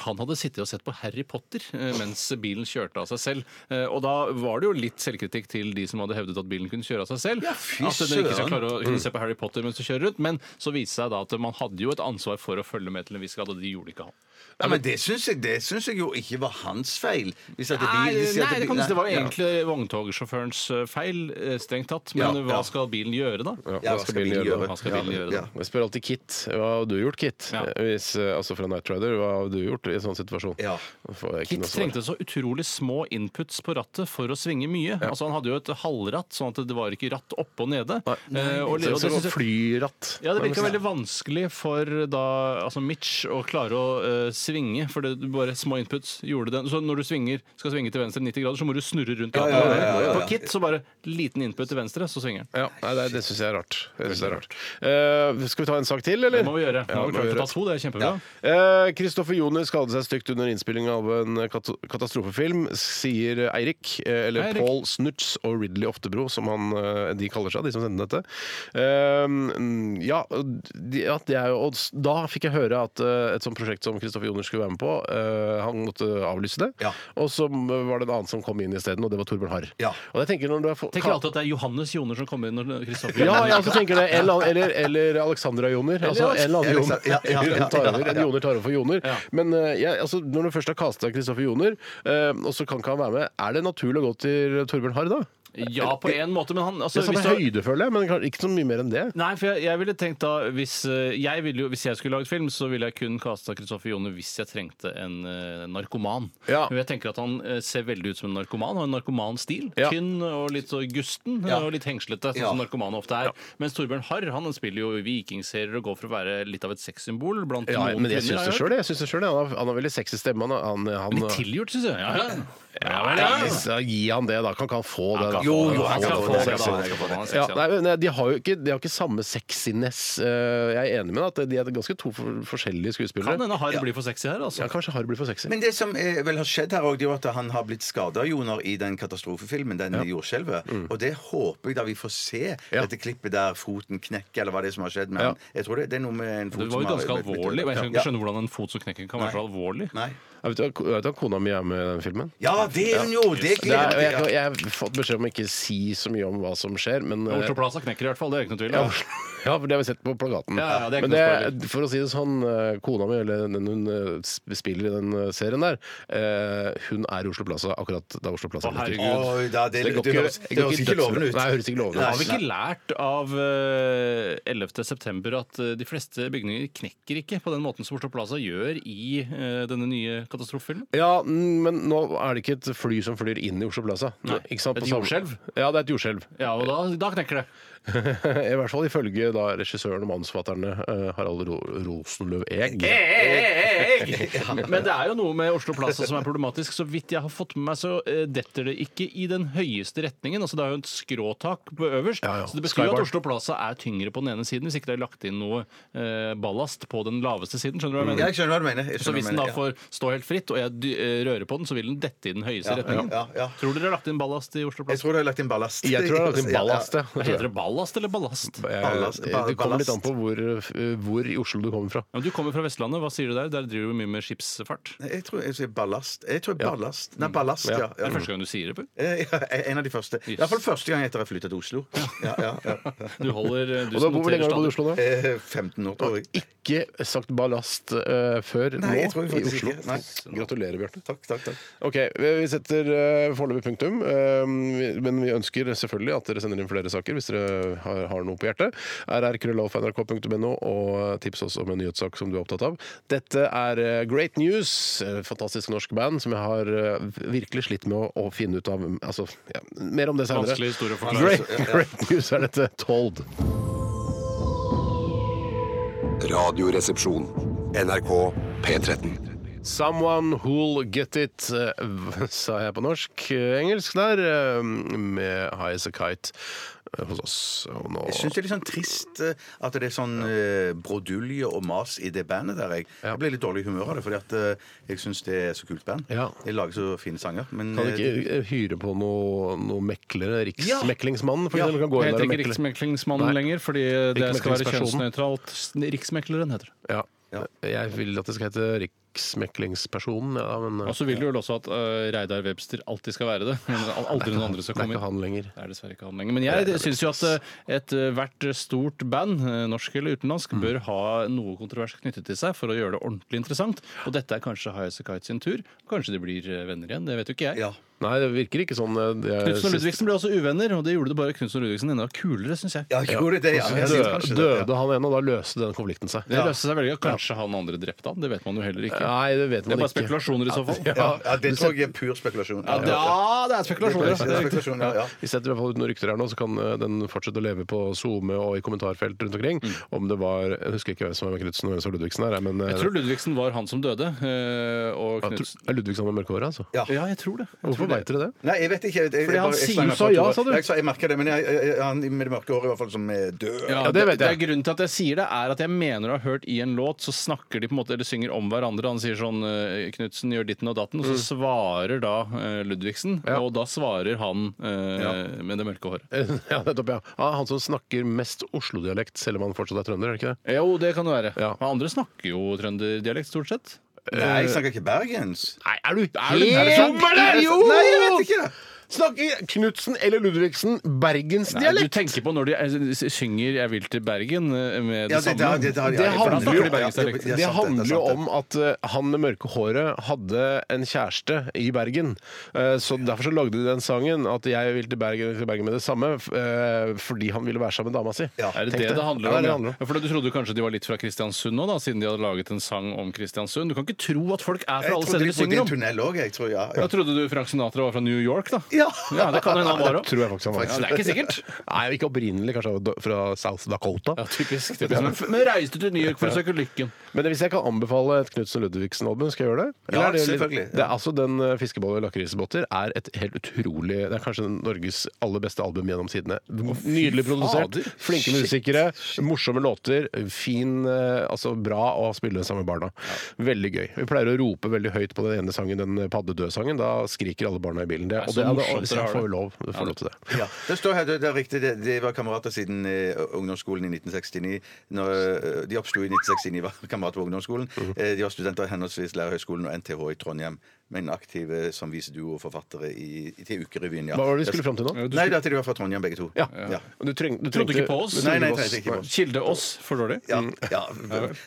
S3: han hadde sittet og sett på Harry Potter eh, mens bilen kjørte av seg selv. Eh, Og da var det jo litt selvkritikk til de som hadde hevdet at bilen kunne kjøre av seg selv.
S2: fy
S3: at dere ikke skal
S2: søren. Mm.
S3: klare å kunne se på Harry Potter mens du kjører rundt. Men så viste det seg da at man hadde jo et ansvar for å følge med til en viss grad, og det gjorde ikke han.
S2: Nei, men det syns jeg, det syns jeg jo ikke var hans feil. Hvis at det
S3: Nei,
S2: bil- de sier at
S3: det,
S2: bil-
S3: kan du si, det var jo
S2: Nei, ja.
S3: egentlig vogntogsjåførens eh, feil, eh, strengt tatt. Men
S2: Ja,
S3: hva
S2: ja.
S3: skal bilen gjøre, da?
S2: Ja, hva skal bilen gjøre?
S3: Hva skal bilen gjøre da?
S2: Ja.
S1: Jeg spør alltid Kit. Hva har du gjort, Kit?
S3: Ja.
S1: Hvis, eh, altså fra Night Rider, hva har du gjort i en sånn situasjon?
S2: Ja.
S1: Da får jeg ikke
S3: Kit
S1: noe svar.
S3: trengte så utrolig små inputs på rattet for å svinge mye. Altså Han hadde jo et halvratt, sånn at det var ikke ratt oppe og nede. Eh, og, og
S1: Så,
S3: det
S1: så,
S3: synes
S1: så
S3: jeg-
S1: flyratt.
S3: Ja, Det virka veldig vanskelig for da, altså Mitch å klare å eh, svinge. For det, du bare små inputs gjorde det. Så når du svinger, skal svinge til venstre 90 grader, så må du snurre rundt.
S2: Ja, ja, ja, ja, ja, ja.
S3: På Kit så bare liten input til venstre, så svinger den.
S1: Ja, nei, det, det syns jeg er rart. Jeg synes det er rart. Eh, skal vi ta en sak til, eller?
S3: Det må vi gjøre.
S1: Ja,
S3: Nå
S1: det må
S3: klarer vi
S1: vi
S3: å
S1: gjøre.
S3: ta to, det er kjempebra.
S1: Eh, Kristoffer Joner skadet seg stygt under innspilling av en kato- katastrofefilm, sier Eirik, eh, eller
S3: Eirik.
S1: Paul Snutz og Ridley Oftebro, som han, eh, de kaller seg, de som sendte dette. Eh, mm, ja, og de, at det er jo, og s- da fikk jeg høre at eh, et sånt prosjekt som Kristoffer Joner skulle være med på, eh, han måtte avlyse det.
S2: Ja.
S1: Og så var det en annen som kom inn isteden, og det var Torbjørn Harr.
S2: Ja.
S1: Og jeg tenker når du er for-
S3: Tenker alltid at det er Johannes Joner som kommer inn når Kristoffer
S1: ja, jeg også tenker det. Eller, eller, eller Alexandra Joner. Altså, en eller annen Jon.
S2: Ja, ja, ja, ja.
S1: Hun tar over. En Joner tar over for Joner.
S3: Ja.
S1: Men eh, jeg, altså, når du først har kasta Kristoffer Joner, eh, og så kan ikke han være med, er det naturlig å gå til Torbjørn Harr da?
S3: Ja, på en måte, men han
S1: Det
S3: altså,
S1: er samme
S3: hvis du-
S1: høyde, føler jeg, men kan- ikke så mye mer enn det.
S3: Nei, for jeg, jeg ville tenkt da hvis eh, jeg, ville jo, hvis jeg skulle laget film, så ville jeg kun kasta Kristoffer Joner hvis jeg trengte en eh, narkoman.
S1: Ja.
S3: Men Jeg tenker at han eh, ser veldig ut som en narkoman, har en narkoman stil.
S1: Ja.
S3: Tynn og litt så gusten
S2: Ja.
S3: og litt hengslete, sånn
S2: Ja.
S3: som narkomane ofte er. Mens Torbjørn Harr han spiller jo i vikingserier og går for å være litt av et sexsymbol blant
S1: Ja,
S3: noen
S1: men jeg syns
S3: har jeg
S1: det
S3: hørt.
S1: sjøl. Jeg synes det selv, jeg. Han, har- han har veldig sexy stemme. Han, han, han,
S3: Litt tilgjort, syns jeg. Ja, ja. Ja, vel,
S1: ja,
S3: ja.
S1: så Gi han det, da. Kan ikke han få det? da?
S3: Jo, jo,
S2: han
S3: han
S2: kan
S3: skal
S2: få
S3: få
S2: det,
S3: det.
S2: han skal få det.
S3: da. Han
S1: Ja,
S3: skal
S1: nei, men eh, De har jo ikke, de har ikke samme sexiness. Eh, Jeg er enig med deg at de er ganske to for, forskjellige skuespillere.
S3: Kan hende Harr blir for sexy her, altså.
S1: Ja, kanskje Harr blir for sexy.
S2: Men det som eh, vel har skjedd her også, det er jo at han har blitt skada, Joner, i den katastrofefilmen, den jordskjelvet. Og det håper jeg da vi får se,
S1: Ja.
S2: dette klippet der foten knekker, eller hva det er som har skjedd med
S1: Ja.
S2: han. Jeg tror det, det er noe med en fot
S3: Det var jo
S2: som har
S3: ganske
S2: blitt- blitt-
S3: alvorlig. og Jeg kan
S2: Ja.
S3: ikke skjønne hvordan en fot som knekker, kan være så alvorlig.
S2: Nei.
S1: Jeg vet, du- jeg vet at kona mi er med i den filmen.
S2: Ja, det er hun jo! Det
S1: Det er,
S2: gleder
S1: og jeg,
S2: jeg meg til.
S1: jeg har fått beskjed om ikke si så mye om hva som skjer, men eh,
S3: Oslo Plaza knekker i hvert fall, det er ikke noe tvil.
S1: ja,
S3: om.
S1: ja, for det har vi sett på plakaten.
S3: Ja, ja, det er ikke
S1: men
S3: noe
S1: det, for å si det sånn, eh, kona mi, eller den hun eh, sp- spiller i den eh, serien der, eh, hun er i Oslo Plaza akkurat da Oslo Plaza
S3: Å,
S1: ble til.
S3: herregud. jeg-
S2: Oi, da, det,
S1: Så det går
S2: det
S1: ikke-
S2: høres,
S1: det
S2: det
S1: går
S2: høres
S1: ikke
S2: ikke lovende ut.
S1: Nei, det høres ikke lovende ut.
S2: Nei.
S3: Har vi ikke lært av eh, 11. september at eh, de fleste bygninger knekker ikke på den måten som Oslo Plaza gjør i eh, denne nye katastrofefilmen?
S1: Ja, mm, men nå er det ikke et fly som flyr inn i Oslo Plaza.
S3: Nei,
S1: Ikke sant,
S3: et
S1: på samme-
S3: jordskjelv.
S1: Ja, det er et jordskjelv.
S3: Ja, og da, da knekker det.
S1: I hvert fall ifølge da regissøren og manusforfatterne eh, Harald Ro Rosenløv Egg.
S3: Eh, Men det er jo noe med Oslo Plaza som er problematisk. Så vidt jeg har fått med meg, så eh, detter det ikke i den høyeste retningen. Altså Det er jo et skråtak på øverst.
S1: Ja, ja.
S3: Så det betyr jo
S1: Skybar.
S3: at Oslo Plaza er tyngre på den ene siden, hvis ikke det er lagt inn noe eh, ballast på den laveste siden. Skjønner du hva jeg
S2: Ja,
S3: mener?
S2: Mm. jeg skjønner hva du mener. Jeg
S3: Så hvis den
S2: skjønner hva
S3: da
S2: du mener,
S3: får stå helt fritt, og jeg dy- eh, rører på den, så vil den dette i den høyeste retningen.
S2: ja, ja.
S3: Tror dere det er lagt inn ballast i Oslo
S2: ja. Jeg
S3: Plaza?
S2: tror du har lagt inn ballast.
S1: Jeg tror det er lagt inn ballast,
S2: Ja,
S1: ja.
S3: Heter det ballast eller ballast?
S2: ja. Ballast,
S1: Det kommer litt an på hvor, eh, hvor i Oslo du kommer fra.
S3: Ja, men du kommer fra Vestlandet. Hva sier du der? Der driver du mye med skipsfart.
S2: Nei, Jeg tror jeg sier ballast. Jeg tror ballast. Nei, ballast,
S1: Ja.
S2: ja.
S3: Det
S2: ja.
S3: er første gang du sier det. Bø.
S2: Eh, ja, En av de første. I hvert fall første gang etter jeg flytta til Oslo. Ja, ja, ja.
S3: Du holder eh, du
S1: Og da
S3: som
S1: bor Hvor lenge har du bodd
S3: noterer
S1: i Oslo nå?
S2: Eh, 15 år, tror jeg.
S1: Ikke sagt ballast eh, før
S2: Nei, jeg
S1: nå
S2: tror
S1: i
S2: faktisk
S1: Oslo.
S2: ikke. Nei.
S1: Gratulerer, Bjarte.
S2: Takk, takk, takk.
S1: Ok, Vi vi setter eh, foreløpig punktum. eh, vi- Men vi ønsker selvfølgelig at dere sender inn flere saker hvis dere har, har noe på hjertet. rrkrøllalfa.nrk.no, og tips oss om en nyhetssak som du er opptatt av. Dette er eh, Great News, eh, fantastisk norsk band som jeg har eh, virkelig slitt med å, å finne ut av. Altså, ja, mer om det
S3: stadig.
S1: senere.
S3: Vanskelig historie å forklare.
S1: Great, great News er dette. Told.
S5: Radioresepsjon. NRK P13.
S1: Someone Who'll Get It, eh, sa jeg på norsk. Eh, Engelsk der, eh, med High As A Kite eh, hos oss. Og nå
S2: Jeg syns det er litt sånn trist eh, at det er sånn eh, brodulje og mas i det bandet der. Jeg,
S1: Ja.
S2: jeg ble litt dårlig i humør av det, fordi at eh, jeg syns det er så kult band.
S1: Ja.
S2: De lager så fine sanger. Men
S1: kan du
S2: eh,
S1: ikke eh, hyre på noe, noe meklere?
S2: Ja.
S1: Riksmeklingsmannen, for
S2: Ja.
S1: eksempel? Kan gå inn
S3: Jeg heter
S1: der og
S3: ikke
S1: mekle.
S3: Riksmeklingsmannen
S1: Nei.
S3: lenger, fordi det skal være
S1: Riksmeklingspersonen.
S3: kjønnsnøytralt. Riksmekleren heter det.
S1: Ja.
S2: Ja.
S1: Jeg vil at det skal hete Riksmeklingspersonen, ja, men eh,
S3: Og så vil du vel også at eh, Reidar Webster alltid skal være det. Men al- aldri noen andre skal
S1: det er
S3: komme
S1: ikke
S3: inn.
S1: han lenger.
S3: Det er dessverre ikke han lenger. Men jeg syns jo at eh, ethvert stort band, eh, norsk eller utenlandsk,
S1: Mm.
S3: bør ha noe kontrovers knyttet til seg for å gjøre det ordentlig interessant. Og dette er kanskje Highas Kite sin tur. Kanskje de blir eh, venner igjen. Det vet jo ikke jeg.
S2: ja.
S1: Nei, det virker ikke sånn. eh, det er
S3: Knutsen og
S1: sist-
S3: Ludvigsen ble også uvenner, og det gjorde det bare Knutsen og Ludvigsen enda kulere, syns jeg.
S2: Ja, gjorde det, ja. Jeg synes
S1: Dø,
S2: kanskje det, ja.
S1: døde han ene, og da løste den konflikten seg.
S3: Det løste seg veldig godt. Kanskje han andre drepte han. Det vet man jo heller ikke.
S1: Nei, det vet
S3: Det
S1: man
S3: er bare
S1: ikke.
S3: spekulasjoner i så fall.
S2: Ja, ja, det tror jeg er pur spekulasjon.
S3: Ja, det, ja, det er spekulasjoner. ja.
S2: Det er
S3: Det er riktig.
S2: spekulasjon, ja, ja.
S1: Vi setter i hvert fall ut noen rykter her nå, så kan eh, den fortsette å leve på SoMe og i kommentarfelt rundt omkring. Om det var Jeg husker ikke hvem som var Knutsen og hvem som var Ludvigsen her, men eh,
S3: Jeg tror Ludvigsen var han som døde. eh, Og
S1: ja,
S3: Knutsen
S1: tro- er Ludvigsen med mørke hår, altså?
S2: Ja.
S3: Ja, jeg tror det. Jeg tror
S1: Hvorfor
S3: det.
S1: veit dere det?
S2: Nei, jeg vet ikke. Jeg, jeg,
S3: Fordi han
S2: jeg- jeg
S3: sier-
S1: du
S2: snakker
S1: sa
S2: med
S1: ja,
S2: Tore.
S1: sa du?
S2: Jeg, sa- jeg merker det, men jeg, jeg, jeg- han med det mørke håret i hvert fall som er død.
S3: Ja,
S1: Ja, det
S3: det,
S1: vet jeg.
S3: det er grunnen til at jeg sier det, er at jeg mener å ha hørt i en låt, så snakker de på en måte, eller synger om hverandre. Han sier sånn Knutsen gjør ditten og datten, og så svarer da eh, Ludvigsen.
S1: Ja.
S3: Og da svarer han eh, med det mørke håret.
S1: ja, nettopp, ja. Ah, han som snakker mest Oslo-dialekt, selv om han fortsatt er trønder, er det ikke det?
S3: Jo, det kan det være.
S1: Ja.
S3: Men Andre snakker jo trønderdialekt, stort sett.
S2: Nei, jeg snakker ikke bergens.
S1: Nei, er du
S3: helt
S1: der? Jo!
S2: Nei, jeg vet ikke!
S1: Snakker Knutsen eller Ludvigsen
S3: Nei,
S1: bergensdialekt?
S3: du tenker på når de eh, synger 'Jeg vil til Bergen' eh, med det
S2: Ja,
S3: samme.
S2: har
S1: Det
S2: jeg- jeg- for han
S1: handler jo-
S2: snakker bergensdialekt.
S1: Det
S2: er sant,
S1: handler
S2: det er
S1: jo
S2: sant,
S1: om at eh, han med mørke håret hadde en kjæreste i Bergen. Eh, Så derfor så lagde de den sangen at 'jeg vil til Bergen, til Bergen med det samme' f- eh, fordi han ville være sammen med dama si.
S2: Ja.
S3: Er det
S1: Tenk
S3: det det handler om? Ja,
S1: Ja, det er det det handler om.
S3: For Du trodde jo kanskje de var litt fra Kristiansund nå, da, siden de hadde laget en sang om Kristiansund. Du kan ikke tro at folk er
S2: Jeg
S3: fra alle
S2: trodde
S3: steder de
S2: de bodde i
S3: synger
S2: en
S3: om.
S2: tunnel òg, jeg tror. Ja.
S3: Da trodde du Frank Sinatra var fra New York, da?
S2: Ja.
S3: det kan hende han var
S1: Det
S3: òg.
S1: tror jeg faktisk han var.
S3: Ja, det er ikke sikkert.
S1: Nei, ikke opprinnelig, kanskje han var fra South Dakota.
S3: Ja, typisk. typisk. Men, men reiste til New York for å søke lykken.
S1: Men hvis jeg kan anbefale et Knutsen Ludvigsen-album, skal jeg gjøre det?
S2: Ja,
S1: er det litt-
S2: selvfølgelig, ja.
S1: Det er, altså, den eh, 'Fiskeboller og lakrisbåter' er et helt utrolig Det er kanskje Norges aller beste album gjennom tidene. Nydelig produsert,
S3: fader.
S1: flinke musikere, morsomme låter, fin eh, Altså bra å spille sammen med barna. Veldig gøy. Vi pleier å rope veldig høyt på den ene sangen, den eh, paddedødsangen. Da skriker alle barna i bilen.
S3: Det
S1: Det,
S3: er
S1: og
S3: så
S1: det, er-
S3: morsomt
S1: hvis
S3: dere
S1: jeg
S3: har
S1: får
S3: det.
S1: lov, får lov til det.
S2: Ja, det står her, det, det er riktig, det, det var kamerater siden eh, ungdomsskolen i 1969. Når, eh, de oppslo i 1969, var kamerater på ungdomsskolen.
S1: Mhm.
S2: Eh, de var studenter i henholdsvis Lærerhøgskolen og NTH i Trondheim, men aktive som viseduo og forfattere i, i, til Ukerevyen. Ja.
S1: Hva var det vi skulle fram til nå?
S2: Nei, det er at de var fra Trondheim, begge to.
S1: Ja.
S2: Ja.
S1: Du, treng, du
S3: Trodde ikke på oss.
S2: Nei, nei, trengte ikke på oss.
S3: Kilde oss for dårlig.
S2: Ja, ja,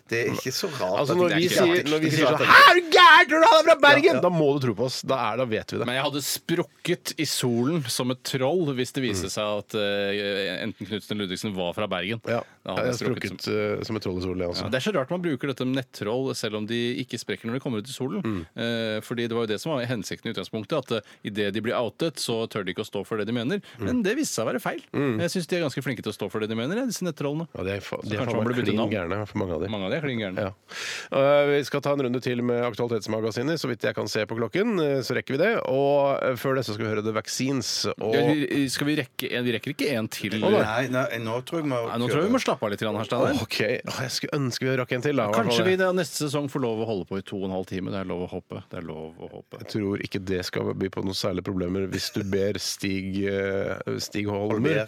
S2: det er ikke så rart.
S1: Altså
S2: at
S1: Når
S2: det er
S1: vi
S2: ikke
S1: sier,
S2: rart.
S1: når vi
S2: Det er
S1: sier sånn
S2: ikke rart at-
S1: Hæ, er du gæren? Tror du han er fra Bergen? Da må du tro på oss. Da, er, da vet vi det.
S3: Men jeg hadde sprukket i solen som et troll hvis det viste seg at eh, enten Knutsen eller Ludvigsen var fra Bergen. Da
S1: Ja, jeg
S3: hadde
S1: har
S3: jeg sprukket som
S1: sprukket eh, som et troll i solen, jeg
S3: Ja,
S1: også.
S3: det er så rart man bruker dette med nettroll selv om de ikke sprekker når de kommer ut i solen. Eh, fordi det var jo det som var hensikten i utgangspunktet. At eh, i idet de blir outet, så tør de ikke å stå for det de mener. Men det viste seg å være feil. Jeg syns de er ganske flinke til å stå for det de mener, ja, disse nettrollene.
S1: Ja, det er, fa de
S3: kanskje
S1: er faen
S3: man
S1: meg
S3: burde bytte
S1: klin
S3: navn.
S1: gærne for mange av de.
S3: Mange av de er klin gærne.
S1: Ja. Eh, vi skal ta en runde til med Aktualitetsmagasinet, så vidt jeg kan se på klokken. eh, så rekker vi det. Og eh, før det så skal vi høre The Vaccines. Og
S3: Ja, vi- Skal vi rekke en? Vi rekker ikke en til. Nei,
S2: Nei, nei, nå tror jeg vi må
S3: nå tror jeg vi må slappe av litt, grann her, Steinar.
S1: OK, Åh, jeg skulle ønske vi rakk en til. Da, i hvert
S3: Kanskje
S1: fall.
S3: vi da neste sesong får lov å holde på i to og en halv time. Det er lov å hoppe. Det er lov å håpe.
S1: Jeg tror ikke det skal by på noen særlige problemer hvis du ber Stig, eh, Stig Holmer,
S2: Holmer.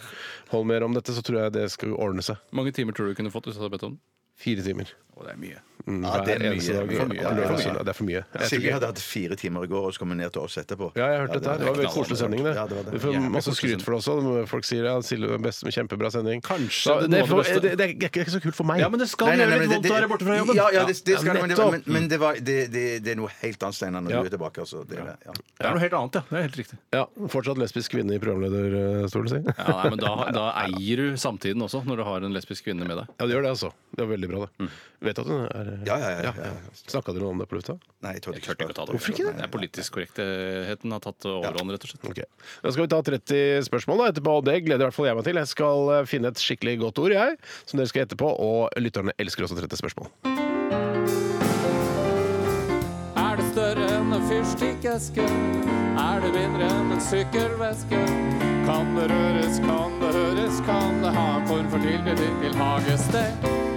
S1: Holmer om dette, så tror jeg det skal ordne seg.
S3: mange timer tror du du kunne fått hvis du hadde bedt om den?
S1: Fire timer.
S3: Å, det er mye.
S1: Mm,
S2: Ja, det er
S1: hver eneste
S2: mye.
S1: dag.
S2: For mye.
S1: Ja, lørdag og søndag. Det er for mye. Jeg tror
S2: Silje
S1: ikke-
S2: hadde hatt fire timer i går, og så kom hun ned til oss etterpå.
S1: Ja, jeg har hørt dette her. Det var en veldig koselig sending. det.
S2: Ja, det var
S1: Du
S2: det.
S1: får
S3: Jævlig
S1: masse
S3: koselig
S1: skryt for det også. Folk sier ja, Silje er best med kjempebra sending.
S3: Kanskje
S1: Så
S3: det er
S1: det,
S3: noe av det
S1: får-
S3: beste.
S1: det, det, er ikke så kult for meg.
S3: Ja, men det skal
S2: Nei, nei,
S3: gjøre
S2: nei,
S3: litt
S2: men
S3: vondt å være borte fra jobben.
S2: Ja, ja, det, det skal det, men, det,
S1: nettopp.
S2: men, men det, var, det, det, det er noe helt annet, Steinar, når
S3: Ja.
S2: du er tilbake. Altså. Det, er det, ja.
S3: Det er noe helt annet, ja. Det er helt riktig.
S1: Ja, fortsatt lesbisk kvinne i eh, programlederstolen sin.
S3: Ja, nei, men da, da eier du samtiden også, når du har en lesbisk kvinne med deg.
S1: Ja, det gjør det, altså. Det er veldig bra, det. Vet at hun er
S2: Ja, ja, ja, ja, ja.
S1: Snakka dere noe om det på lufta?
S2: Nei, jeg tør
S3: Jeg turte ikke å ta det.
S2: Hvorfor ikke
S3: Det
S2: det?
S3: er politisk korrektheten har tatt overhånd, rett og slett.
S1: Ok. Da skal vi ta 30 spørsmål da, etterpå, og det gleder i hvert fall jeg meg til. Jeg skal eh, finne et skikkelig godt ord, jeg, som dere skal gjette på. Og lytterne elsker også 30 spørsmål.
S8: Er det større enn en fyrstikkeske? Er det mindre enn en sykkelveske? Kan det røres, kan det høres, kan det ha en form for tilknytning til hagested?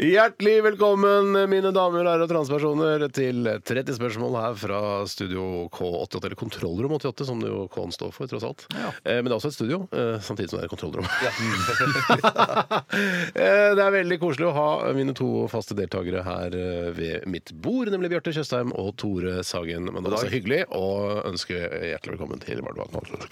S1: Hjertelig velkommen, mine damer, herrer og transpersoner, til 30 spørsmål her fra studio K88, eller Kontrollrom 88, som det jo K-en står for, tross alt. Eh, Men det er også et studio, eh, samtidig som det er et kontrollrom. Eh, det er veldig koselig å ha mine to faste deltakere her eh, ved mitt bord, nemlig Bjarte Tjøstheim og Tore Sagen. Men det er også hyggelig å ønske hjertelig velkommen til Vardøvatn.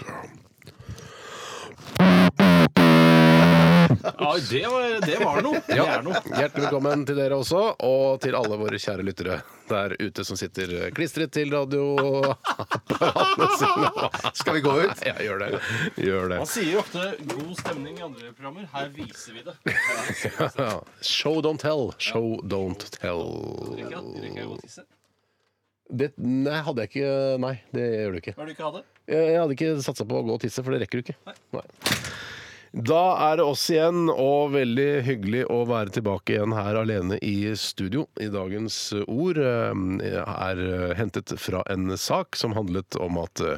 S3: Ja, det var, det var noe. Det
S1: Ja,
S3: er noe.
S1: hjertelig velkommen til dere også, og til alle våre kjære lyttere der ute som sitter eh, klistret til radioapparatene sine.
S2: Skal vi gå ut?
S1: Ja, gjør det. Gjør det.
S3: Man sier jo ofte 'god stemning' i andre programmer. Her viser vi det.
S1: Ja. Show don't tell. Show don't tell.
S3: Rekker jeg å tisse?
S1: Det, nei, hadde jeg ikke Nei, det gjør du ikke.
S3: Hva er det du ikke hadde?
S1: Jeg, jeg hadde ikke satsa på å gå og tisse, for det rekker du ikke. Nei. Da er det oss igjen, og veldig hyggelig å være tilbake igjen her alene i studio. I dagens ord eh, er hentet fra en sak som handlet om at eh,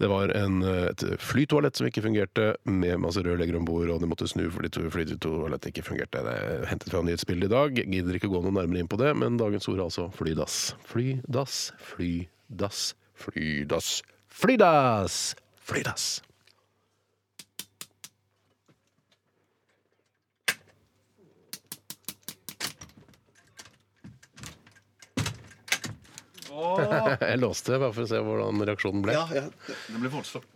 S1: det var en, eh, et flytoalett som ikke fungerte, med masse rørleggere om bord, og de måtte snu fordi to- flytoalettet ikke fungerte. Det er hentet fra nyhetsbildet i dag. Gidder ikke gå noe nærmere inn på det, men dagens ord er altså flydass. Flydass, flydass, flydass. Flydass! Flydass. Jeg låste bare for å se hvordan reaksjonen ble.
S2: Det ble voldsomt.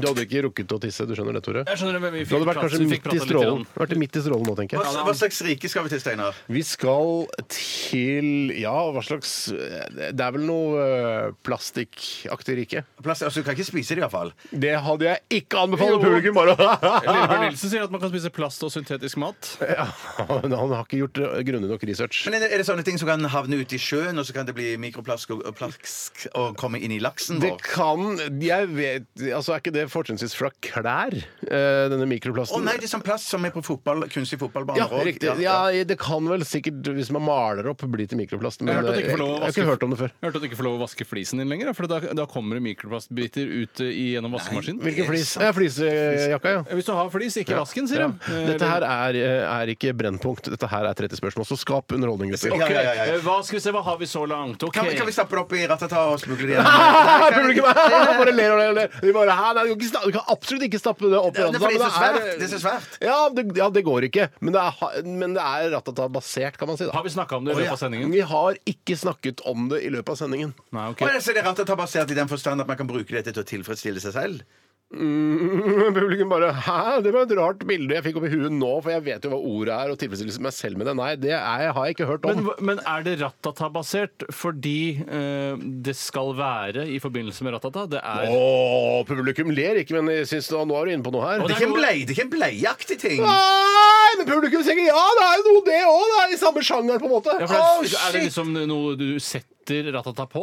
S1: Du hadde ikke rukket å tisse, du skjønner det, Tore?
S3: Jeg skjønner hvem vi
S1: Du hadde vært kanskje midt i strålen Vært midt i strålen nå, tenker jeg.
S2: Hva, hva slags rike skal vi til, Steinar?
S1: Vi skal til Ja, hva slags Det er vel noe eh, plastikkaktig rike?
S2: Plass, altså, du kan ikke spise det, iallfall.
S1: Det hadde jeg ikke anbefalt publikum! bare
S3: Lillebjørn Nilsen sier at man kan spise plast og syntetisk mat.
S1: ja, Han har ikke gjort eh, grundig nok research.
S2: Men er det, er det sånne ting som kan havne ute i sjøen, og så kan det bli mikroplask og, og, plask, og komme inn i laksen
S1: Det
S2: vår?
S1: kan Jeg vet Altså, er ikke det fortrinnsvis fra klær, eh, denne
S2: Å
S1: mikroplasten?
S2: nei, det er sånn plast som er på fotball, kunstig fotballbane.
S1: Ja,
S2: og-
S1: riktig. Ja, det kan vel sikkert, hvis man maler opp, bli til mikroplast. Men
S3: Jeg har hørt at du ikke får lov å
S1: jeg har
S3: vaske-
S1: ikke hørt om det før.
S3: Jeg hørte at du ikke får lov å vaske flisen din lenger, da, for da, da kommer det mikroplastbiter ut eh, i- gjennom vaskemaskinen.
S1: Hvilken flis? Ja, flisejakka, ja.
S3: Eh, Hvis du har flis, ikke vasken, sier
S1: Ja.
S3: de. Eh,
S1: Dette her er, eh, er ikke Brennpunkt, dette her er 30 spørsmål. Så skap underholdning, gutter.
S2: Ja, ja, ja, ja.
S3: Eh, Hva skal vi se, hva har vi så langt? Ok.
S2: Kan, kan vi stappe det opp i ratata og smugle det
S1: Ah,
S2: igjen?
S1: Publikum bare ler og ler og ler. De bare, «Hæ, nei, du, kan ikke sta- du kan absolutt ikke stappe det opp i
S2: Ja, men det er fordi
S1: ratata,
S2: det er så
S1: men
S2: svært. Det er så svært.
S1: Ja, det, ja, det går ikke. Men det er, ha- men det er ratata-basert, kan man si. da
S3: Har vi snakka om det i løpet av sendingen?
S1: Vi har ikke snakket om det i løpet av sendingen.
S3: Nei, ok.
S2: Å, ja, så det er ratata basert i den forstand at man kan bruke dette til å tilfredsstille seg selv?
S1: Mm, Publikum bare Hæ, det var et rart bilde jeg fikk opp i huet nå, for jeg vet jo hva ordet er, og tilfredsstillelse meg selv med det. Nei, det er, har jeg ikke hørt om.
S3: Men, hva- men er det Ratata-basert fordi eh, det skal være i forbindelse med Ratata? Det er
S1: Åh, publikum ler ikke, men jeg synes, nå er du inne på noe her.
S2: Det er ikke en bleie, det er ikke en bleieaktig ting.
S1: Nei, men publikum sier ikke ja, det er jo noe det òg. Det er i samme sjanger, på en måte.
S3: ja, for
S1: Åh,
S3: det sånn- er, er det
S1: shit!
S3: liksom noe du setter setter Ratata på?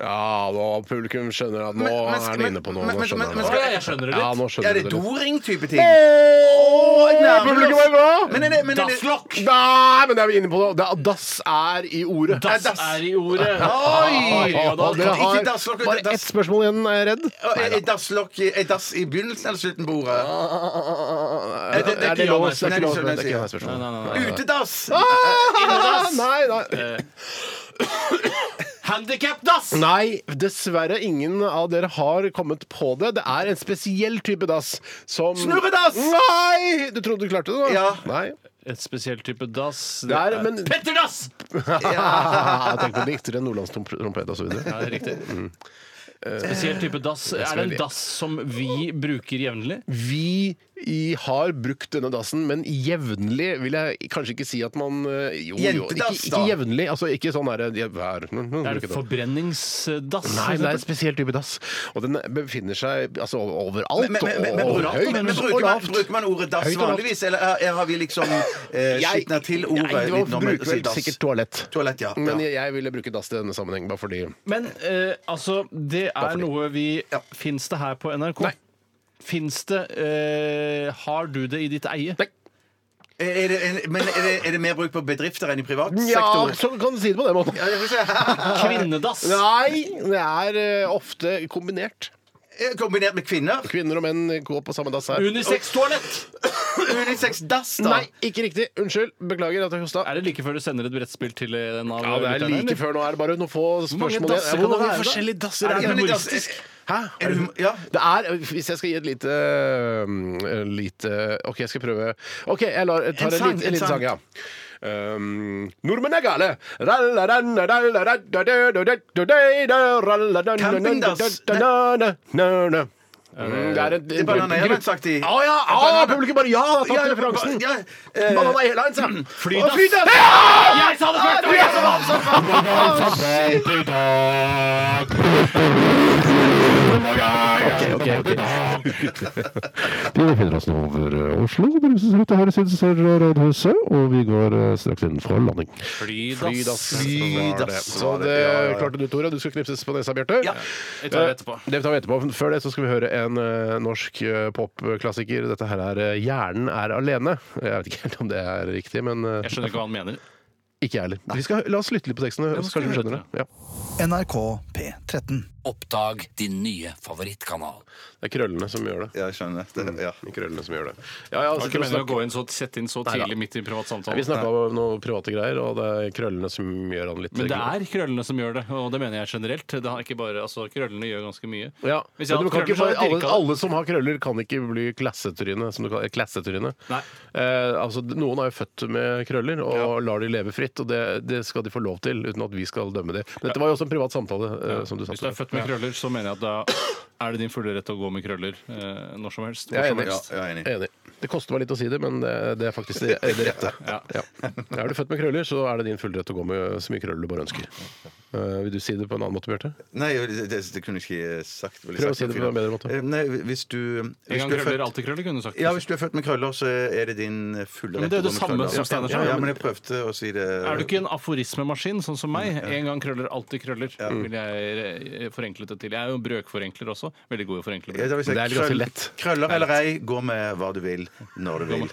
S1: Ja, nå, publikum skjønner at nå
S2: Men- men
S1: er
S2: skal-
S1: det inne på noe.
S2: men-
S1: Nå
S2: men-
S1: skjønner
S2: men-
S1: de
S2: men-
S3: ja, jeg skjønner det
S1: Ja,
S3: litt.
S1: nå
S2: Er
S1: skjønner
S2: det
S1: de det.
S2: doring-type ting?
S1: Åh,
S2: nærmer
S1: Publikum
S2: oss.
S1: er glad!
S2: Men er det- men er det-
S1: Dasslokk! Nei, men det er vi inne på nå. Det er, dass er i ordet.
S3: Dass er i ordet.
S2: Oi!
S3: Ja, da,
S1: Og dere har
S2: Ikke dasslokk,
S1: bare
S2: dass-
S1: ett spørsmål igjen, er jeg redd.
S2: Og Er er dasslokk i- er dass i begynnelsen eller slutten på ordet?
S1: Er
S2: det- det er ikke
S1: lov?
S2: ja, nei,
S1: Det er
S2: nei,
S1: ikke lov.
S2: nei,
S1: Det er ikke
S2: nei,
S1: ja, spørsmål.
S2: Utedass!
S1: Ah, Nei, nei.
S3: Handikapdass!
S1: Nei, dessverre ingen av dere har kommet på det. Det er en spesiell type dass som
S2: Snurredass!
S1: Nei! Du trodde du klarte det, da?
S2: Ja.
S1: Nei.
S3: Et spesiell type dass.
S1: Det er, men
S3: Petterdass!
S1: Jeg tenker på diktere, nordlandstrompet osv.
S3: Ja, det er riktig. Spesiell type dass. Er det en dass som vi bruker jevnlig?
S1: Vi i, har brukt denne dassen, men jevnlig vil jeg kanskje ikke si at man eh, Jo, jo ikke,
S2: Jentedass,
S1: ikke
S2: da.
S1: jevnlig. Altså ikke sånn derre ja, hver-
S3: Er det forbrenningsdass?
S1: Nei, det er
S3: for
S1: en
S3: eksempel?
S1: spesiell type dass. Og den befinner seg altså, overalt.
S2: Men, men, men, men,
S1: og
S2: bruker,
S1: høyt
S2: men, men
S1: og
S2: bruker, man,
S1: lavt.
S2: bruker man ordet dass
S1: Høyt og lavt.
S2: vanligvis, eller er- er- har vi liksom eh, skitna til ordet?
S1: Nei,
S2: litt
S1: man
S2: når man
S1: bruker
S2: sier
S1: vel
S2: dass?
S1: sikkert toalett.
S2: Toalett, ja.
S1: Men
S2: ja.
S1: jeg, jeg ville bruke dass i denne sammenheng, bare fordi
S3: Men eh, altså, det er noe vi
S2: Ja.
S3: Fins det her på NRK?
S1: Nei.
S3: Fins det eh, Har du det i ditt eie?
S1: Nei.
S2: Er det, en- men er det, er det mer bruk på bedrifter enn i privat sektor?
S1: Ja, så kan du si det på den måten.
S2: Ja, jeg får se.
S3: Kvinnedass!
S1: Nei, det er eh, ofte kombinert.
S2: Kombinert med kvinner?
S1: Kvinner og menn går på samme dass her.
S3: Unisex-toalett!
S2: Unisex dass, da?
S1: Nei, ikke riktig. Unnskyld. Beklager at jeg hosta.
S3: Er det like før du sender et brettspill til eh, en av
S1: Ja, det er
S3: lytterne,
S1: like
S3: eller?
S1: før nå. Er det bare noen få
S3: mange
S1: spørsmål
S3: dasser kan det
S1: Hvor mange
S3: være, da?
S1: forskjellige dasser
S2: Er
S1: er
S2: det
S1: det?
S2: humoristisk?
S1: Hæ?
S2: Er det hum ja.
S1: Det er, Hvis jeg skal gi et lite um, lite, OK, jeg skal prøve. OK, jeg lar, jeg tar
S2: En
S1: en,
S2: sang,
S1: liten-
S2: en
S1: en liten
S2: sang.
S1: sang, ja. Um, nordmenn er gale! Campingdass.
S2: Campingdass.
S1: Mm, Det er en,
S2: Det er Banana Airlines-aktig.
S1: Å ja! ah, Publikum bare ja! har Tatt referansen!
S2: Ja, eh,
S1: Banana Airlines, ja.
S2: Å,
S1: Flydass.
S2: flydass!
S3: Jeg sa det først! og jeg sa det først!
S9: Vi befinner oss nå over eh, Oslo. Bruses ut til høyre side, så ser dere Rådhuset. Og vi går eh, straks inn for landing.
S3: Flydass.
S2: Flydass.
S1: Så det klarte du, Tore. Du skal knipses på nesa, Bjarte.
S2: Ja.
S3: Jeg tar det etterpå.
S1: Det tar vi etterpå. Før det så skal vi høre en eh, norsk eh, popklassiker. Dette her er eh, 'Hjernen er alene'. Jeg vet ikke helt om det er riktig, men eh,
S3: Jeg skjønner ikke hva han mener.
S1: ikke jeg heller. Vi skal La oss lytte litt på teksten, så kanskje vi skjønner det. Ja.
S6: NRK P13.
S4: Oppdag din nye favorittkanal.
S1: Det er krøllene som gjør det.
S2: Ja, jeg skjønner. Det, ja.
S1: Det er Krøllene som gjør det. Ja, ja,
S3: Har
S1: sitter
S3: ikke meningen å
S1: og Altså, snakker-
S3: gå inn så, sette inn så
S1: Neida.
S3: tidlig midt i en privat
S1: Nei, vi
S3: samtale.
S1: snakka om noen private greier, og det er krøllene som gjør han litt
S3: Men det er krøllene som gjør det, og det mener jeg generelt. Det har ikke bare, altså, Krøllene gjør ganske mye.
S1: ja.
S3: Hvis jeg
S1: Men
S3: hadde
S1: du kan ikke
S3: krøller, så hadde
S1: bare,
S3: jeg
S1: alle,
S3: dirka det.
S1: alle som har krøller, kan ikke bli klassetryne. Som du kaller, klassetryne.
S3: Nei.
S1: Eh, altså, noen er jo født med krøller og lar de leve fritt, og det, det skal de få lov til uten at vi skal dømme dem. Men dette var jo også en privat samtale. Eh, som du
S3: Hvis du
S1: satte
S3: er født med krøller, så mener jeg at da er det din fulle rett til å gå med krøller eh, når som helst. Hvor
S1: Jeg er
S3: som
S1: enig.
S3: helst.
S2: Ja, jeg er enig.
S1: Jeg er enig. Det koster meg litt å si det, men det, det er faktisk det, det rette.
S3: Ja.
S1: Ja. Er du født med krøller, så er det din fulle rett å gå med så mye krøller du bare ønsker. Eh, vil du si det på en annen måte, Bjarte?
S2: Nei, det, det, det kunne jeg ikke sagt. ville
S1: Prøv å
S2: sagt
S1: si det på en bedre måte.
S2: Eh, Nei, hvis du, hvis
S3: En gang
S2: du er
S3: krøller,
S2: født-
S3: alltid krøller, kunne du sagt.
S2: Ja, hvis du er født med krøller, så er det din fulle
S3: Men
S2: rett
S3: det er
S2: til å
S3: det samme
S2: gå med krøller.
S3: som Steinar sa.
S2: Ja, ja, men jeg prøvde å si det
S3: Er du ikke en aforismemaskin, sånn som meg? En gang krøller, alltid krøller. Vil jeg eh, forenklet det til. Jeg er jo brøkforenkler også. Veldig god i å forenkle
S2: Ja,
S3: brøk.
S2: vil si
S1: Det er ganske
S2: krøll-
S1: lett.
S2: Krøller eller ei, gå med hva du vil, når du vil.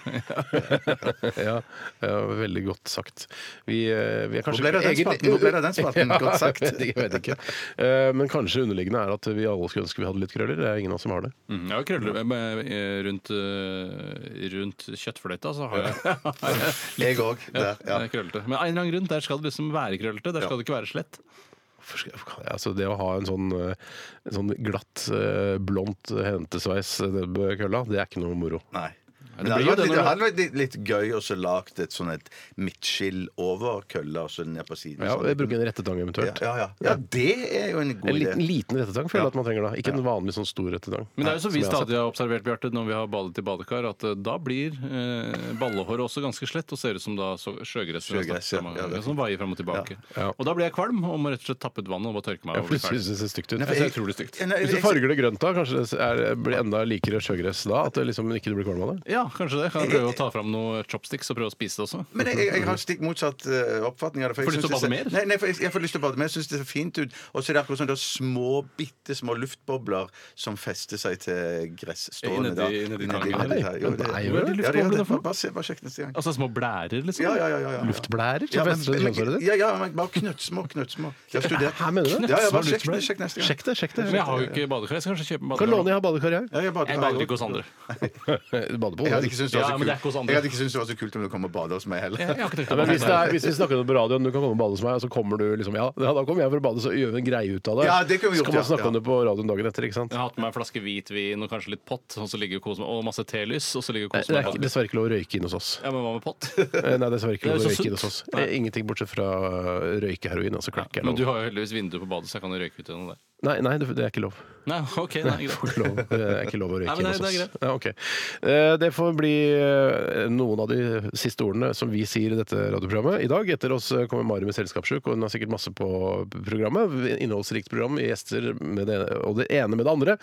S1: Ja, ja, veldig godt sagt. Vi, eh, vi er kanskje
S2: Hvor ble det av den spalten? Hvor ble det av den spalten? Godt sagt.
S1: Ja, jeg vet ikke. Eh, Men kanskje underliggende er at vi alle skulle ønske vi hadde litt krøller. Det er ingen av oss som har det.
S3: Mm, Jeg har krøller eh, eh, rundt, eh, rundt kjøttfløyta, så har jeg,
S2: Jeg òg. Der. Ja.
S3: jeg krøllete. Men av en eller annen grunn, der skal det liksom være krøllete. Der skal det ikke være slett.
S1: Hvorfor skal- hvorfor kan- Altså, det å ha en sånn, eh, en sånn glatt, eh, blondt hentesveis eh, det på kølla, det er ikke noe moro.
S2: Nei. Men
S3: det
S2: det
S3: blir jo
S2: hadde
S3: det
S2: vært litt,
S3: når
S2: det
S3: du-
S2: hadde vært litt, litt gøy å så lagt et sånn et midtskill over kølla, og så ned på siden.
S1: Ja,
S2: sånn.
S1: Bruke en rettetang
S2: ja,
S1: eventuelt.
S2: ja, ja. ja, det er jo en
S1: En
S2: god
S1: liten,
S2: idé.
S1: liten rettetang føler jeg at man trenger da. Ikke en vanlig sånn stor rettetang.
S3: Men det er jo som vi
S1: jeg har sett.
S3: stadig har observert, Bjarte, når vi har badet i badekar, at eh, da blir eh, ballehåret også ganske slett og ser ut som da så- sjøgress.
S2: Sjøgress, ja. Ja, det er
S3: Som vaier fram og tilbake.
S1: Ja.
S3: Og da blir jeg kvalm og må rett og slett tappe ut vannet og bare tørke meg.
S1: Ja,
S3: og bli
S1: for du
S3: ferdig.
S1: synes det ser stygt ut. Jeg
S2: for jeg-
S1: synes det er utrolig stygt.
S2: Ja, nei,
S1: Hvis du
S2: jeg-
S1: farger det grønt da, kanskje det er, blir enda likere sjøgress da? At det liksom ikke du blir kvalm av det?
S3: Ja, Ja, kanskje det. Kan jeg prøve å ta fram noen chopsticks og prøve å spise det også?
S2: Men jeg, jeg, jeg har stikk motsatt eh, oppfatning av det. for
S3: Får
S2: jeg
S3: lyst til
S2: synes
S3: å bade
S2: det ser-
S3: mer?
S2: Nei, nei, for jeg, jeg får lyst til å bade mer. Jeg syns det ser fint ut. Og så er det akkurat sånn det er små, bitte små luftbobler som fester seg til
S3: Nedi-
S2: gresstårene. da.
S3: nedi tanken.
S2: nedi der. Jo, det-
S3: Nei,
S2: Ja,
S3: hvor er de
S2: det er
S3: luftboblene
S2: det.
S3: fra?
S2: Bare se, bare sjekk neste gang.
S3: Altså små blærer, liksom?
S2: Ja, ja, ja. ja, ja.
S7: Luftblærer?
S2: Ja,
S7: som
S2: men,
S7: fester i
S2: men,
S7: kjønnshåret ditt?
S2: ja, ja, men bare knøttsmå, knøttsmå. Jeg har studert.
S7: Hæ, mener du det?
S2: Ja, ja,
S7: Knøttsmå
S2: bare sjekk,
S7: luftblærer?
S2: sjekk neste gang.
S7: Sjekk det, sjekk det.
S3: Men jeg har jo ikke badekar. Jeg skal kanskje kjøpe
S7: Kan låne
S3: badekar.
S7: jeg har badekar, jeg.
S2: Ja, jeg bader-
S3: Jeg bader ikke hos andre.
S1: Badebo.
S2: Jeg hadde ikke syntes det var
S3: Ja,
S2: så
S3: men det er ikke hos
S2: kult.
S3: andre.
S2: Jeg hadde ikke syntes det var så kult om du kom og badet hos meg
S3: Jeg,
S2: heller.
S3: jeg har ikke tenkt å
S1: Ja, men hvis,
S3: bade
S1: det
S3: der.
S1: er, hvis vi snakker om det på radioen, du kan komme og bade hos meg, og så kommer du liksom Ja, ja, da kommer jeg for å bade, så gjør vi en greie ut av det.
S2: Ja, det kunne vi gjort,
S1: så kan man
S2: ja,
S1: snakke
S2: ja.
S1: om det på radioen dagen etter, ikke sant?
S3: Jeg har hatt med en flaske hvitvin og kanskje litt pott, og så ligger kos meg, og masse telys. Og så ligger
S1: Nei,
S3: kos
S1: Eh, Det
S3: meg
S1: er ikke- dessverre ikke lov å røyke inn hos oss.
S3: Ja, men hva med pott?
S1: Eh, Nei, dessverre ikke
S3: Det er
S1: lov
S3: jo så
S1: å røyke inn
S3: sunt.
S1: hos oss.
S3: Nei.
S1: Eh, Ingenting bortsett fra røyke heroin, altså crack. er
S3: Men
S1: lov.
S3: du har jo heldigvis vindu på badet, så jeg kan jo røyke ut gjennom det.
S1: Nei, nei, det det er ikke lov.
S3: Nei, ok, nei,
S1: Får
S3: greit.
S1: ikke lov, det er ikke lov å røyke
S3: Nei, men
S1: inn
S3: det-
S1: hos oss.
S3: det
S1: Ja, ok. Eh, Det får bli eh, noen av de siste ordene som vi sier i dette radioprogrammet i dag. Etter oss eh, kommer Mari med selskapssjuk, og hun har sikkert masse på programmet. Innholdsrikt program, gjester med det, og det ene med det andre.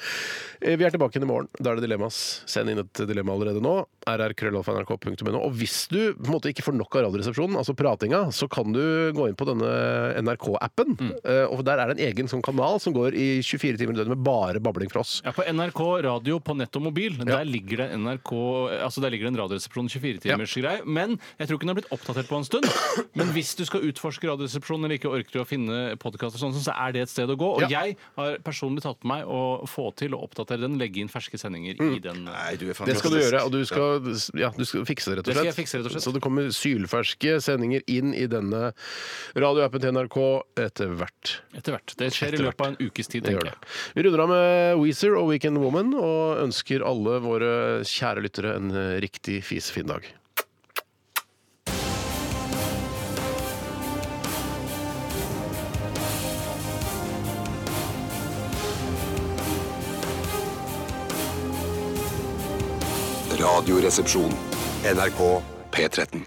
S1: Eh, Vi er tilbake igjen i morgen. Da er det dilemmas. Send inn et dilemma allerede nå. rrkrøllalfa.nrk.no. Og hvis du på en måte ikke får nok av Radioresepsjonen, altså pratinga, så kan du gå inn på denne NRK-appen.
S3: Mm.
S1: Eh, Og der er det en egen sånn kanal som går i 24 timer i døgnet med bare babling fra oss.
S3: Ja, på NRK radio på nett og mobil.
S1: Ja.
S3: Der ligger det NRK, altså der ligger det en radioresepsjon 24-timers greie. Men jeg tror ikke den har blitt oppdatert på en stund. Men hvis du skal utforske Radioresepsjonen eller ikke orker å finne podkaster, sånn, så er det et sted å gå. Og jeg har personlig tatt på meg å få til å oppdatere den, legge inn ferske sendinger
S1: Mm.
S3: i den. eh,
S2: Nei, du er
S1: Det skal du
S2: fantastisk.
S1: gjøre, og du skal, ja, du skal fikse det, rett og
S3: Det skal
S1: slett.
S3: jeg fikse, rett og slett.
S1: Så det kommer sylferske sendinger inn i denne radioappen til NRK etter hvert.
S3: Etter hvert. Det skjer i
S1: Etter
S3: løpet av en ukes tid,
S1: Det gjør
S3: tenker
S1: det.
S3: jeg.
S1: Vi runder av med Weezer og Weekend Woman, og ønsker alle våre kjære lyttere en riktig fisefin dag.
S5: Radioresepsjon. NRK P13.